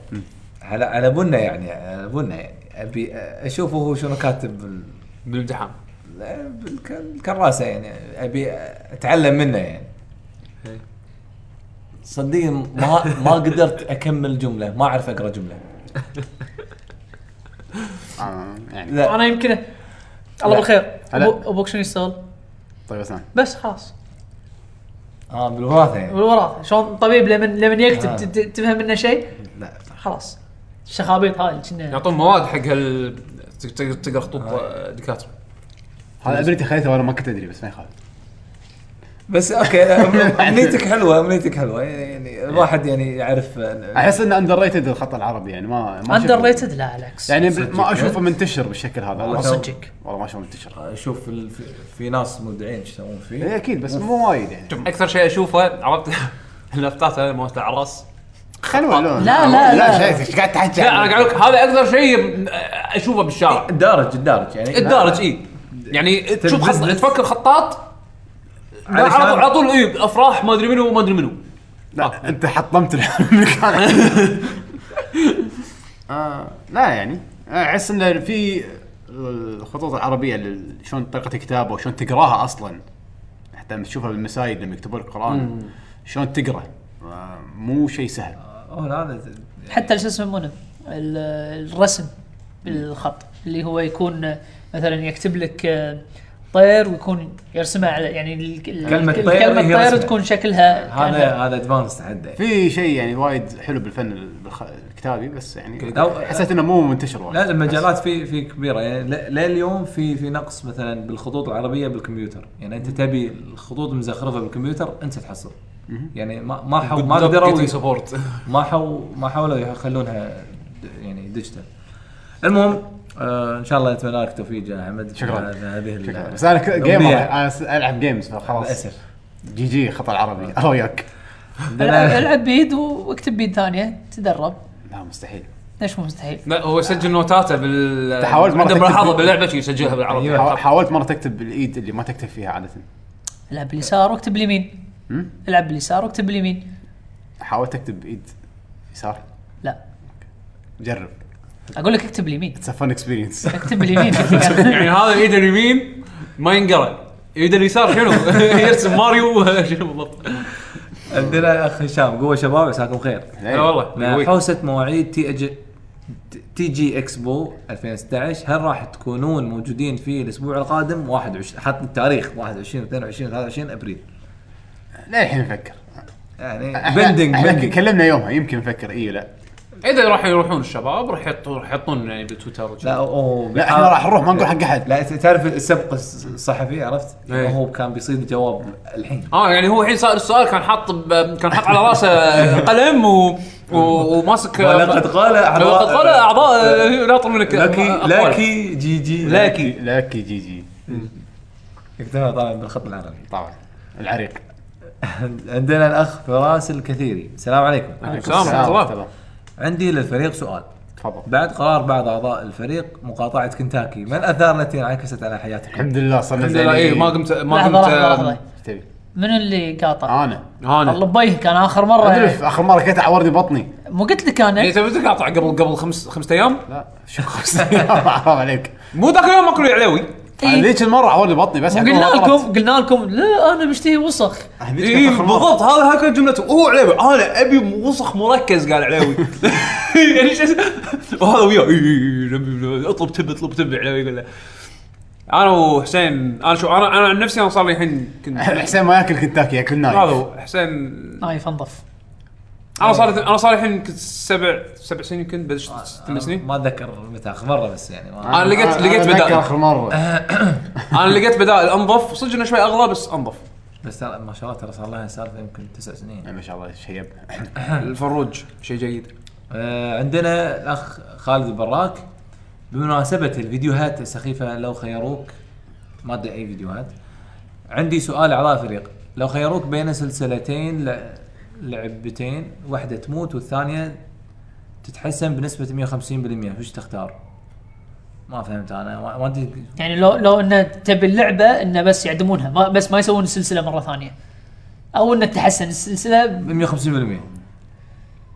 على على بنا يعني على بنا يعني ابي اشوف هو شنو كاتب بال- بالامتحان لا، بالك- بالكراسه يعني ابي اتعلم منه يعني إيه. صدقني ما ما قدرت اكمل جمله ما اعرف اقرا جمله آه يعني لا انا يمكن الله لا. بالخير هلا. أبو- ابوك شنو يشتغل؟ طيب اسمع بس خلاص اه بالوراثه يعني والوراثه شلون طبيب لمن لمن آه. يكتب ت- ت- تفهم منه شيء لا خلاص الشخابيط هاي اللي كنا يعطون مواد حق هال تقدر تقرا خطوط آه. دكاتره هذا طيب. ابنتي خذيته وانا ما كنت ادري بس ما يخالف بس اوكي امنيتك حلوه امنيتك حلوه يعني الواحد يعني يعرف احس انه اندر ريتد الخط العربي يعني ما ما اندر أشوفه- ريتد لا العكس يعني ما اشوفه منتشر بالشكل هذا والله والله صدقك ما اشوفه منتشر شوف ال- في- في ناس مبدعين ايش يسوون إيه، فيه اكيد بس مو وايد يعني اكثر شيء اشوفه عرفت اللافتات هذه مالت الاعراس خلوه لا لا، لا، لا. شيء ايش قاعد تحكي لا عنه؟ انا قاعد اقول لك هذا اكثر شيء اشوفه بالشارع الدارج الدارج يعني الدارج اي يعني تشوف خط business. تفكر خطاط لا، علشان- على طول على طول اي افراح ما ادري منو وما ادري منو لا انت حطمت الحلم اللي كان عندي. آه، لا يعني احس انه في الخطوط العربيه لل- شلون طريقه الكتابه وشلون تقراها اصلا حتى لما تشوفها بالمسايد لما يكتبون القران شلون تقرا آه، مو شيء سهل اوه لا هذا حتى شو يسمونه ال- الرسم بالخط اللي هو يكون مثلا يكتب لك آه، طير ويكون يرسمها على يعني ال- ال- كلمة ال- طير كلمة هي طير رسمة. تكون شكلها هذا كأنها- هذا ادفانس حده في شيء يعني وايد حلو بالفن ال- بالخ- الكتابي بس يعني أو- حسيت انه مو منتشر وايد لا المجالات في في كبيره يعني ل- لليوم في في نقص مثلا بالخطوط العربيه بالكمبيوتر يعني انت تبي الخطوط مزخرفه بالكمبيوتر انت تحصل يعني ما ما حو ما قدروا ي- سبورت ما حو ما حاولوا يخلونها د- يعني ديجيتال المهم آه ان شاء الله نتمنى لك توفيق يا احمد شكراً. في هذه ال- شكراً. بس انا ك- الأمنية. جيمر انا س- العب جيمز فخلاص للاسف جي جي خطا العربي انا وياك عندنا- العب بيد واكتب بيد ثانيه تدرب لا مستحيل ليش مو مستحيل؟ لا هو يسجل نوتاته بال تحاولت مرة عنده تكتب- أيوة. ملاحظه باللعبه شي يسجلها بالعربي حا- حاولت مره تكتب بالايد اللي ما تكتب فيها عاده العب باليسار واكتب باليمين مم؟ العب باليسار واكتب باليمين حاولت تكتب بايد يسار لا جرب اقول لك اكتب باليمين اتس فن اكسبيرينس اكتب باليمين يعني هذا الايد اليمين ما ينقرا ايد اليسار شنو؟ يرسم ماريو شنو بالضبط؟ عندنا اخ هشام قوه شباب عساكم خير لا والله مع قوي. حوسه مواعيد تي أج... تي جي اكسبو 2016 هل راح تكونون موجودين في الاسبوع القادم 21 حط التاريخ 21 22 23 ابريل للحين نفكر يعني إحنا- بندنج إحنا بندنج كلمنا يومها يمكن نفكر إيوه، اي ولا اذا راح يروحون الشباب راح يحطون راح يحطون يعني بالتويتر وشي. لا اوه لا احنا راح نروح ما نقول حق احد لا تعرف السبق الص- الصحفي عرفت؟ إيه. هو كان بيصيد الجواب الحين اه يعني هو الحين صار السؤال كان حاط ب- كان حاط على راسه قلم و... و... وماسك ولقد قال أعضاء- آه، ولقد قال اعضاء ناطر منك لكي أقوال. لكي جي جي لاكي. لاكي جي جي كتبها طبعا بالخط العربي طبعا العريق عندنا الاخ فراس الكثيري السلام عليكم عليكم آه، السلام ورحمة الله. عندي للفريق سؤال تفضل بعد قرار بعض اعضاء الفريق مقاطعه كنتاكي ما الاثار التي انعكست على حياتكم؟ الحمد لله صرنا الحمد لله زينين. ايه ما يعني- قمت ما لحظه آه، لحظه قمت لحظه إيش تبي؟ منو اللي قاطع؟ انا هانا الله بيه كان اخر مره أدرف، يعني. اخر مره كنت عورني بطني مو قلت لك انا يعني تبي تقاطع قبل قبل خمس خمسة ايام لا شو حرام عليك مو ذاك اليوم اكل علوي إيه. ذيك المره عورني بطني بس قلنا عقبها طلعت. لكم قلنا لكم لا انا مشتهي وسخ هذيك كانت اي آخر مرة. إيه، بالضبط هذا هاي كانت جملته هو علوي انا ابي وسخ مركز قال علوي يعني شو- وهذا وياه إيه، إي إي إي، نبي- نبي- إيه، اطلب تب اطلب تب علوي يقول له انا وحسين انا شو انا انا عن نفسي انا صار لي الحين كنت هذا حسين ما ياكل كنتاكي ياكل نايف هو حسين نايف انظف انا صار انا صار الحين كنت سبع سبع سنين يمكن بدش ثمان سنين ما اتذكر متى اخر مره بس يعني ما أنا لقيت- لقيت أه. أتذكر بدائل. اخر مره انا لقيت بدائل انظف صدق انه شوي اغلى بس انظف بس ترى ما شاء الله ترى صار لها سالفه يمكن تسع سنين ما شاء الله شيب أه. آه. الفروج شيء جيد آه عندنا الاخ خالد البراك بمناسبه الفيديوهات السخيفه لو خيروك ما ادري اي فيديوهات عندي سؤال اعضاء الفريق لو خيروك بين سلسلتين لع- لعبتين واحده تموت والثانيه تتحسن بنسبه 150% وش تختار؟ ما فهمت انا ما ما ادري يعني لو لو انه تبي اللعبه انه بس يعدمونها ما بس ما يسوون السلسله مره ثانيه او انه تحسن السلسله 150%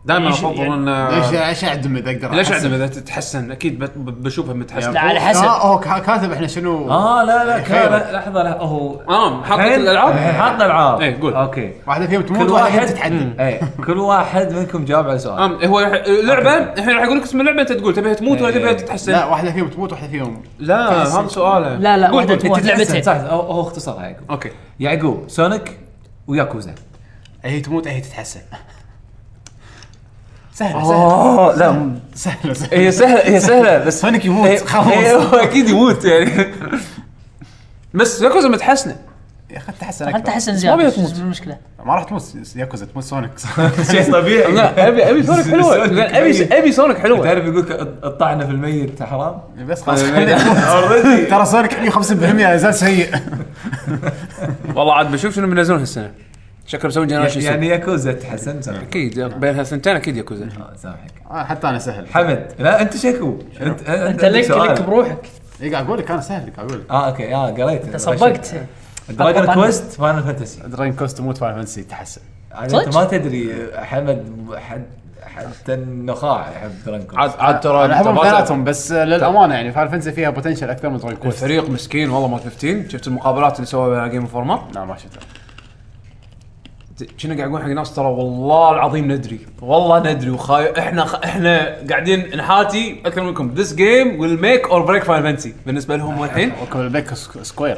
دائما إيش- افضل يعني- ان ليش ليش اعدم اذا اقدر ليش أحسن؟ اعدم اذا تتحسن اكيد بت- ب- بشوفها متحسن لا، على حسب. لا، أه، هو كا- كاتب احنا شنو آه. اه لا خير. لا كان لحظه لا هو اه حاطط الحين- الالعاب الحين حاطنا العاب إيه، قول. اوكي واحده فيهم تموت كل واحده فيهم واحد تتعدم اي كل واحد منكم جاوب على سؤال آم، هو يح- لعبه الحين راح اقول لك اسم اللعبه انت تقول تبيها تموت ولا إيه. تبيها تتحسن لا واحده فيهم تموت واحده فيهم لا هذا سؤاله لا لا قول- واحده قول. تموت أحسن، لعبتين صح هو هو اختصرها يعقوب اوكي يعقوب سونيك وياكوزا هي تموت هي تتحسن سهله سهله اوه لا سهله سهله هي سهله هي سهله بس سونيك يموت، هي- خلاص. هي إيه، هو اكيد يموت يعني بس ياكوزا متحسنه يا اخي تحسن خلت اكثر تحسن ما زياده بيها تموت. شو المشكله ما راح تموت ياكوزا تموت سونيك شيء طبيعي لا ابي ابي سونيك حلوه سونيك ابي ابي سونيك حلوه تعرف يقول لك الطعنه في الميت حرام بس خلاص خليه يموت. اوريدي ترى سونيك 150% زال سيء والله عاد بشوف شنو بينزلون هالسنه شكله مسوي جنريشن يعني ياكوزا تحسن سامحك اكيد بين هالثنتين اكيد ياكوزا آه، سامحك آه، حتى انا سهل حمد لا انت شكو انت انت لك لك برو بروحك اي إيه، قاعد اقول لك انا سهل قاعد اقول لك اه اوكي اه قريت انت صبقت دراجون كويست فاينل فانتسي دراين كوست تموت فاينل فانتسي تحسن انت صدق؟ يعني ما تدري حمد حد حتى النخاع يحب دراجون كويست عاد عاد ترى انا احبهم ترى- ثلاثهم بس آه، للامانه يعني فاينل فانتسي فيها بوتنشل اكثر من دراين كوست الفريق مسكين والله مال 15 شفت المقابلات اللي سواها مع جيم انفورمر لا ما شفته كنا قاعد نقول حق ناس ترى والله العظيم ندري والله ندري وخاي احنا خ... احنا قاعدين نحاتي اكثر منكم ذس جيم ويل ميك اور بريك فاينل فانتسي بالنسبه لهم الحين وكم البيك سك- سكوير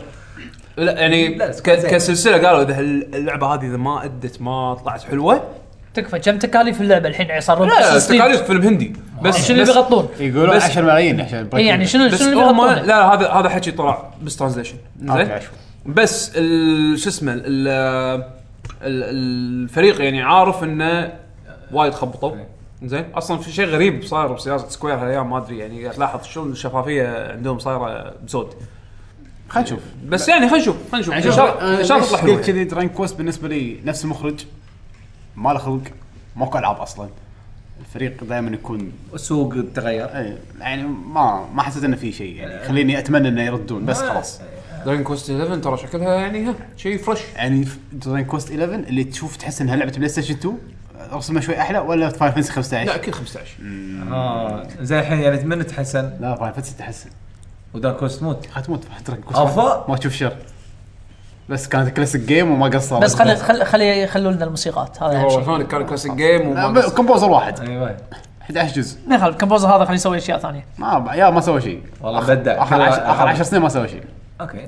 لا يعني لا، ك... زين. كسلسله قالوا اذا هال- اللعبه هذه اذا ما ادت ما طلعت حلوه تكفى كم تكاليف اللعبه الحين يعني صار يعني لا تكاليف فيلم هندي بس شنو اللي بس- بيغطون؟ يقولون بس- 10 ملايين عشان break اي يعني even. شنو بس شنو اللي هم لا بيغطون؟ لا هذا هذا حكي طلع بس ترانزليشن زين اوكي عشو بس ال- شو اسمه ال- ال- الفريق يعني عارف انه وايد خبطوا زين اصلا في شيء غريب صاير بسياسه سكوير هالايام ما ادري يعني تلاحظ شلون الشفافيه عندهم صايره بزود خلينا نشوف بس يعني خلينا نشوف خلينا نشوف ان شاء آه، الله آه، ان شاء الله تطلع يعني. حلوه قلت كذي دراين كوست بالنسبه لي نفس المخرج ما له خلق ماكو العاب اصلا الفريق دائما يكون السوق تغير إيه، يعني ما ما حسيت انه في شيء يعني خليني اتمنى انه يردون بس خلاص دراجون كوست 11 ترى شكلها يعني ها شيء فريش يعني دراين كوست 11 اللي تشوف تحس انها لعبه بلاي ستيشن 2 رسمها شوي احلى ولا فاين فانسي لا 15 اكيد 15 اه زين الحين يعني تمنت حسن لا فاين فانسي تحسن ودارك كوست موت هتموت دراين كوست أفا. ما تشوف شر بس كانت كلاسيك جيم وما قصرت بس خلي خلي خلي خلوا لنا الموسيقات هذا اهم شيء هو كان كلاسيك جيم وما لا، قصر. كومبوزر آه، واحد ايوه 11 جزء ما يخالف الكمبوزر هذا خليه يسوي اشياء ثانيه ما يا ما سوى شيء والله بدع اخر عشر اخر 10 سنين ما سوى شيء اوكي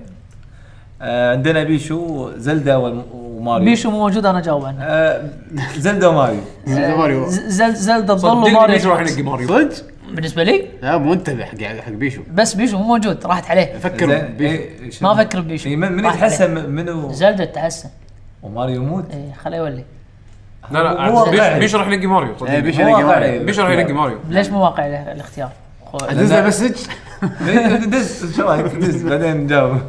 آه عندنا بيشو زلدا والم- وماريو بيشو مو موجود انا اجاوب عنه آه زلدا وماريو زلزال ماريو ز- زل زلدا تظل صدقني بيجي راح نلقى وماريو ماريو آه، صدق؟ بالنسبه لي لا منتبه حق حق بيشو بس بيشو مو موجود راحت إيه. عليه فكر بيشو ما أفكر ببيشو. إيه، من من واحد يتحسن من- منو زلدا تحسن وماريو يموت اي خليه يولي لا لا هو عاد واقعي. بيش- بيش راح يلقى ماريو إيه، صدقني بيشو يلقى واقعي. ماريو. بيش راح يلقى ماريو ليش مو واقعي له- الاختيار؟ خو- ادز له مسج دز شو رايك دز بعدين نجاوب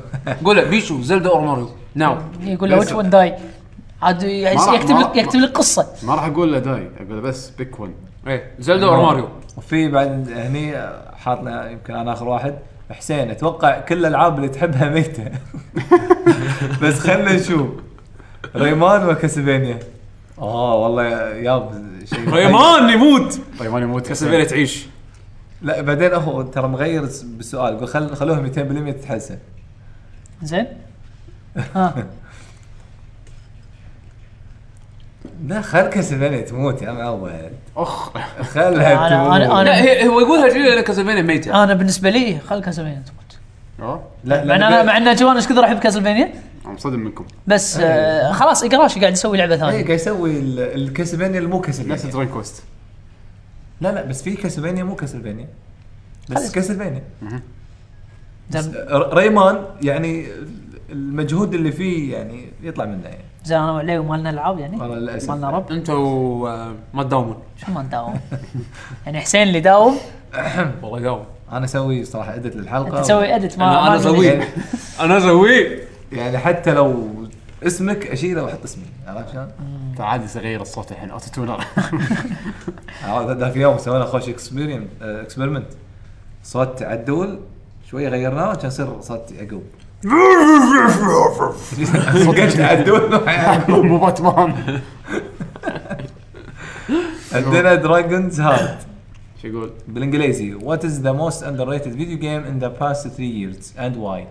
قول له بيشو زلدا اور ماريو ناو يقول له ويتش ون داي عاد ي- ما راح- يكتب ما لك راح- يكتب لك قصه ما راح اقول له داي اقول له بس بيك ون ايه زلدا اور ماريو وفي بعد هني حاطنا يمكن انا اخر واحد حسين اتوقع كل الالعاب اللي تحبها ميته بس خلنا نشوف ريمان وكاسلفينيا اه والله ياب شيء ريمان يموت طيب انا موت كاسلفينيا تعيش لا بعدين هو ترى مغير الس- بالسؤال يقول خل خلوها 200% تتحسن زين ها لا خل كاسلفينيا تموت يا معود اخ خلها أنا- تموت أنا- أنا- لا هي هو يقولها جديده لان كاسلفينيا ميته انا بالنسبه لي خل كاسلفينيا تموت أه؟ مع لا لا إن لا انا مع ان جوان ايش كثر احب كاسلفينيا انا مصدم منكم بس آه خلاص اقراشي قاعد يسوي لعبه اي ثانيه قاعد إيه، يسوي ال- الكاسلفينيا اللي مو نفس كاسلفينيا درين كوست لا لا بس في كاسلفينيا مو كاسلفينيا بس خلي- كاسلفينيا زين آه، ر- ريمان يعني المجهود اللي فيه يعني يطلع منه يعني زين انا وعلي ومالنا العاب يعني والله للأسف. مالنا رب انت وما آه، تداومون شو ما نداوم يعني حسين اللي داوم والله داوم انا اسوي صراحه ادت للحلقه تسوي إيه؟ ادت ما انا ما انا عندي زوي مشكلة. انا زوي يعني حتى لو اسمك اشيله واحط اسمي عرفت شلون؟ ترى عادي اغير الصوت الحين اوتو تونر عرفت ذاك اليوم سوينا خوش اكسبيرينس اكسبيرمنت صوت عدول شوي غيرناه كان يصير صوت يعقوب صوت عدول مع يعقوب. مو باتمان عندنا دراجونز هارت شو يقول؟ بالانجليزي what is the most underrated video game in the past three years and why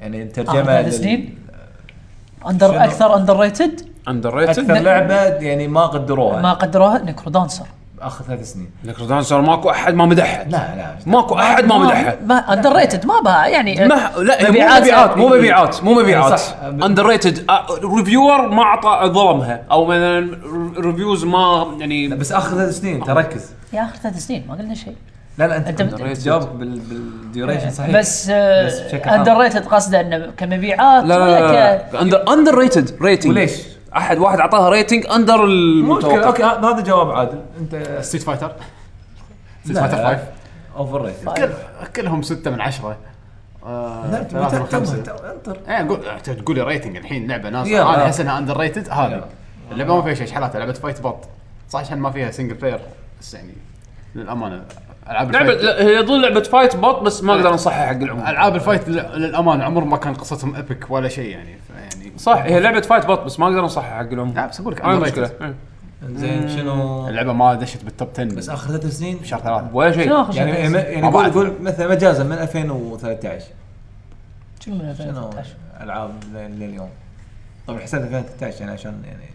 يعني آه، الترجمه ثلاث لل- سنين؟ شنو؟ اندر اكثر اندر ريتد اندر اكثر ريتد لعبه يعني ما قدروها ما قدروها نيكرو دانسر اخر ثلاث سنين نكرو دانسر ماكو احد ما مدحها لا لا ماكو احد ما مدحها ما اندر ريتد ما بها يعني ما لا هي مو مبيعات مو مبيعات مو مبيعات صح. اندر ريتد ريفيور ما اعطى ظلمها او مثلا ريفيوز ما لا يعني بس اخر ثلاث سنين تركز يا اخر ثلاث سنين ما قلنا شيء لا لا انت أنت- آه. أنت جاوبك بال بالديوريشن إيه، صحيح بس بس بشكل عام. اندر ريتد قصده انه كمبيعات لا ولا لا ك... لا اندر اندر ريتد ريتنج وليش؟ احد واحد اعطاها ريتنج اندر ممكن المتوقع اوكي ه- هذا جواب عادل انت ستيت فايتر ستيت لا. فايتر 5 اوفر ريتد طيب. كل- كلهم 6 من آه، 10 لا انت مت- تو- 3 تو- انطر ايه قول أنت تقول لي ريتنج الحين لعبه ناس يلا. انا احس انها اندر ريتد يلا. هذه اللعبه ما فيها شيء شحالات لعبه فايت بط صح عشان ما فيها سنجل بلاير بس يعني للامانه العاب لعبه الفايت- لا، هي تظل لعبه فايت بط بس ما اقدر انصحها حق العموم العاب الفايت لل- للامانه عمر ما كان قصتهم ابيك ولا شيء يعني فيعني صح هي لعبه فايت بط بس ما اقدر انصحها حق العموم لا بس اقول لك هاي underrated. المشكله إيه. زين شنو اللعبه ما دشت بالتوب 10 بس بس اخر ثلاث سنين شهر ثلاثه ولا شنو شيء اخر يعني شيء؟ إيه، يعني ما قول بعرف. قول مثلا مجازا من 2013 شنو من شنو 2013 العاب لليوم؟ طبعا حسيت 2013 يعني عشان يعني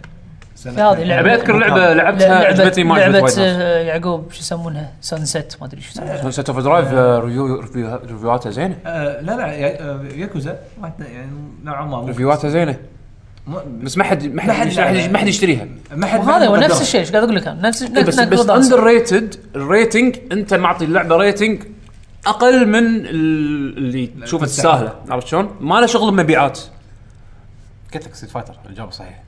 في هذه لعبة- ابي اذكر لعبه لعبتها لعبة- عجبتني ما عجبت لعبة وايد ناس. آه، يعقوب شو يسمونها سانسيت ما ادري شو يسمونها سانسيت اوف درايف آه، ريفيو- ريفيو- ريفيوهاتها زينه آه لا لا يا- آه، ياكوزا واحدة يعني نوعا ما مو- ريفيوهاتها زينه مو- بس ما حد ما ما حد حد ما حد- ما حد يشتريها ما حد وهذا هو ما نفس قدر. الشيء ايش قاعد اقول لك انا نفس إيه، بس نفس بس Necro Dancer. اندر ريتد الريتنج انت معطي اللعبه ريتنج اقل من ال- اللي تشوفه تستاهله عرفت شلون؟ ما له شغل بمبيعات قلت لك ستيت فايتر الجواب صحيح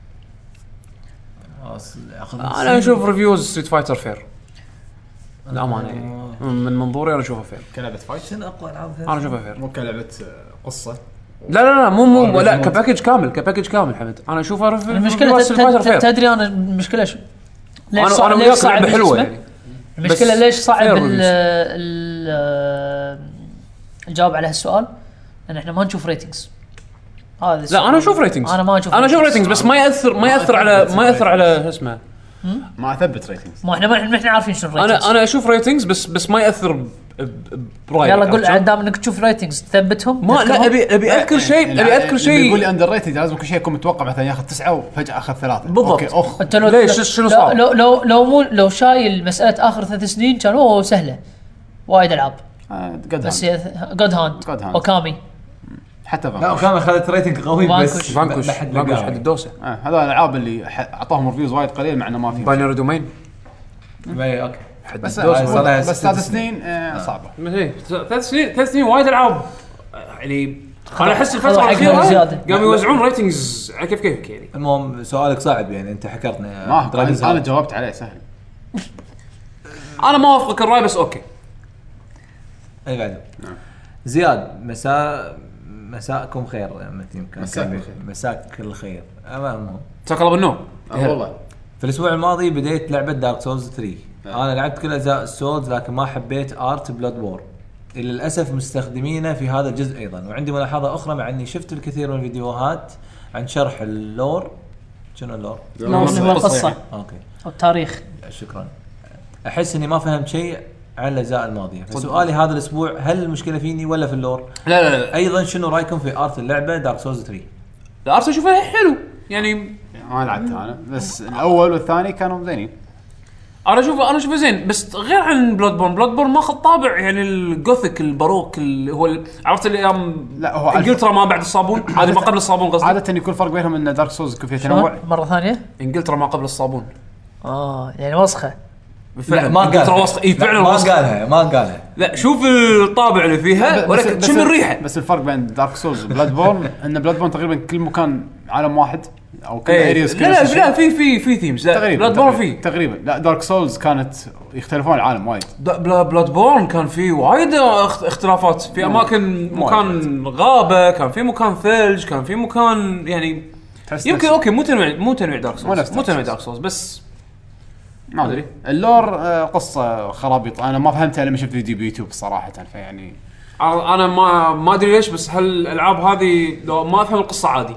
خلاص، أخذ انا اشوف ريفيوز ستريت فايتر فير للامانه يعني من منظوري انا اشوفها فير كلعبه فايت شنو اقوى العاب انا اشوفها فير مو كلعبه آه، قصه لا لا لا مو مو أنا لا بشوف- كباكج كامل كباكج كامل حمد انا اشوفها ريف- المشكله ريفيوز ستريت تد- فايتر تد- فير تدري انا المشكله شو ليش انا صعب- انا ليش وياك صعب لعبه حلوه بالنسبة؟ يعني المشكله بس ليش صعب fair ال- reviews. ال- الجواب على هالسؤال؟ لان احنا ما نشوف ريتنجز هذا لا السؤال. انا اشوف ريتنجز انا ما اشوف انا اشوف ratings. ريتنجز بس ما ياثر ما ياثر على ما ياثر على شو اسمه ما اثبت ريتنجز ما احنا ما ما احنا عارفين شنو الريتنجز انا انا اشوف ريتنجز بس بس ما ياثر ب- ب- برايي يلا قول عرفت شلون؟ دام انك تشوف ريتنجز تثبتهم ما تذكرهم. لا ابي ابي اذكر شيء ابي اذكر يعني يقول لي شيء اندر ريتد لازم كل شيء يكون متوقع مثلا ياخذ تسعه وفجاه اخذ ثلاثه بالضبط. اوكي اخ انت لو ليش؟ لو- شنو لو- صعب؟ لو لو لو مو لو شايل مساله اخر ثلاث سنين كان اوه سهله وايد العاب نعم. آه، قد بس هان. جود هاند God Hand. اوكامي حتى فان لا وكان اخذت ريتنج قوي بس فانكوش. فانكوش ما حد فانكوش لقاه. حد الدوسه آه، هذول الالعاب اللي ح- اعطاهم ريفيوز وايد قليل مع انه ما في باينري دومين إيه، اوكي حد بس آه، دوس بس- والله بس ست ثلاث سنين. سنين آه، صعبه بس إيه، ثلاث سنين ثلاث سنين وايد العاب آه، يعني انا احس خذوا الفتره حقهم الاخيره زيادة. قاموا يوزعون ريتنجز على كيف كيفك يعني المهم سؤالك صعب يعني انت حكرتنا ما أنا- انا هارد. جاوبت عليه سهل انا ما اوافقك الراي بس اوكي اللي إيه، بعده نعم. زياد مساء مساءكم خير متى يمكن مساك كان- الخير. مساك الخير اما المهم تاكل ابو النوم آه، والله في الاسبوع الماضي بديت لعبه دارك سولز 3 نعم. انا لعبت كل اجزاء السولز لكن ما حبيت ارت بلاد وور للاسف مستخدمينه في هذا الجزء ايضا وعندي ملاحظه اخرى مع اني شفت الكثير من الفيديوهات عن شرح اللور شنو اللور؟ اللور اللي هو القصه اوكي والتاريخ شكرا احس اني ما فهمت شيء عن الاجزاء الماضيه فسؤالي هذا الاسبوع هل المشكله فيني ولا في اللور؟ لا لا لا ايضا شنو رايكم في ارت اللعبه دارك سولز 3 الارس اشوفها حلو يعني ما لعبتها انا بس الاول والثاني كانوا زينين انا اشوفه انا اشوفه زين بس غير عن بلاد بورن بلاد بورن ماخذ طابع يعني الجوثيك الباروك اللي هو ال- عرفت اللي ايام لا، هو عارف- انجلترا ما بعد الصابون هذه ما قبل الصابون قصدي عاده يكون الفرق بينهم ان دارك سولز يكون فيها تنوع شلون؟ مره ثانيه انجلترا ما قبل الصابون اه يعني وسخه فعلا انجلترا وسط اي فعلا ما وسط قالها ما قالها لا شوف الطابع اللي فيها بس- ولكن بس- شم الريحه بس الفرق بين دارك سولز وبلاد بورن ان بلاد بورن تقريبا كل مكان عالم واحد او كل إيه. اريز لا لا لا في في في ثيمز لا تقريبا بلاد بورن تقريبا- في تقريبا لا دارك سولز كانت يختلفون العالم وايد دا- بلا- بلاد بورن كان في وايد اخت- اختلافات في اماكن مو مكان غابه كان في مكان ثلج كان في مكان يعني تحس يمكن نفس- اوكي مو تنويع مو تنويع دارك مو نفس سولز Dark مو تنويع Souls. دارك سولز بس ما ادري نعم. اللور آه، قصه خرابيط انا ما فهمتها لما شفت فيديو بيوتيوب صراحه فيعني أنا- انا ما ما ادري ليش بس هالالعاب هذه لو ما افهم القصه عادي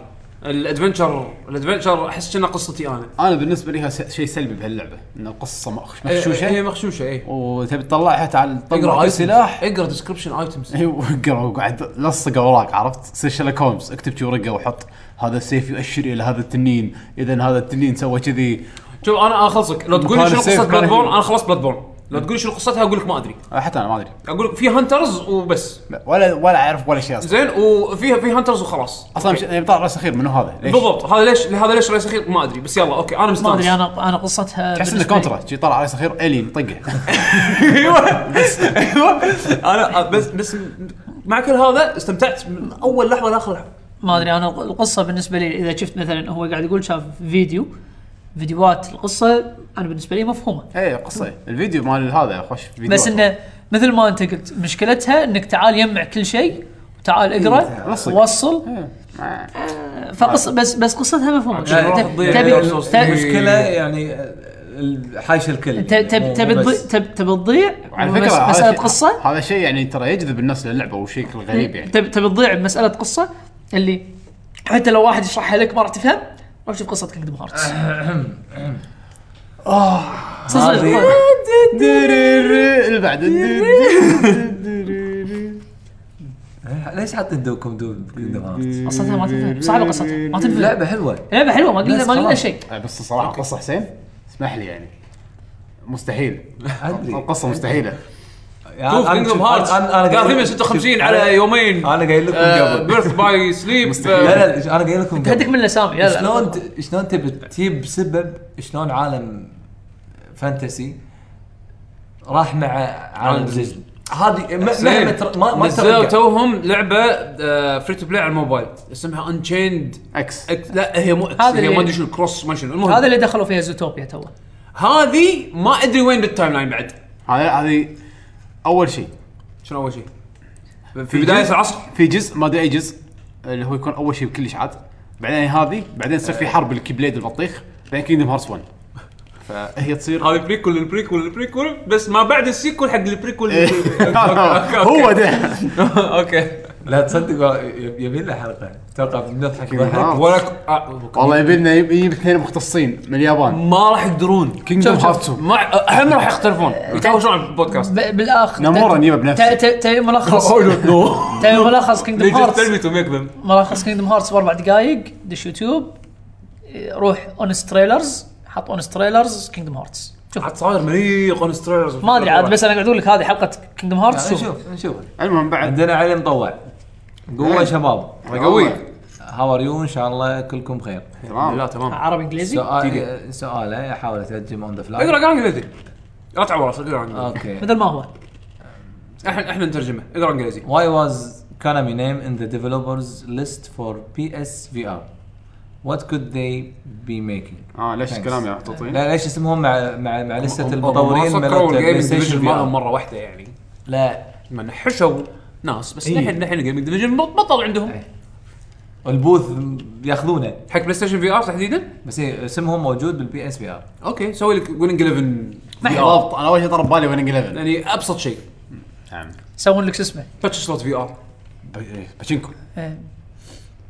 الادفنشر الادفنشر احس كأنها قصتي انا انا بالنسبه لي س- شيء سلبي بهاللعبه ان القصه مخ- إيه، هي مغشوشه مغشوشه اي وتبي تطلعها تعال اقرا طلع سلاح اقرا ديسكربشن ايتمز اي وقرا وقعد لصق اوراق عرفت سير شيرلوك هولمز اكتب شي ورقه وحط هذا السيف يؤشر الى هذا التنين اذا هذا التنين سوى كذي شوف انا اخلصك لو تقول لي مكان شنو السيف قصه كان بلاد بورن هنا. انا خلصت بلاد بورن لو تقول لي شنو قصتها اقول لك ما ادري آه، حتى انا ما ادري اقول لك في هانترز وبس ولا ولا اعرف ولا شيء اصلا زين وفيها في هانترز وخلاص اصلا مش- يعني طلع راس اخير منو هذا؟ ليش؟ بالضبط هذا ليش هذا ليش رئيس اخير ما ادري بس يلا اوكي انا مستانس ما ادري انا انا قصتها تحس انه بالنسبة لي- كونترا شي طلع راس اخير الين طقه ايوه بس ايوه انا بس بس مع كل هذا استمتعت من اول لحظه لاخر لحظه ما ادري انا القصه بالنسبه لي اذا شفت مثلا هو قاعد يقول شاف فيديو فيديوهات القصه انا بالنسبه لي مفهومه اي قصه إيه، الفيديو مال هذا خوش فيديو بس انه مثل ما انت قلت مشكلتها انك تعال يجمع كل شيء وتعال اقرا لصق. وصل إيه، ما- فقص بس بس قصتها مفهومه عشان آه، تب- راح تضيع تبي القصص. تبي- المشكله يعني ال- حايش الكل تب- تب- تبي تضيع- تب- تبي تضيع وعلى بمس- فكره هذا مساله شيء- قصه هذا شيء يعني ترى يجذب الناس للعبه وشيء غريب يعني تبي تبي تضيع بمساله قصه اللي حتى لو واحد يشرحها لك ما راح تفهم روح شوف قصه كينجدم هارتس آه، هذه- اللي بعد إيه، ليش حاطين دوكم دوب كينجدم هارتس؟ قصتها ما تنفهم صعبه قصتها ما تنفهم لعبه حلوه لعبه حلوه ما قلنا بس ما قلنا خلاص. شيء آه، بس الصراحه قصه حسين اسمح لي يعني مستحيل ادري القصه مستحيله يعني شوف كينجدم هارتس كان في من 56 على يومين آه، انا قايل لكم آه، قبل بيرث باي سليب لا لا انا قايل لكم تهدك من قبل الاسامي لا لا شلون ت- شلون تبي تجيب سبب شلون عالم فانتسي راح مع عالم ديزني هذه م- مهما تر- ما ما نزلوا ترجع. توهم آه، لعبه فري تو بلاي على الموبايل اسمها انشيند اكس لا هي مو هذا هذا هي اللي- ما ادري شو الكروس ما شنو المهم هذا اللي دخلوا فيها زوتوبيا تو هذه ما ادري وين بالتايم لاين بعد هذا هذه اول شيء شنو اول شيء في بدايه جزء- العصر في جزء ما ادري اي جزء اللي هو يكون اول شيء بكل اشاعات بعدين هذه بعدين تصير في حرب الكيبليد البطيخ بعدين كينجدم هارتس 1 ف هي تصير هذه بريكول البريكول البريكول بس ما بعد السيكول حق البريكول هو ده اوكي لا تصدق والله يب- يبي لنا حلقه اتوقع بنضحك ضحك آه. ولا آه، والله يبي لنا يب- يجيب اثنين مختصين من اليابان ما راح يقدرون Kingdom شوف- Hearts 2. شوف، ما هم راح يختلفون يتهاوشون على البودكاست ب- بالاخر نمورا نجيبه بنفسه. ت- ت- تبي ملخص نو تبي ملخص كينجدم هارتس تلميته ميك ذم ملخص كينجدم هارتس باربع دقائق دش يوتيوب إيه، روح اونست تريلرز حط اونست تريلرز كينجدم هارتس شوف عاد صاير مليق اون ستريلرز ما ادري عاد بس انا قاعد اقول لك هذه حلقه كينجدم هارتس شوف نشوف نشوف المهم بعد عندنا علي مطوع قوه شباب قوي هاو ار يو ان شاء الله كلكم بخير لا تمام تمام عربي انجليزي سؤال سؤاله احاول اترجم اون ذا اقرا فلاي اقرا انجليزي لا تعور اقرا انجليزي اوكي مثل ما هو احنا احنا نترجمه اقرا انجليزي Why was Konami name in the developers list for PSVR? What could they be making? اه ليش Thanks. الكلام يا تعطيني لا ليش اسمهم مع مع مع لسته ما المطورين سكروا بلاي الجيمنج ستيشن ديفيجن VR. مالهم مره واحده يعني لا ما نحشوا ناس بس إيه. الحين الحين الجيمنج ديفيجن بطل عندهم إيه. البوث ياخذونه حق بلاي ستيشن في ار تحديدا بس إيه، اسمهم موجود بالبي اس في ار اوكي سوي لك ويننج 11 في آر. بالضبط انا اول شيء طرب بالي وين 11 يعني ابسط شيء نعم يسوون لك شو اسمه آه، تاتش سلوت في ار ب- e, إيه، باتشينكو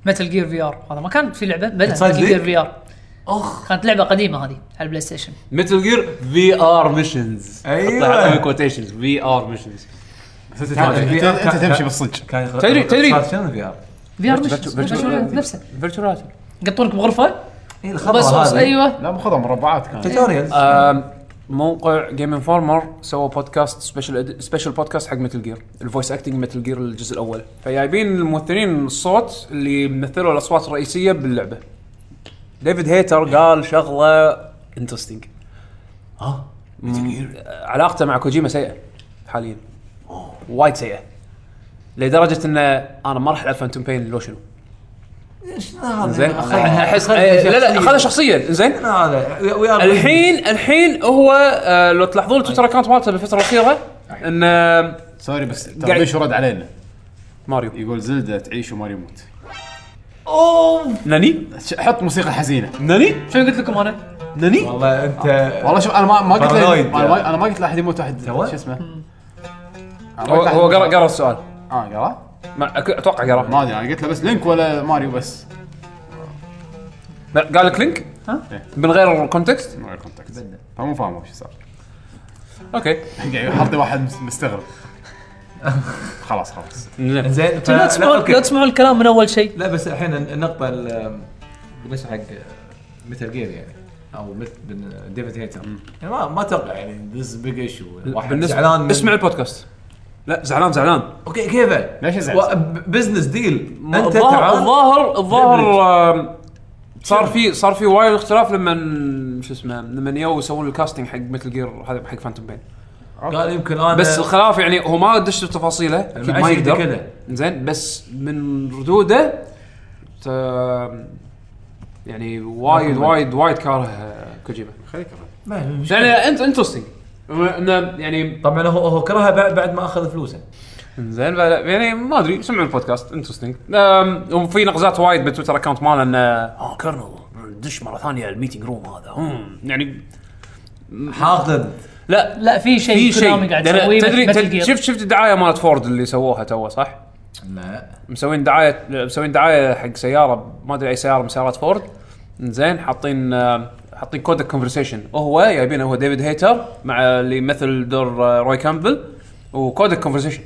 متل جير في ار هذا ما كان في لعبه بلا تصدق؟ متل جير في ار اخ كانت لعبه قديمه هذه على البلاي ستيشن متل جير في ار ميشنز أيوة. كوتيشنز في ار ميشنز بس انت تمشي- انت- VR انت كان- تمشي بالصدق كان يخ- تدري- تدري. صار شنو الفي ار؟ في ار Virtual- مش Virtual- مش- نفسه فيرتشوال يقطونك بغرفه اي بس إيه، الخبر بس هذا ايوه لا باخذها مربعات كانت توتوريالز آه. طيب، موقع جيم انفورمر سوى بودكاست سبيشل سبيشل بودكاست حق متل جير الفويس اكتنج متل جير الجزء الاول فجايبين الممثلين الصوت اللي مثلوا الاصوات الرئيسيه باللعبه ديفيد هيتر قال شغله انترستنج ها؟ علاقته مع كوجيما سيئه حاليا وايد سيئه لدرجه انه انا ما راح العب فانتوم بين لو شنو زين احس خلها إيه، لا لا شخصية. خذها شخصيا زين شنو هذا We- we are- الحين الحين هو آه، لو تلاحظون التويتر اكونت مالته بالفتره الاخيره ان آه، سوري بس ترى قاعد- ليش رد علينا ماريو يقول زلدة تعيش وما يموت ناني ش- حط موسيقى حزينه ناني شنو قلت لكم انا؟ ناني والله انت آه. والله شوف انا ما ما قلت له بارانويد. انا يعني. ما- أنا ما قلت لاحد يموت واحد تو؟ شو اسمه أنا ما هو قلت لأحد هو يموت. قرا قرا السؤال اه قرا ما أك- اتوقع قرا ما ادري انا قلت له بس لينك ولا ماريو بس ما- قال لك لينك إيه. من غير الكونتكست من غير كونتاكت فمو فاهم وش صار اوكي قاعد حطي واحد مس- مستغرب خلاص خلاص زين زين ف- لا تسمعون أوكي. لا تسمعون الكلام من اول شيء لا بس الحين النقطة ال- بالنسبة حق مثل جير يعني او مثل بن- ديفيد هيتر يعني ما ما اتوقع يعني ذس بيج ايشو واحد بالنسبة- زعلان من- اسمع البودكاست لا زعلان زعلان اوكي كيفه ليش يزعل؟ بزنس ديل انت الظاهر تعال الظاهر الظاهر آم، صار في صار في وايد اختلاف لما شو اسمه لما يو يسوون الكاستنج حق مثل جير هذا حق فانتوم بين قال يمكن انا بس الخلاف يعني هو ما دش في تفاصيله أكيد ما المعيش يقدر يتكلم. زين بس من ردوده ت- يعني وايد وايد وايد كاره آه، كوجيما خليك أبعد. ما- مش- يعني انت انترستنج يعني طبعا هو هو كرهها بعد بعد ما اخذ فلوسه زين يعني ما ادري سمعوا البودكاست انترستنج وفي نقزات وايد بالتويتر اكونت ماله انه اه كرنل دش مره ثانيه الميتنج روم هذا هم. يعني حاقد لا لا في في شيء شيء كونامي قاعد يسويه تدري مثل تد- Gear. شفت شفت الدعايه مالت فورد اللي سووها توه صح؟ لا مسوين دعايه مسوين دعايه حق سياره ما ادري اي سياره من سيارات فورد زين حاطين آه، حاطين كود الكونفرسيشن هو جايبينه هو ديفيد هيتر مع اللي يمثل دور آه، روي كامبل وكود الكونفرسيشن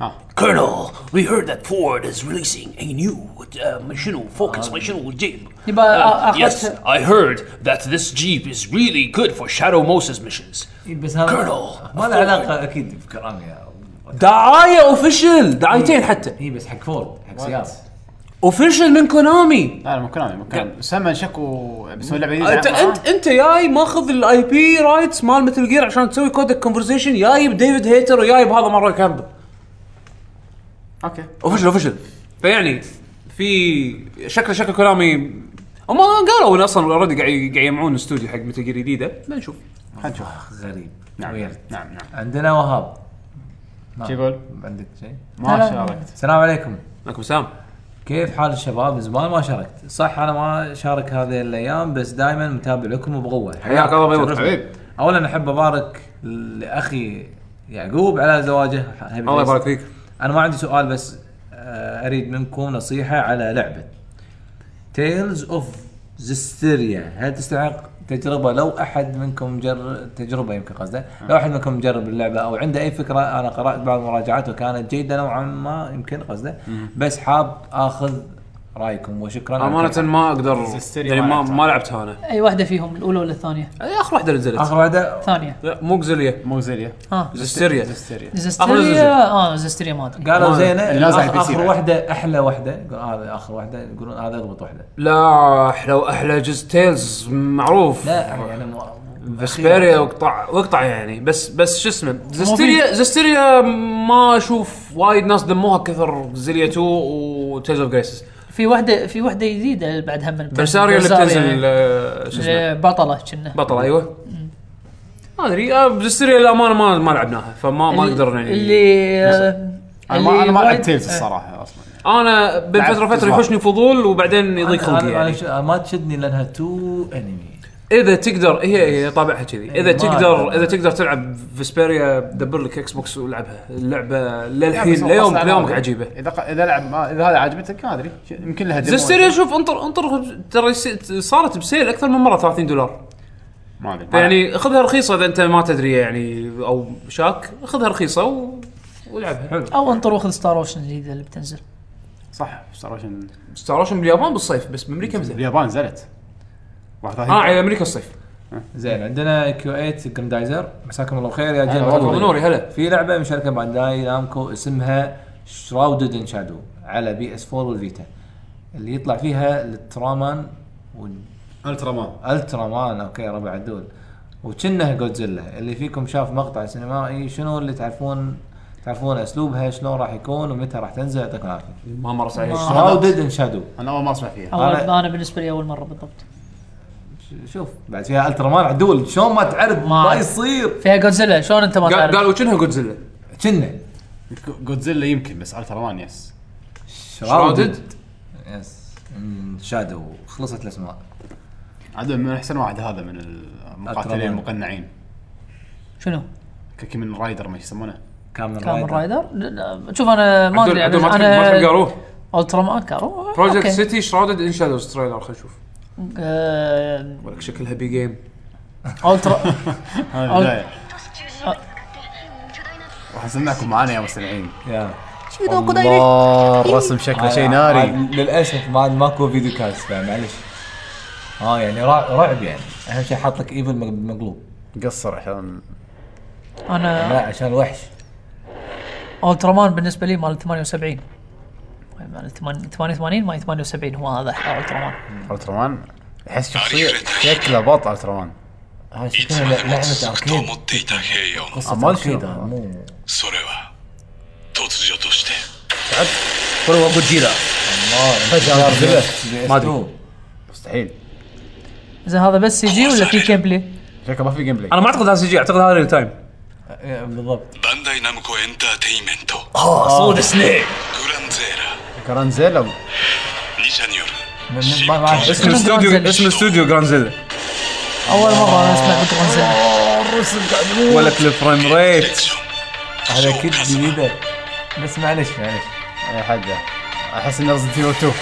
ها Colonel, we heard that Ford is releasing a new uh, Michino Focus Michino Jeep. يبا Uh, آ- آه، آخر yes, I heard that this Jeep is really good for Shadow Moses missions. إيه، بس هذا Colonel. ما له علاقة اكيد بكرامي دعايه اوفيشل دعايتين حتى هي إيه، بس حق فورد حق سيارة اوفيشل من كونامي لا لا مو كلامي مو كلامي سما شكو بيسوي لعبه انت جديده انت انت جاي ماخذ الاي بي رايتس مال مثل جير عشان تسوي كود الكونفرسيشن جايب ديفيد هيتر وجايب هذا مال روي كامبل اوكي اوفشل اوفشل فيعني في شكل شكل كلامي هم قالوا انه اصلا اوريدي قاعد قاعد يجمعون استوديو حق متل جير جديده بنشوف خلينا نشوف آه، غريب نعم Weird. نعم نعم عندنا وهاب شو يقول؟ عندك شيء ما شاركت السلام عليكم معكم سام كيف حال الشباب زمان ما شاركت صح انا ما شارك هذه الايام بس دائما متابع لكم وبقوه حياك الله بيضك. حبيب اولا احب ابارك لاخي يعقوب على زواجه الله يبارك فيك انا ما عندي سؤال بس آه، اريد منكم نصيحه على لعبه تيلز اوف زستيريا هل تستحق تجربه لو احد منكم مجرب تجربه يمكن قصده لو احد منكم مجرب اللعبه او عنده اي فكره انا قرات بعض المراجعات وكانت جيده نوعا ما يمكن قصده بس حاب اخذ رايكم وشكرا على امانه الفرصة. ما اقدر السيريا يعني ما ما ما لعبتها انا اي واحده فيهم الاولى ولا الثانيه؟ أي اخر واحده نزلت اخر واحده الثانيه لا مو قزليه مو زيليا ها زستيريا زستيريا آخر زلزال. زستيريا اه زستيريا ما ادري قالوا ما- زينه اللي نازل على آخر- البي سي اخر بعد. واحده احلى واحده يقول هذا اخر واحده يقولون هذا اضبط واحده لا احلى واحلى جزء تيلز معروف لا يعني انا مو- فسبيريا واقطع واقطع يعني بس بس شو اسمه زستيريا زستيريا ما اشوف وايد ناس دموها كثر زيليا 2 وتيلز اوف جريسز في واحده في واحده جديده بعد هم برساريا اللي برساريا. بتنزل آه، شو اسمه بطله كنا بطل ايوه ما ادري آه، زستيريا للامانه ما ما لعبناها فما ما نقدر يعني اللي آه، انا ما انا ما اللي لعبت وايد- إيه. تيلز الصراحه اصلا انا بين لعبت فتره فتره جزء واحد. يحوشني فضول وبعدين يضيق أنا- خلقي أنا- أنا يعني ش- ما تشدني لانها تو انمي اذا تقدر هي هي طابعها كذي إيه، اذا ما تقدر أدري. اذا تقدر تلعب فيسبيريا دبر لك اكس بوكس والعبها اللعبه بس للحين هو ليوم قصة ليومك ألعاب. عجيبه اذا ق- اذا لعب ما اذا هذا عجبتك ما ادري ش- يمكن لها ديمو زستيريا شوف انطر انطر ترى يس- صارت بسيل اكثر من مره 30 دولار ما ادري ما- يعني خذها رخيصه اذا انت ما تدري يعني او شاك خذها رخيصه و... ولعبها حلو او انطر واخذ ستار اوشن الجديده اللي بتنزل صح ستار اوشن ستار اوشن باليابان بالصيف بس بامريكا متى؟ اليابان نزلت اه 31 على امريكا الصيف زين عندنا كيو 8 جراندايزر مساكم الله خير يا جيل والله نوري، هلا. في لعبه مشاركه بانداي نامكو اسمها شراودد ان شادو على بي اس 4 والفيتا اللي يطلع فيها الترامان الترا مان والترا مان اوكي ربع عدول وكنه جودزيلا اللي فيكم شاف مقطع سينمائي شنو اللي تعرفون تعرفون اسلوبها شلون راح يكون ومتى راح تنزل يعطيكم العافيه ما مرت علي ما- شراودد ان شادو انا اول ما اسمع فيها اول أنا- انا بالنسبه لي اول مره بالضبط شوف بعد فيها الترا مان عدول شلون ما تعرف ما ما أعرف. يصير فيها جودزيلا شلون انت ما قال- تعرف؟ قالوا كأنها جودزيلا كنه جودزيلا يمكن بس الترا مان يس شراودد يس إن شادو Mm، خلصت الاسماء عاد من احسن واحد هذا من ألترا المقاتلين مان. المقنعين شنو؟ كيكي من رايدر ما يسمونه كامل كامل رايدر رايدر؟ لا، لا، شوف انا ما عدول- ادري عدول يعني ما تحب- ما تحب انا قالوه الترا مان كارو بروجكت أوكي. سيتي شراودد ان شادوز تريلر خلينا نشوف آه، ولك شكلها بي جيم الترا هذا البدايه آه، راح اسمعكم معانا يا مستمعين يا الله الرسم شكله شيء عاد ناري للاسف آه، ما ماكو فيديو كاست بعد، معلش اه يعني رع- رعب يعني اهم شيء حاط لك ايفل مق- مقلوب قصر عشان انا لا عشان وحش الترا مان بالنسبه لي مال 78 مال 88 مال 78 هو هذا حق الترا مان الترا مان احس شخصيه شكله بط الترا مان هاي いつ شكلها までも لعبه 続くと思 اركيد っていた平洋 قصه أمال اركيد شنو؟ مو それは突如として هو جودزيلا الله ما ادري مستحيل زين هذا بس سي جي ولا في جيم بلاي؟ شكله ما في جيم بلاي انا ما اعتقد هذا سي جي اعتقد هذا ريل تايم إيه، بالضبط バンダイナムコエンターテインメントそうですねグランゼー كرانزيلا ラ2社による من- من- ما ما أعرف. اسم الاستوديو اسم الاستوديو جرانزيلا اول مره انا اسمع بترانزل ولك الفريم ディ ريت レクション هذا كيد جديده بس معلش معلش يا حاجه احس ان رزنت ايفل 2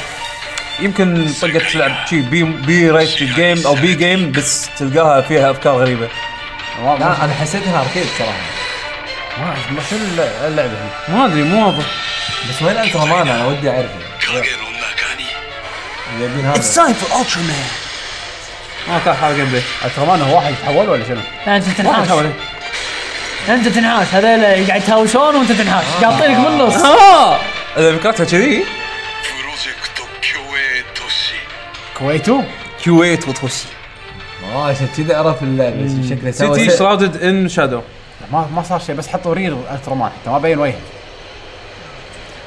يمكن طقت تلعب شي بي بي ريت جيم او بي جيم بس تلقاها فيها افكار غريبه لا انا حسيتها اركيد صراحه ما شو اللعبه هي ما ادري مو واضح بس وين الترا مان انا ودي اعرفه 影の中に جايبين هذا Time for Ultraman. ما كان حال جيم بلاي الترمان هو واحد يتحول ولا شنو؟ انت تنحاش انت تنحاش هذول قاعد يتهاوشون وانت تنحاش قاطينك بالنص اه اذا فكرتها كذي プロジェクト共栄都市 كويتو كيو 8 وتخش اه عشان كذا اعرف اللعبه شكله سوى سيتي سي- شراودد ان شادو ما ما صار شيء بس حطوا رير الترمان حتى ما بين وجهه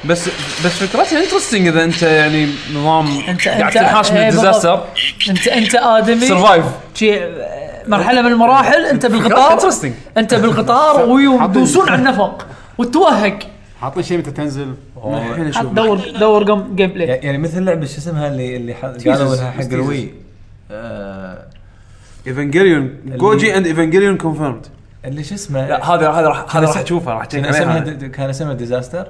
بس بس فكرتها انترستنج اذا انت يعني نظام أنت- قاعد أنت- تنحاش من إيه، الديزاستر انت انت ادمي سرفايف شي مرحله من المراحل انت بالقطار انترستنج انت بالقطار ويدوسون على النفق وتوهق حاطين شيء متى تنزل هو- الحين حط اشوف دور دور جيم جيم بلاي يعني مثل لعبه شو اسمها اللي اللي ح- قالوا انها حق Teasers. الوي آه، ايفانجيليون جوجي اند ايفانجيليون كونفيرمد اللي شو اسمه لا هذا هذا راح هذا كان راح اسم- تشوفه راح يعني تشيك كان اسمها عليها د- كان اسمها ديزاستر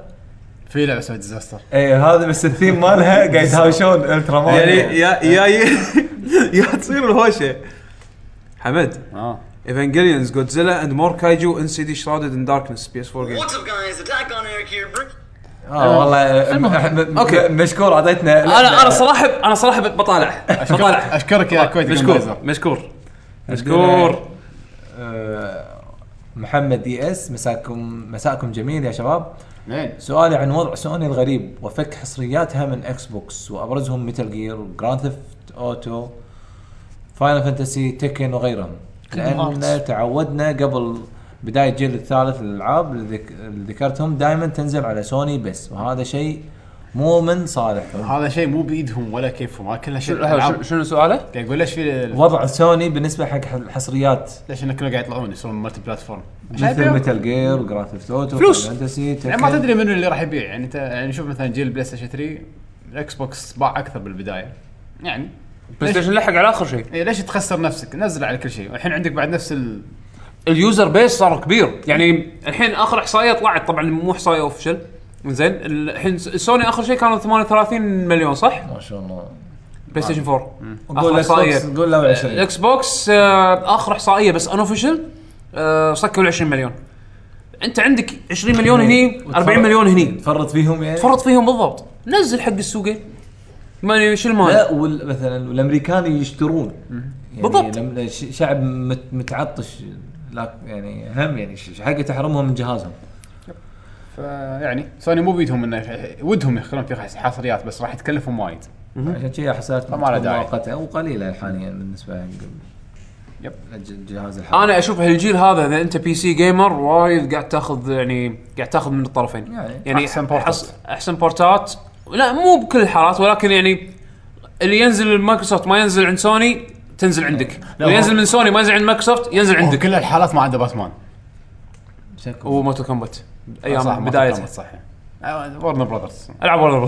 في لعبه اسمها ديزاستر اي هذا بس الثيم مالها قاعد يتهاوشون الترا مان يعني يا يا يا تصير الهوشه حمد اه ايفانجيليونز جودزيلا اند مور كايجو ان سي دي شراودد ان داركنس بي اس 4 جيم What's up, guys? Attack on Eric here. Bring- اه والله م- م- أوكي. مشكور اعطيتنا انا انا صراحه انا صراحه بطالع بطالع اشكرك يا كويت مشكور Gamer. مشكور مشكور آه، محمد دي اس مساكم مساكم جميل يا شباب زين سؤالي عن وضع سوني الغريب وفك حصرياتها من اكس بوكس وابرزهم ميتال جير جراند ثيفت اوتو فاينل فانتسي تكن وغيرهم Kingdom لان Hearts. تعودنا قبل بدايه الجيل الثالث للالعاب اللي ذك- اللي ذكرتهم دائما تنزل على سوني بس وهذا شيء مو من صالحهم هذا شيء مو بايدهم ولا كيفهم هذا كله شيء شنو- ألعاب. شنو سؤاله؟ قاعد يقول ليش في ال- وضع سوني بالنسبه حق ح- الحصريات ليش انه كانوا قاعد يطلعون يسوون مالتي بلاتفورم عشان مثل يبيعون. ميتال جير جراند ثيفت اوتو فلوس. فانتسي يعني ما تدري منو اللي راح يبيع يعني انت يعني شوف مثلا جيل بلاي ستيشن 3 الاكس بوكس باع اكثر بالبدايه يعني بلاي ستيشن لحق على اخر شيء إيه ليش تخسر نفسك؟ نزل على كل شيء، الحين عندك بعد نفس ال اليوزر بيس صار كبير يعني الحين اخر احصائيه طلعت طبعا مو احصائيه اوفشل زين الحين س- سوني اخر شيء كانوا 38 مليون صح؟ آه. ما شاء الله بلاي ستيشن 4 قول اخر اكس بوكس احصائيه قول له 20 الاكس بوكس آه، اخر احصائيه بس آه، ان اوفشل سكروا ال 20 مليون انت عندك 20 مليون هني 40 مليون هني تفرط فيهم يعني تفرط فيهم بالضبط نزل حق السوقين ما شو المانع لا وال- مثلا والامريكان يشترون يعني بالضبط. لم- ش- شعب مت- متعطش لا يعني هم يعني ش- ش- حقه تحرمهم من جهازهم فيعني سوني مو بيدهم انه ودهم يخلون في حس- حصريات بس راح يتكلفهم وايد. عشان كذا حساسات فما له داعي. مؤقته وقليله حاليا بالنسبه حق يب. الجهاز الحالي انا اشوف هالجيل هذا اذا انت بي سي جيمر وايد قاعد تاخذ يعني قاعد تاخذ من الطرفين يعني أحسن بورتات. احسن بورتات لا مو بكل الحالات ولكن يعني اللي ينزل من مايكروسوفت ما ينزل عند سوني تنزل عندك اللي هو- ينزل من سوني ما ينزل عند مايكروسوفت ينزل عندك عندك كل الحالات ما عدا باتمان. شكو وموتو كومبات آه، صح، ايام ما بدايته تكلمت صح. آه، ورنر براذرز. العب ولا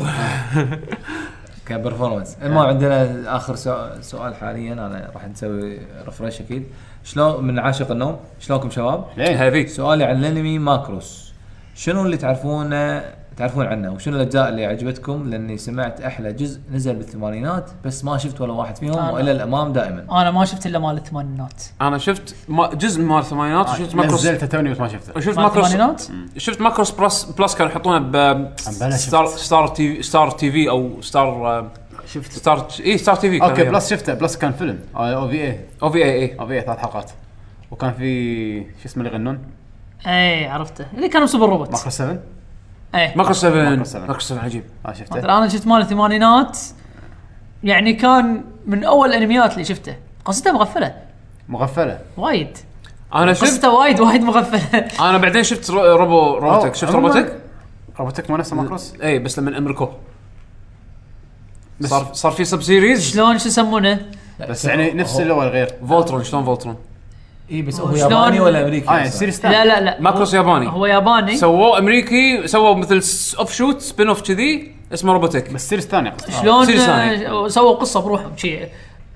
كبرفورمانس المهم عندنا اخر سؤ- سؤال حاليا انا راح نسوي ريفرش اكيد شلون من عاشق النوم شلونكم شباب؟ ليه؟ هذي سؤالي عن الانمي ماكروس شنو اللي تعرفونه تعرفون عنه وشنو الاجزاء اللي عجبتكم لاني سمعت احلى جزء نزل بالثمانينات بس ما شفت ولا واحد فيهم أنا. والى الامام دائما انا ما شفت الا مال الثمانينات انا شفت ما جزء من الثمانينات آه، وشفت ماكروس نزلته توني بس ما شفته. شفت مال ماكروس الثمانينات شفت ماكروس بلس بلس كانوا يحطونه ب بلا ستار ستار تي في ستار تي في او ستار شفت ستار اي ستار تي في كان اوكي أيام. بلس شفته بلس كان فيلم آه، او في اي او في اي اي او في اي ثلاث حلقات. وكان في شو اسمه اللي يغنون؟ اي إيه، عرفته اللي كانوا سوبر روبوت إيه. ماكرو 7 اي ماكرو 7 ماكرو 7. ماكرو 7 عجيب ما مثلا آه، شفته. انا طيب. شفت مال الثمانينات يعني كان من اول الانميات اللي شفته قصته مغفله مغفله. وايد انا شفت قصته وايد وايد مغفله انا بعدين شفت رو- روبو روبوتك أو، شفت عموماً، روبوتك؟ روبوتك مو نفسه ماكروس؟ اي بس لما امركو صار صار في سب سيريز شلون شو يسمونه؟ بس يعني نفس الاول غير. فولترون شلون فولترون اي بس هو وشلون- ياباني ولا امريكي اه يعني أصلاً؟ سيريس لا لا لا ماكروس هو- ياباني. هو إيه. ياباني سووه امريكي سووا مثل اوف شوت سبين اوف كذي اسمه روبوتك بس سيريس ثانيه قصدي. شلون سيريس ثاني. آه، سووا قصه بروحهم شي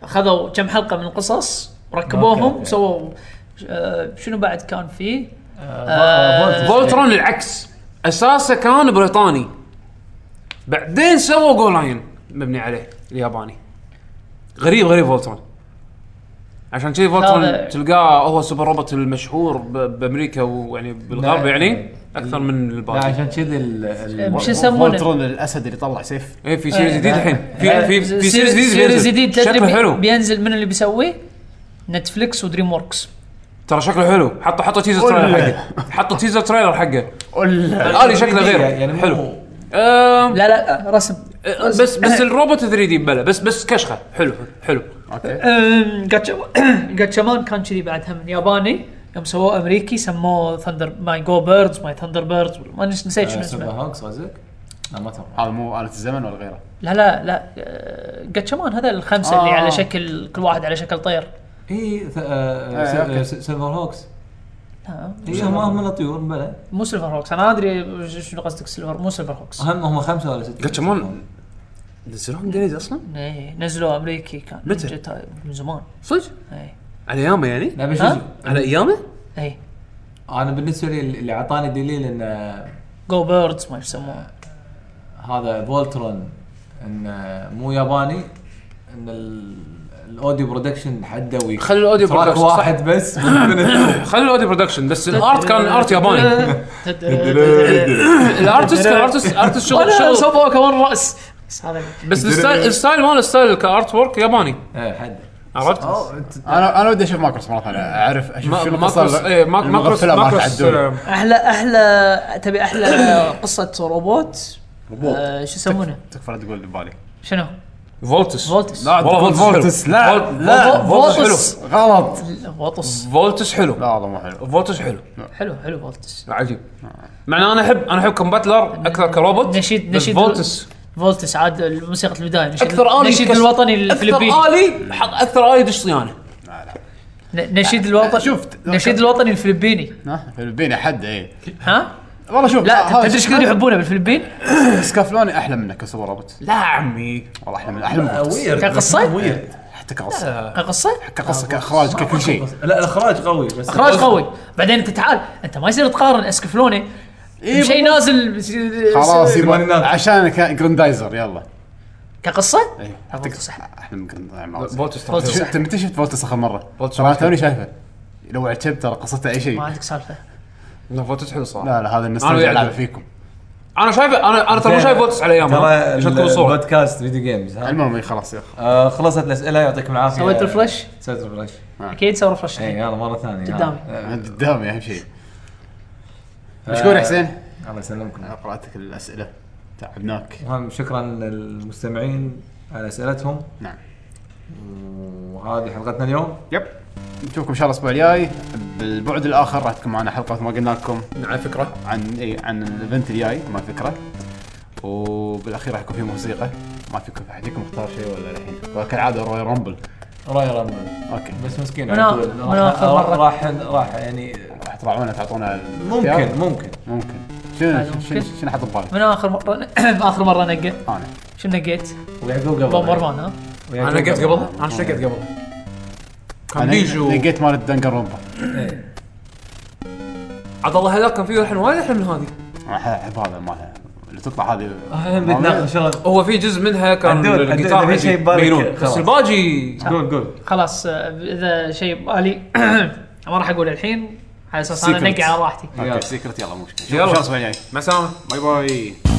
خذوا كم حلقه من القصص أوكي، وركبوهم أوكي. سووا آه، شنو بعد كان فيه؟ آه، فولترون فولترون العكس اساسه كان بريطاني بعدين سووا جو لاين مبني عليه الياباني غريب غريب فولترون عشان كذي فولترون هذا- تلقاه هو سوبر روبوت المشهور ب- بامريكا ويعني بالغرب لا، يعني اكثر من لا الباقي عشان كذي ال- ال- مش آه، يسمونه؟ فولترون الاسد اللي طلع سيف اي إيه، في سيريز آه، جديد لا. الحين في في في سيريز جديد سيريز بينزل. جديد تدري شكله بي- حلو بينزل من اللي بيسويه؟ نتفليكس ودريم وركس ترى شكله حلو حطوا حطوا تيزر تريلر ولا. حقه حطوا تيزر تريلر حقه الالي شكله غير يعني مو- حلو آم، لا لا آه، رسم آه، بس أه. بس الروبوت 3 دي بلا بس بس كشخه حلو حلو اوكي أم، جاتشا- جاتشامان كان كذي بعد هم ياباني يوم سووه امريكي سموه ثندر ماي جو بيردز ماي ثندر بيردز ما نس- نسيت شنو آه، سوبر اسمه هوكس قصدك؟ لا ما اتوقع هذا مو آلة الزمن ولا غيره لا لا لا آه، جاتشامان هذا الخمسه اللي آه. على شكل كل واحد على شكل طير اي eh, آه، أوكي. سيلفر هوكس لا إيه، هم هم من الطيور بلا مو سيلفر هوكس انا ادري ش- شنو قصدك سيلفر مو سيلفر هوكس آه. هم هم خمسه ولا سته جاتشامون نزلوهم جديد اصلا؟ إيه، نزلوا امريكي كان متى؟ جت- من زمان صدق؟ اي على ايامه يعني؟ لا بس شو ها؟ اسمه؟ على ايامه؟ اي انا بالنسبه لي اللي اعطاني دليل ان آه، جو بيردز ما يسموه هذا فولترون ان آه، مو ياباني ان ال- الاوديو برودكشن حدوي خلي الأوديو تراك برودكشن، صح. واحد بس من- من الثوم. خلوا الاوديو برودكشن بس الارت كان ارت ياباني الارتست كان ارتست ارتست شغل انا شغل سووا كمان راس بس هذا بس الستايل الستايل مال الستايل كارت وورك ياباني إيه، حد عرفت؟ انا انا ودي اشوف ماكروس مره ثانيه اعرف اشوف شنو ماكروس القصه ايه ماك- ماكروس المغفلة مالت ماكروس عدول. آه، احلى احلى تبي احلى قصه روبوت روبوت. آه، شو يسمونه تكفى لا تقول ببالي شنو فولتس فولتس والله فولتس حلو. لا فول- لا فول- فولتس فولتس. حلو. غلط فولتس فولتس حلو لا والله مو حلو فولتس حلو حلو حلو فولتس عجيب مع إن انا احب انا احب كوم باتلر اكثر كروبوت نشيد- بس نشيد- فولتس فولتس عاد موسيقى البدايه نشيد اكثر الي نشيد كس- الوطني اكثر الفلبيني الي حط اكثر الي دش صيانه ن- نشيد الوطني شفت. نشيد الوطني الفلبيني ها فلبيني حد اي ها والله شوف لا هذا تدري ايش كثر يحبونه بالفلبين سكافلوني احلى منك كسوبر روبوت لا عمي والله احلى من احلى من فولتس. كقصه حتى كقصه كقصه كقصه كاخراج ككل شيء لا الاخراج قوي بس اخراج قوي بعدين انت تعال انت ما يصير تقارن اسكفلوني إيه شيء بالضبط. نازل إيه، خلاص يبا- الثمانينات. عشان كان جراندايزر يلا كقصه إيه. لا، تك- فولتس أحلى. احلى من جراندايزر فولتس فولتس. شفت متى شفت فولتس اخر مره؟ فولتس ترى واحد. توني شايفه لو عجبت ترى قصته اي شيء ما عندك سالفه لا فولتس حلو صراحه لا لا هذا الناس أنا وياك. تلعب فيكم انا شايفه انا انا ترى مو شايف فولتس على ايامها عشان تكون صوره بودكاست فيديو جيمز ها؟ المهم إي خلاص يا اخي آه، خلصت الاسئله يعطيكم العافيه سويت ريفرش سويت ريفرش اكيد سوي ريفرش اي إيه، يلا إيه. مره ثانيه قدامي. يلا. أنا قدامي اهم يعني شيء مشكور يا حسين الله يسلمكم قراتك الاسئله تعبناك المهم شكرا للمستمعين على اسئلتهم نعم وهذه حلقتنا اليوم يب نشوفكم ان شاء الله الاسبوع الجاي بالبعد الاخر راح تكون معنا حلقه مثل ما قلنا لكم على فكره عن اي عن الايفنت الجاي ما فكره وبالاخير راح يكون في موسيقى ما فيكم احد يكم اختار شيء ولا الحين وكالعاده روي رامبل راي رمضان اوكي بس مسكين أنا- عدول. أنا راح- آخر مرة. راح راح يعني راح تراعونا تعطونا الاختيار؟ ممكن ممكن ممكن هذا شنو ممكن. شنو شنو حاط ببالك؟ من اخر مره اخر مره نقى انا شنو نقيت؟ ويعقوب قبل بومبرمان ها؟ ويعقوب انا قلت قبل انا شنو قلت قبل كان انا بيجو لقيت مال الدنجر رومبا إيه. عبد الله هذاك كان فيه الحين وايد احلى من هذه انا احب هذا مالها اللي تطلع هذه الحين بنتناقش شغل هو في جزء منها كان عدول، عدول، الجيتار إذا في عجيب، شيء ببالك، بينون. خلاص. بس الباجي قول قول خلاص آه، اذا شيء بالي ما راح اقول الحين على اساس انا Secret. نقى على راحتي اوكي سيكرت يلا مو مشكله يلا. شوف الاسبوع الجاي مع السلامه باي باي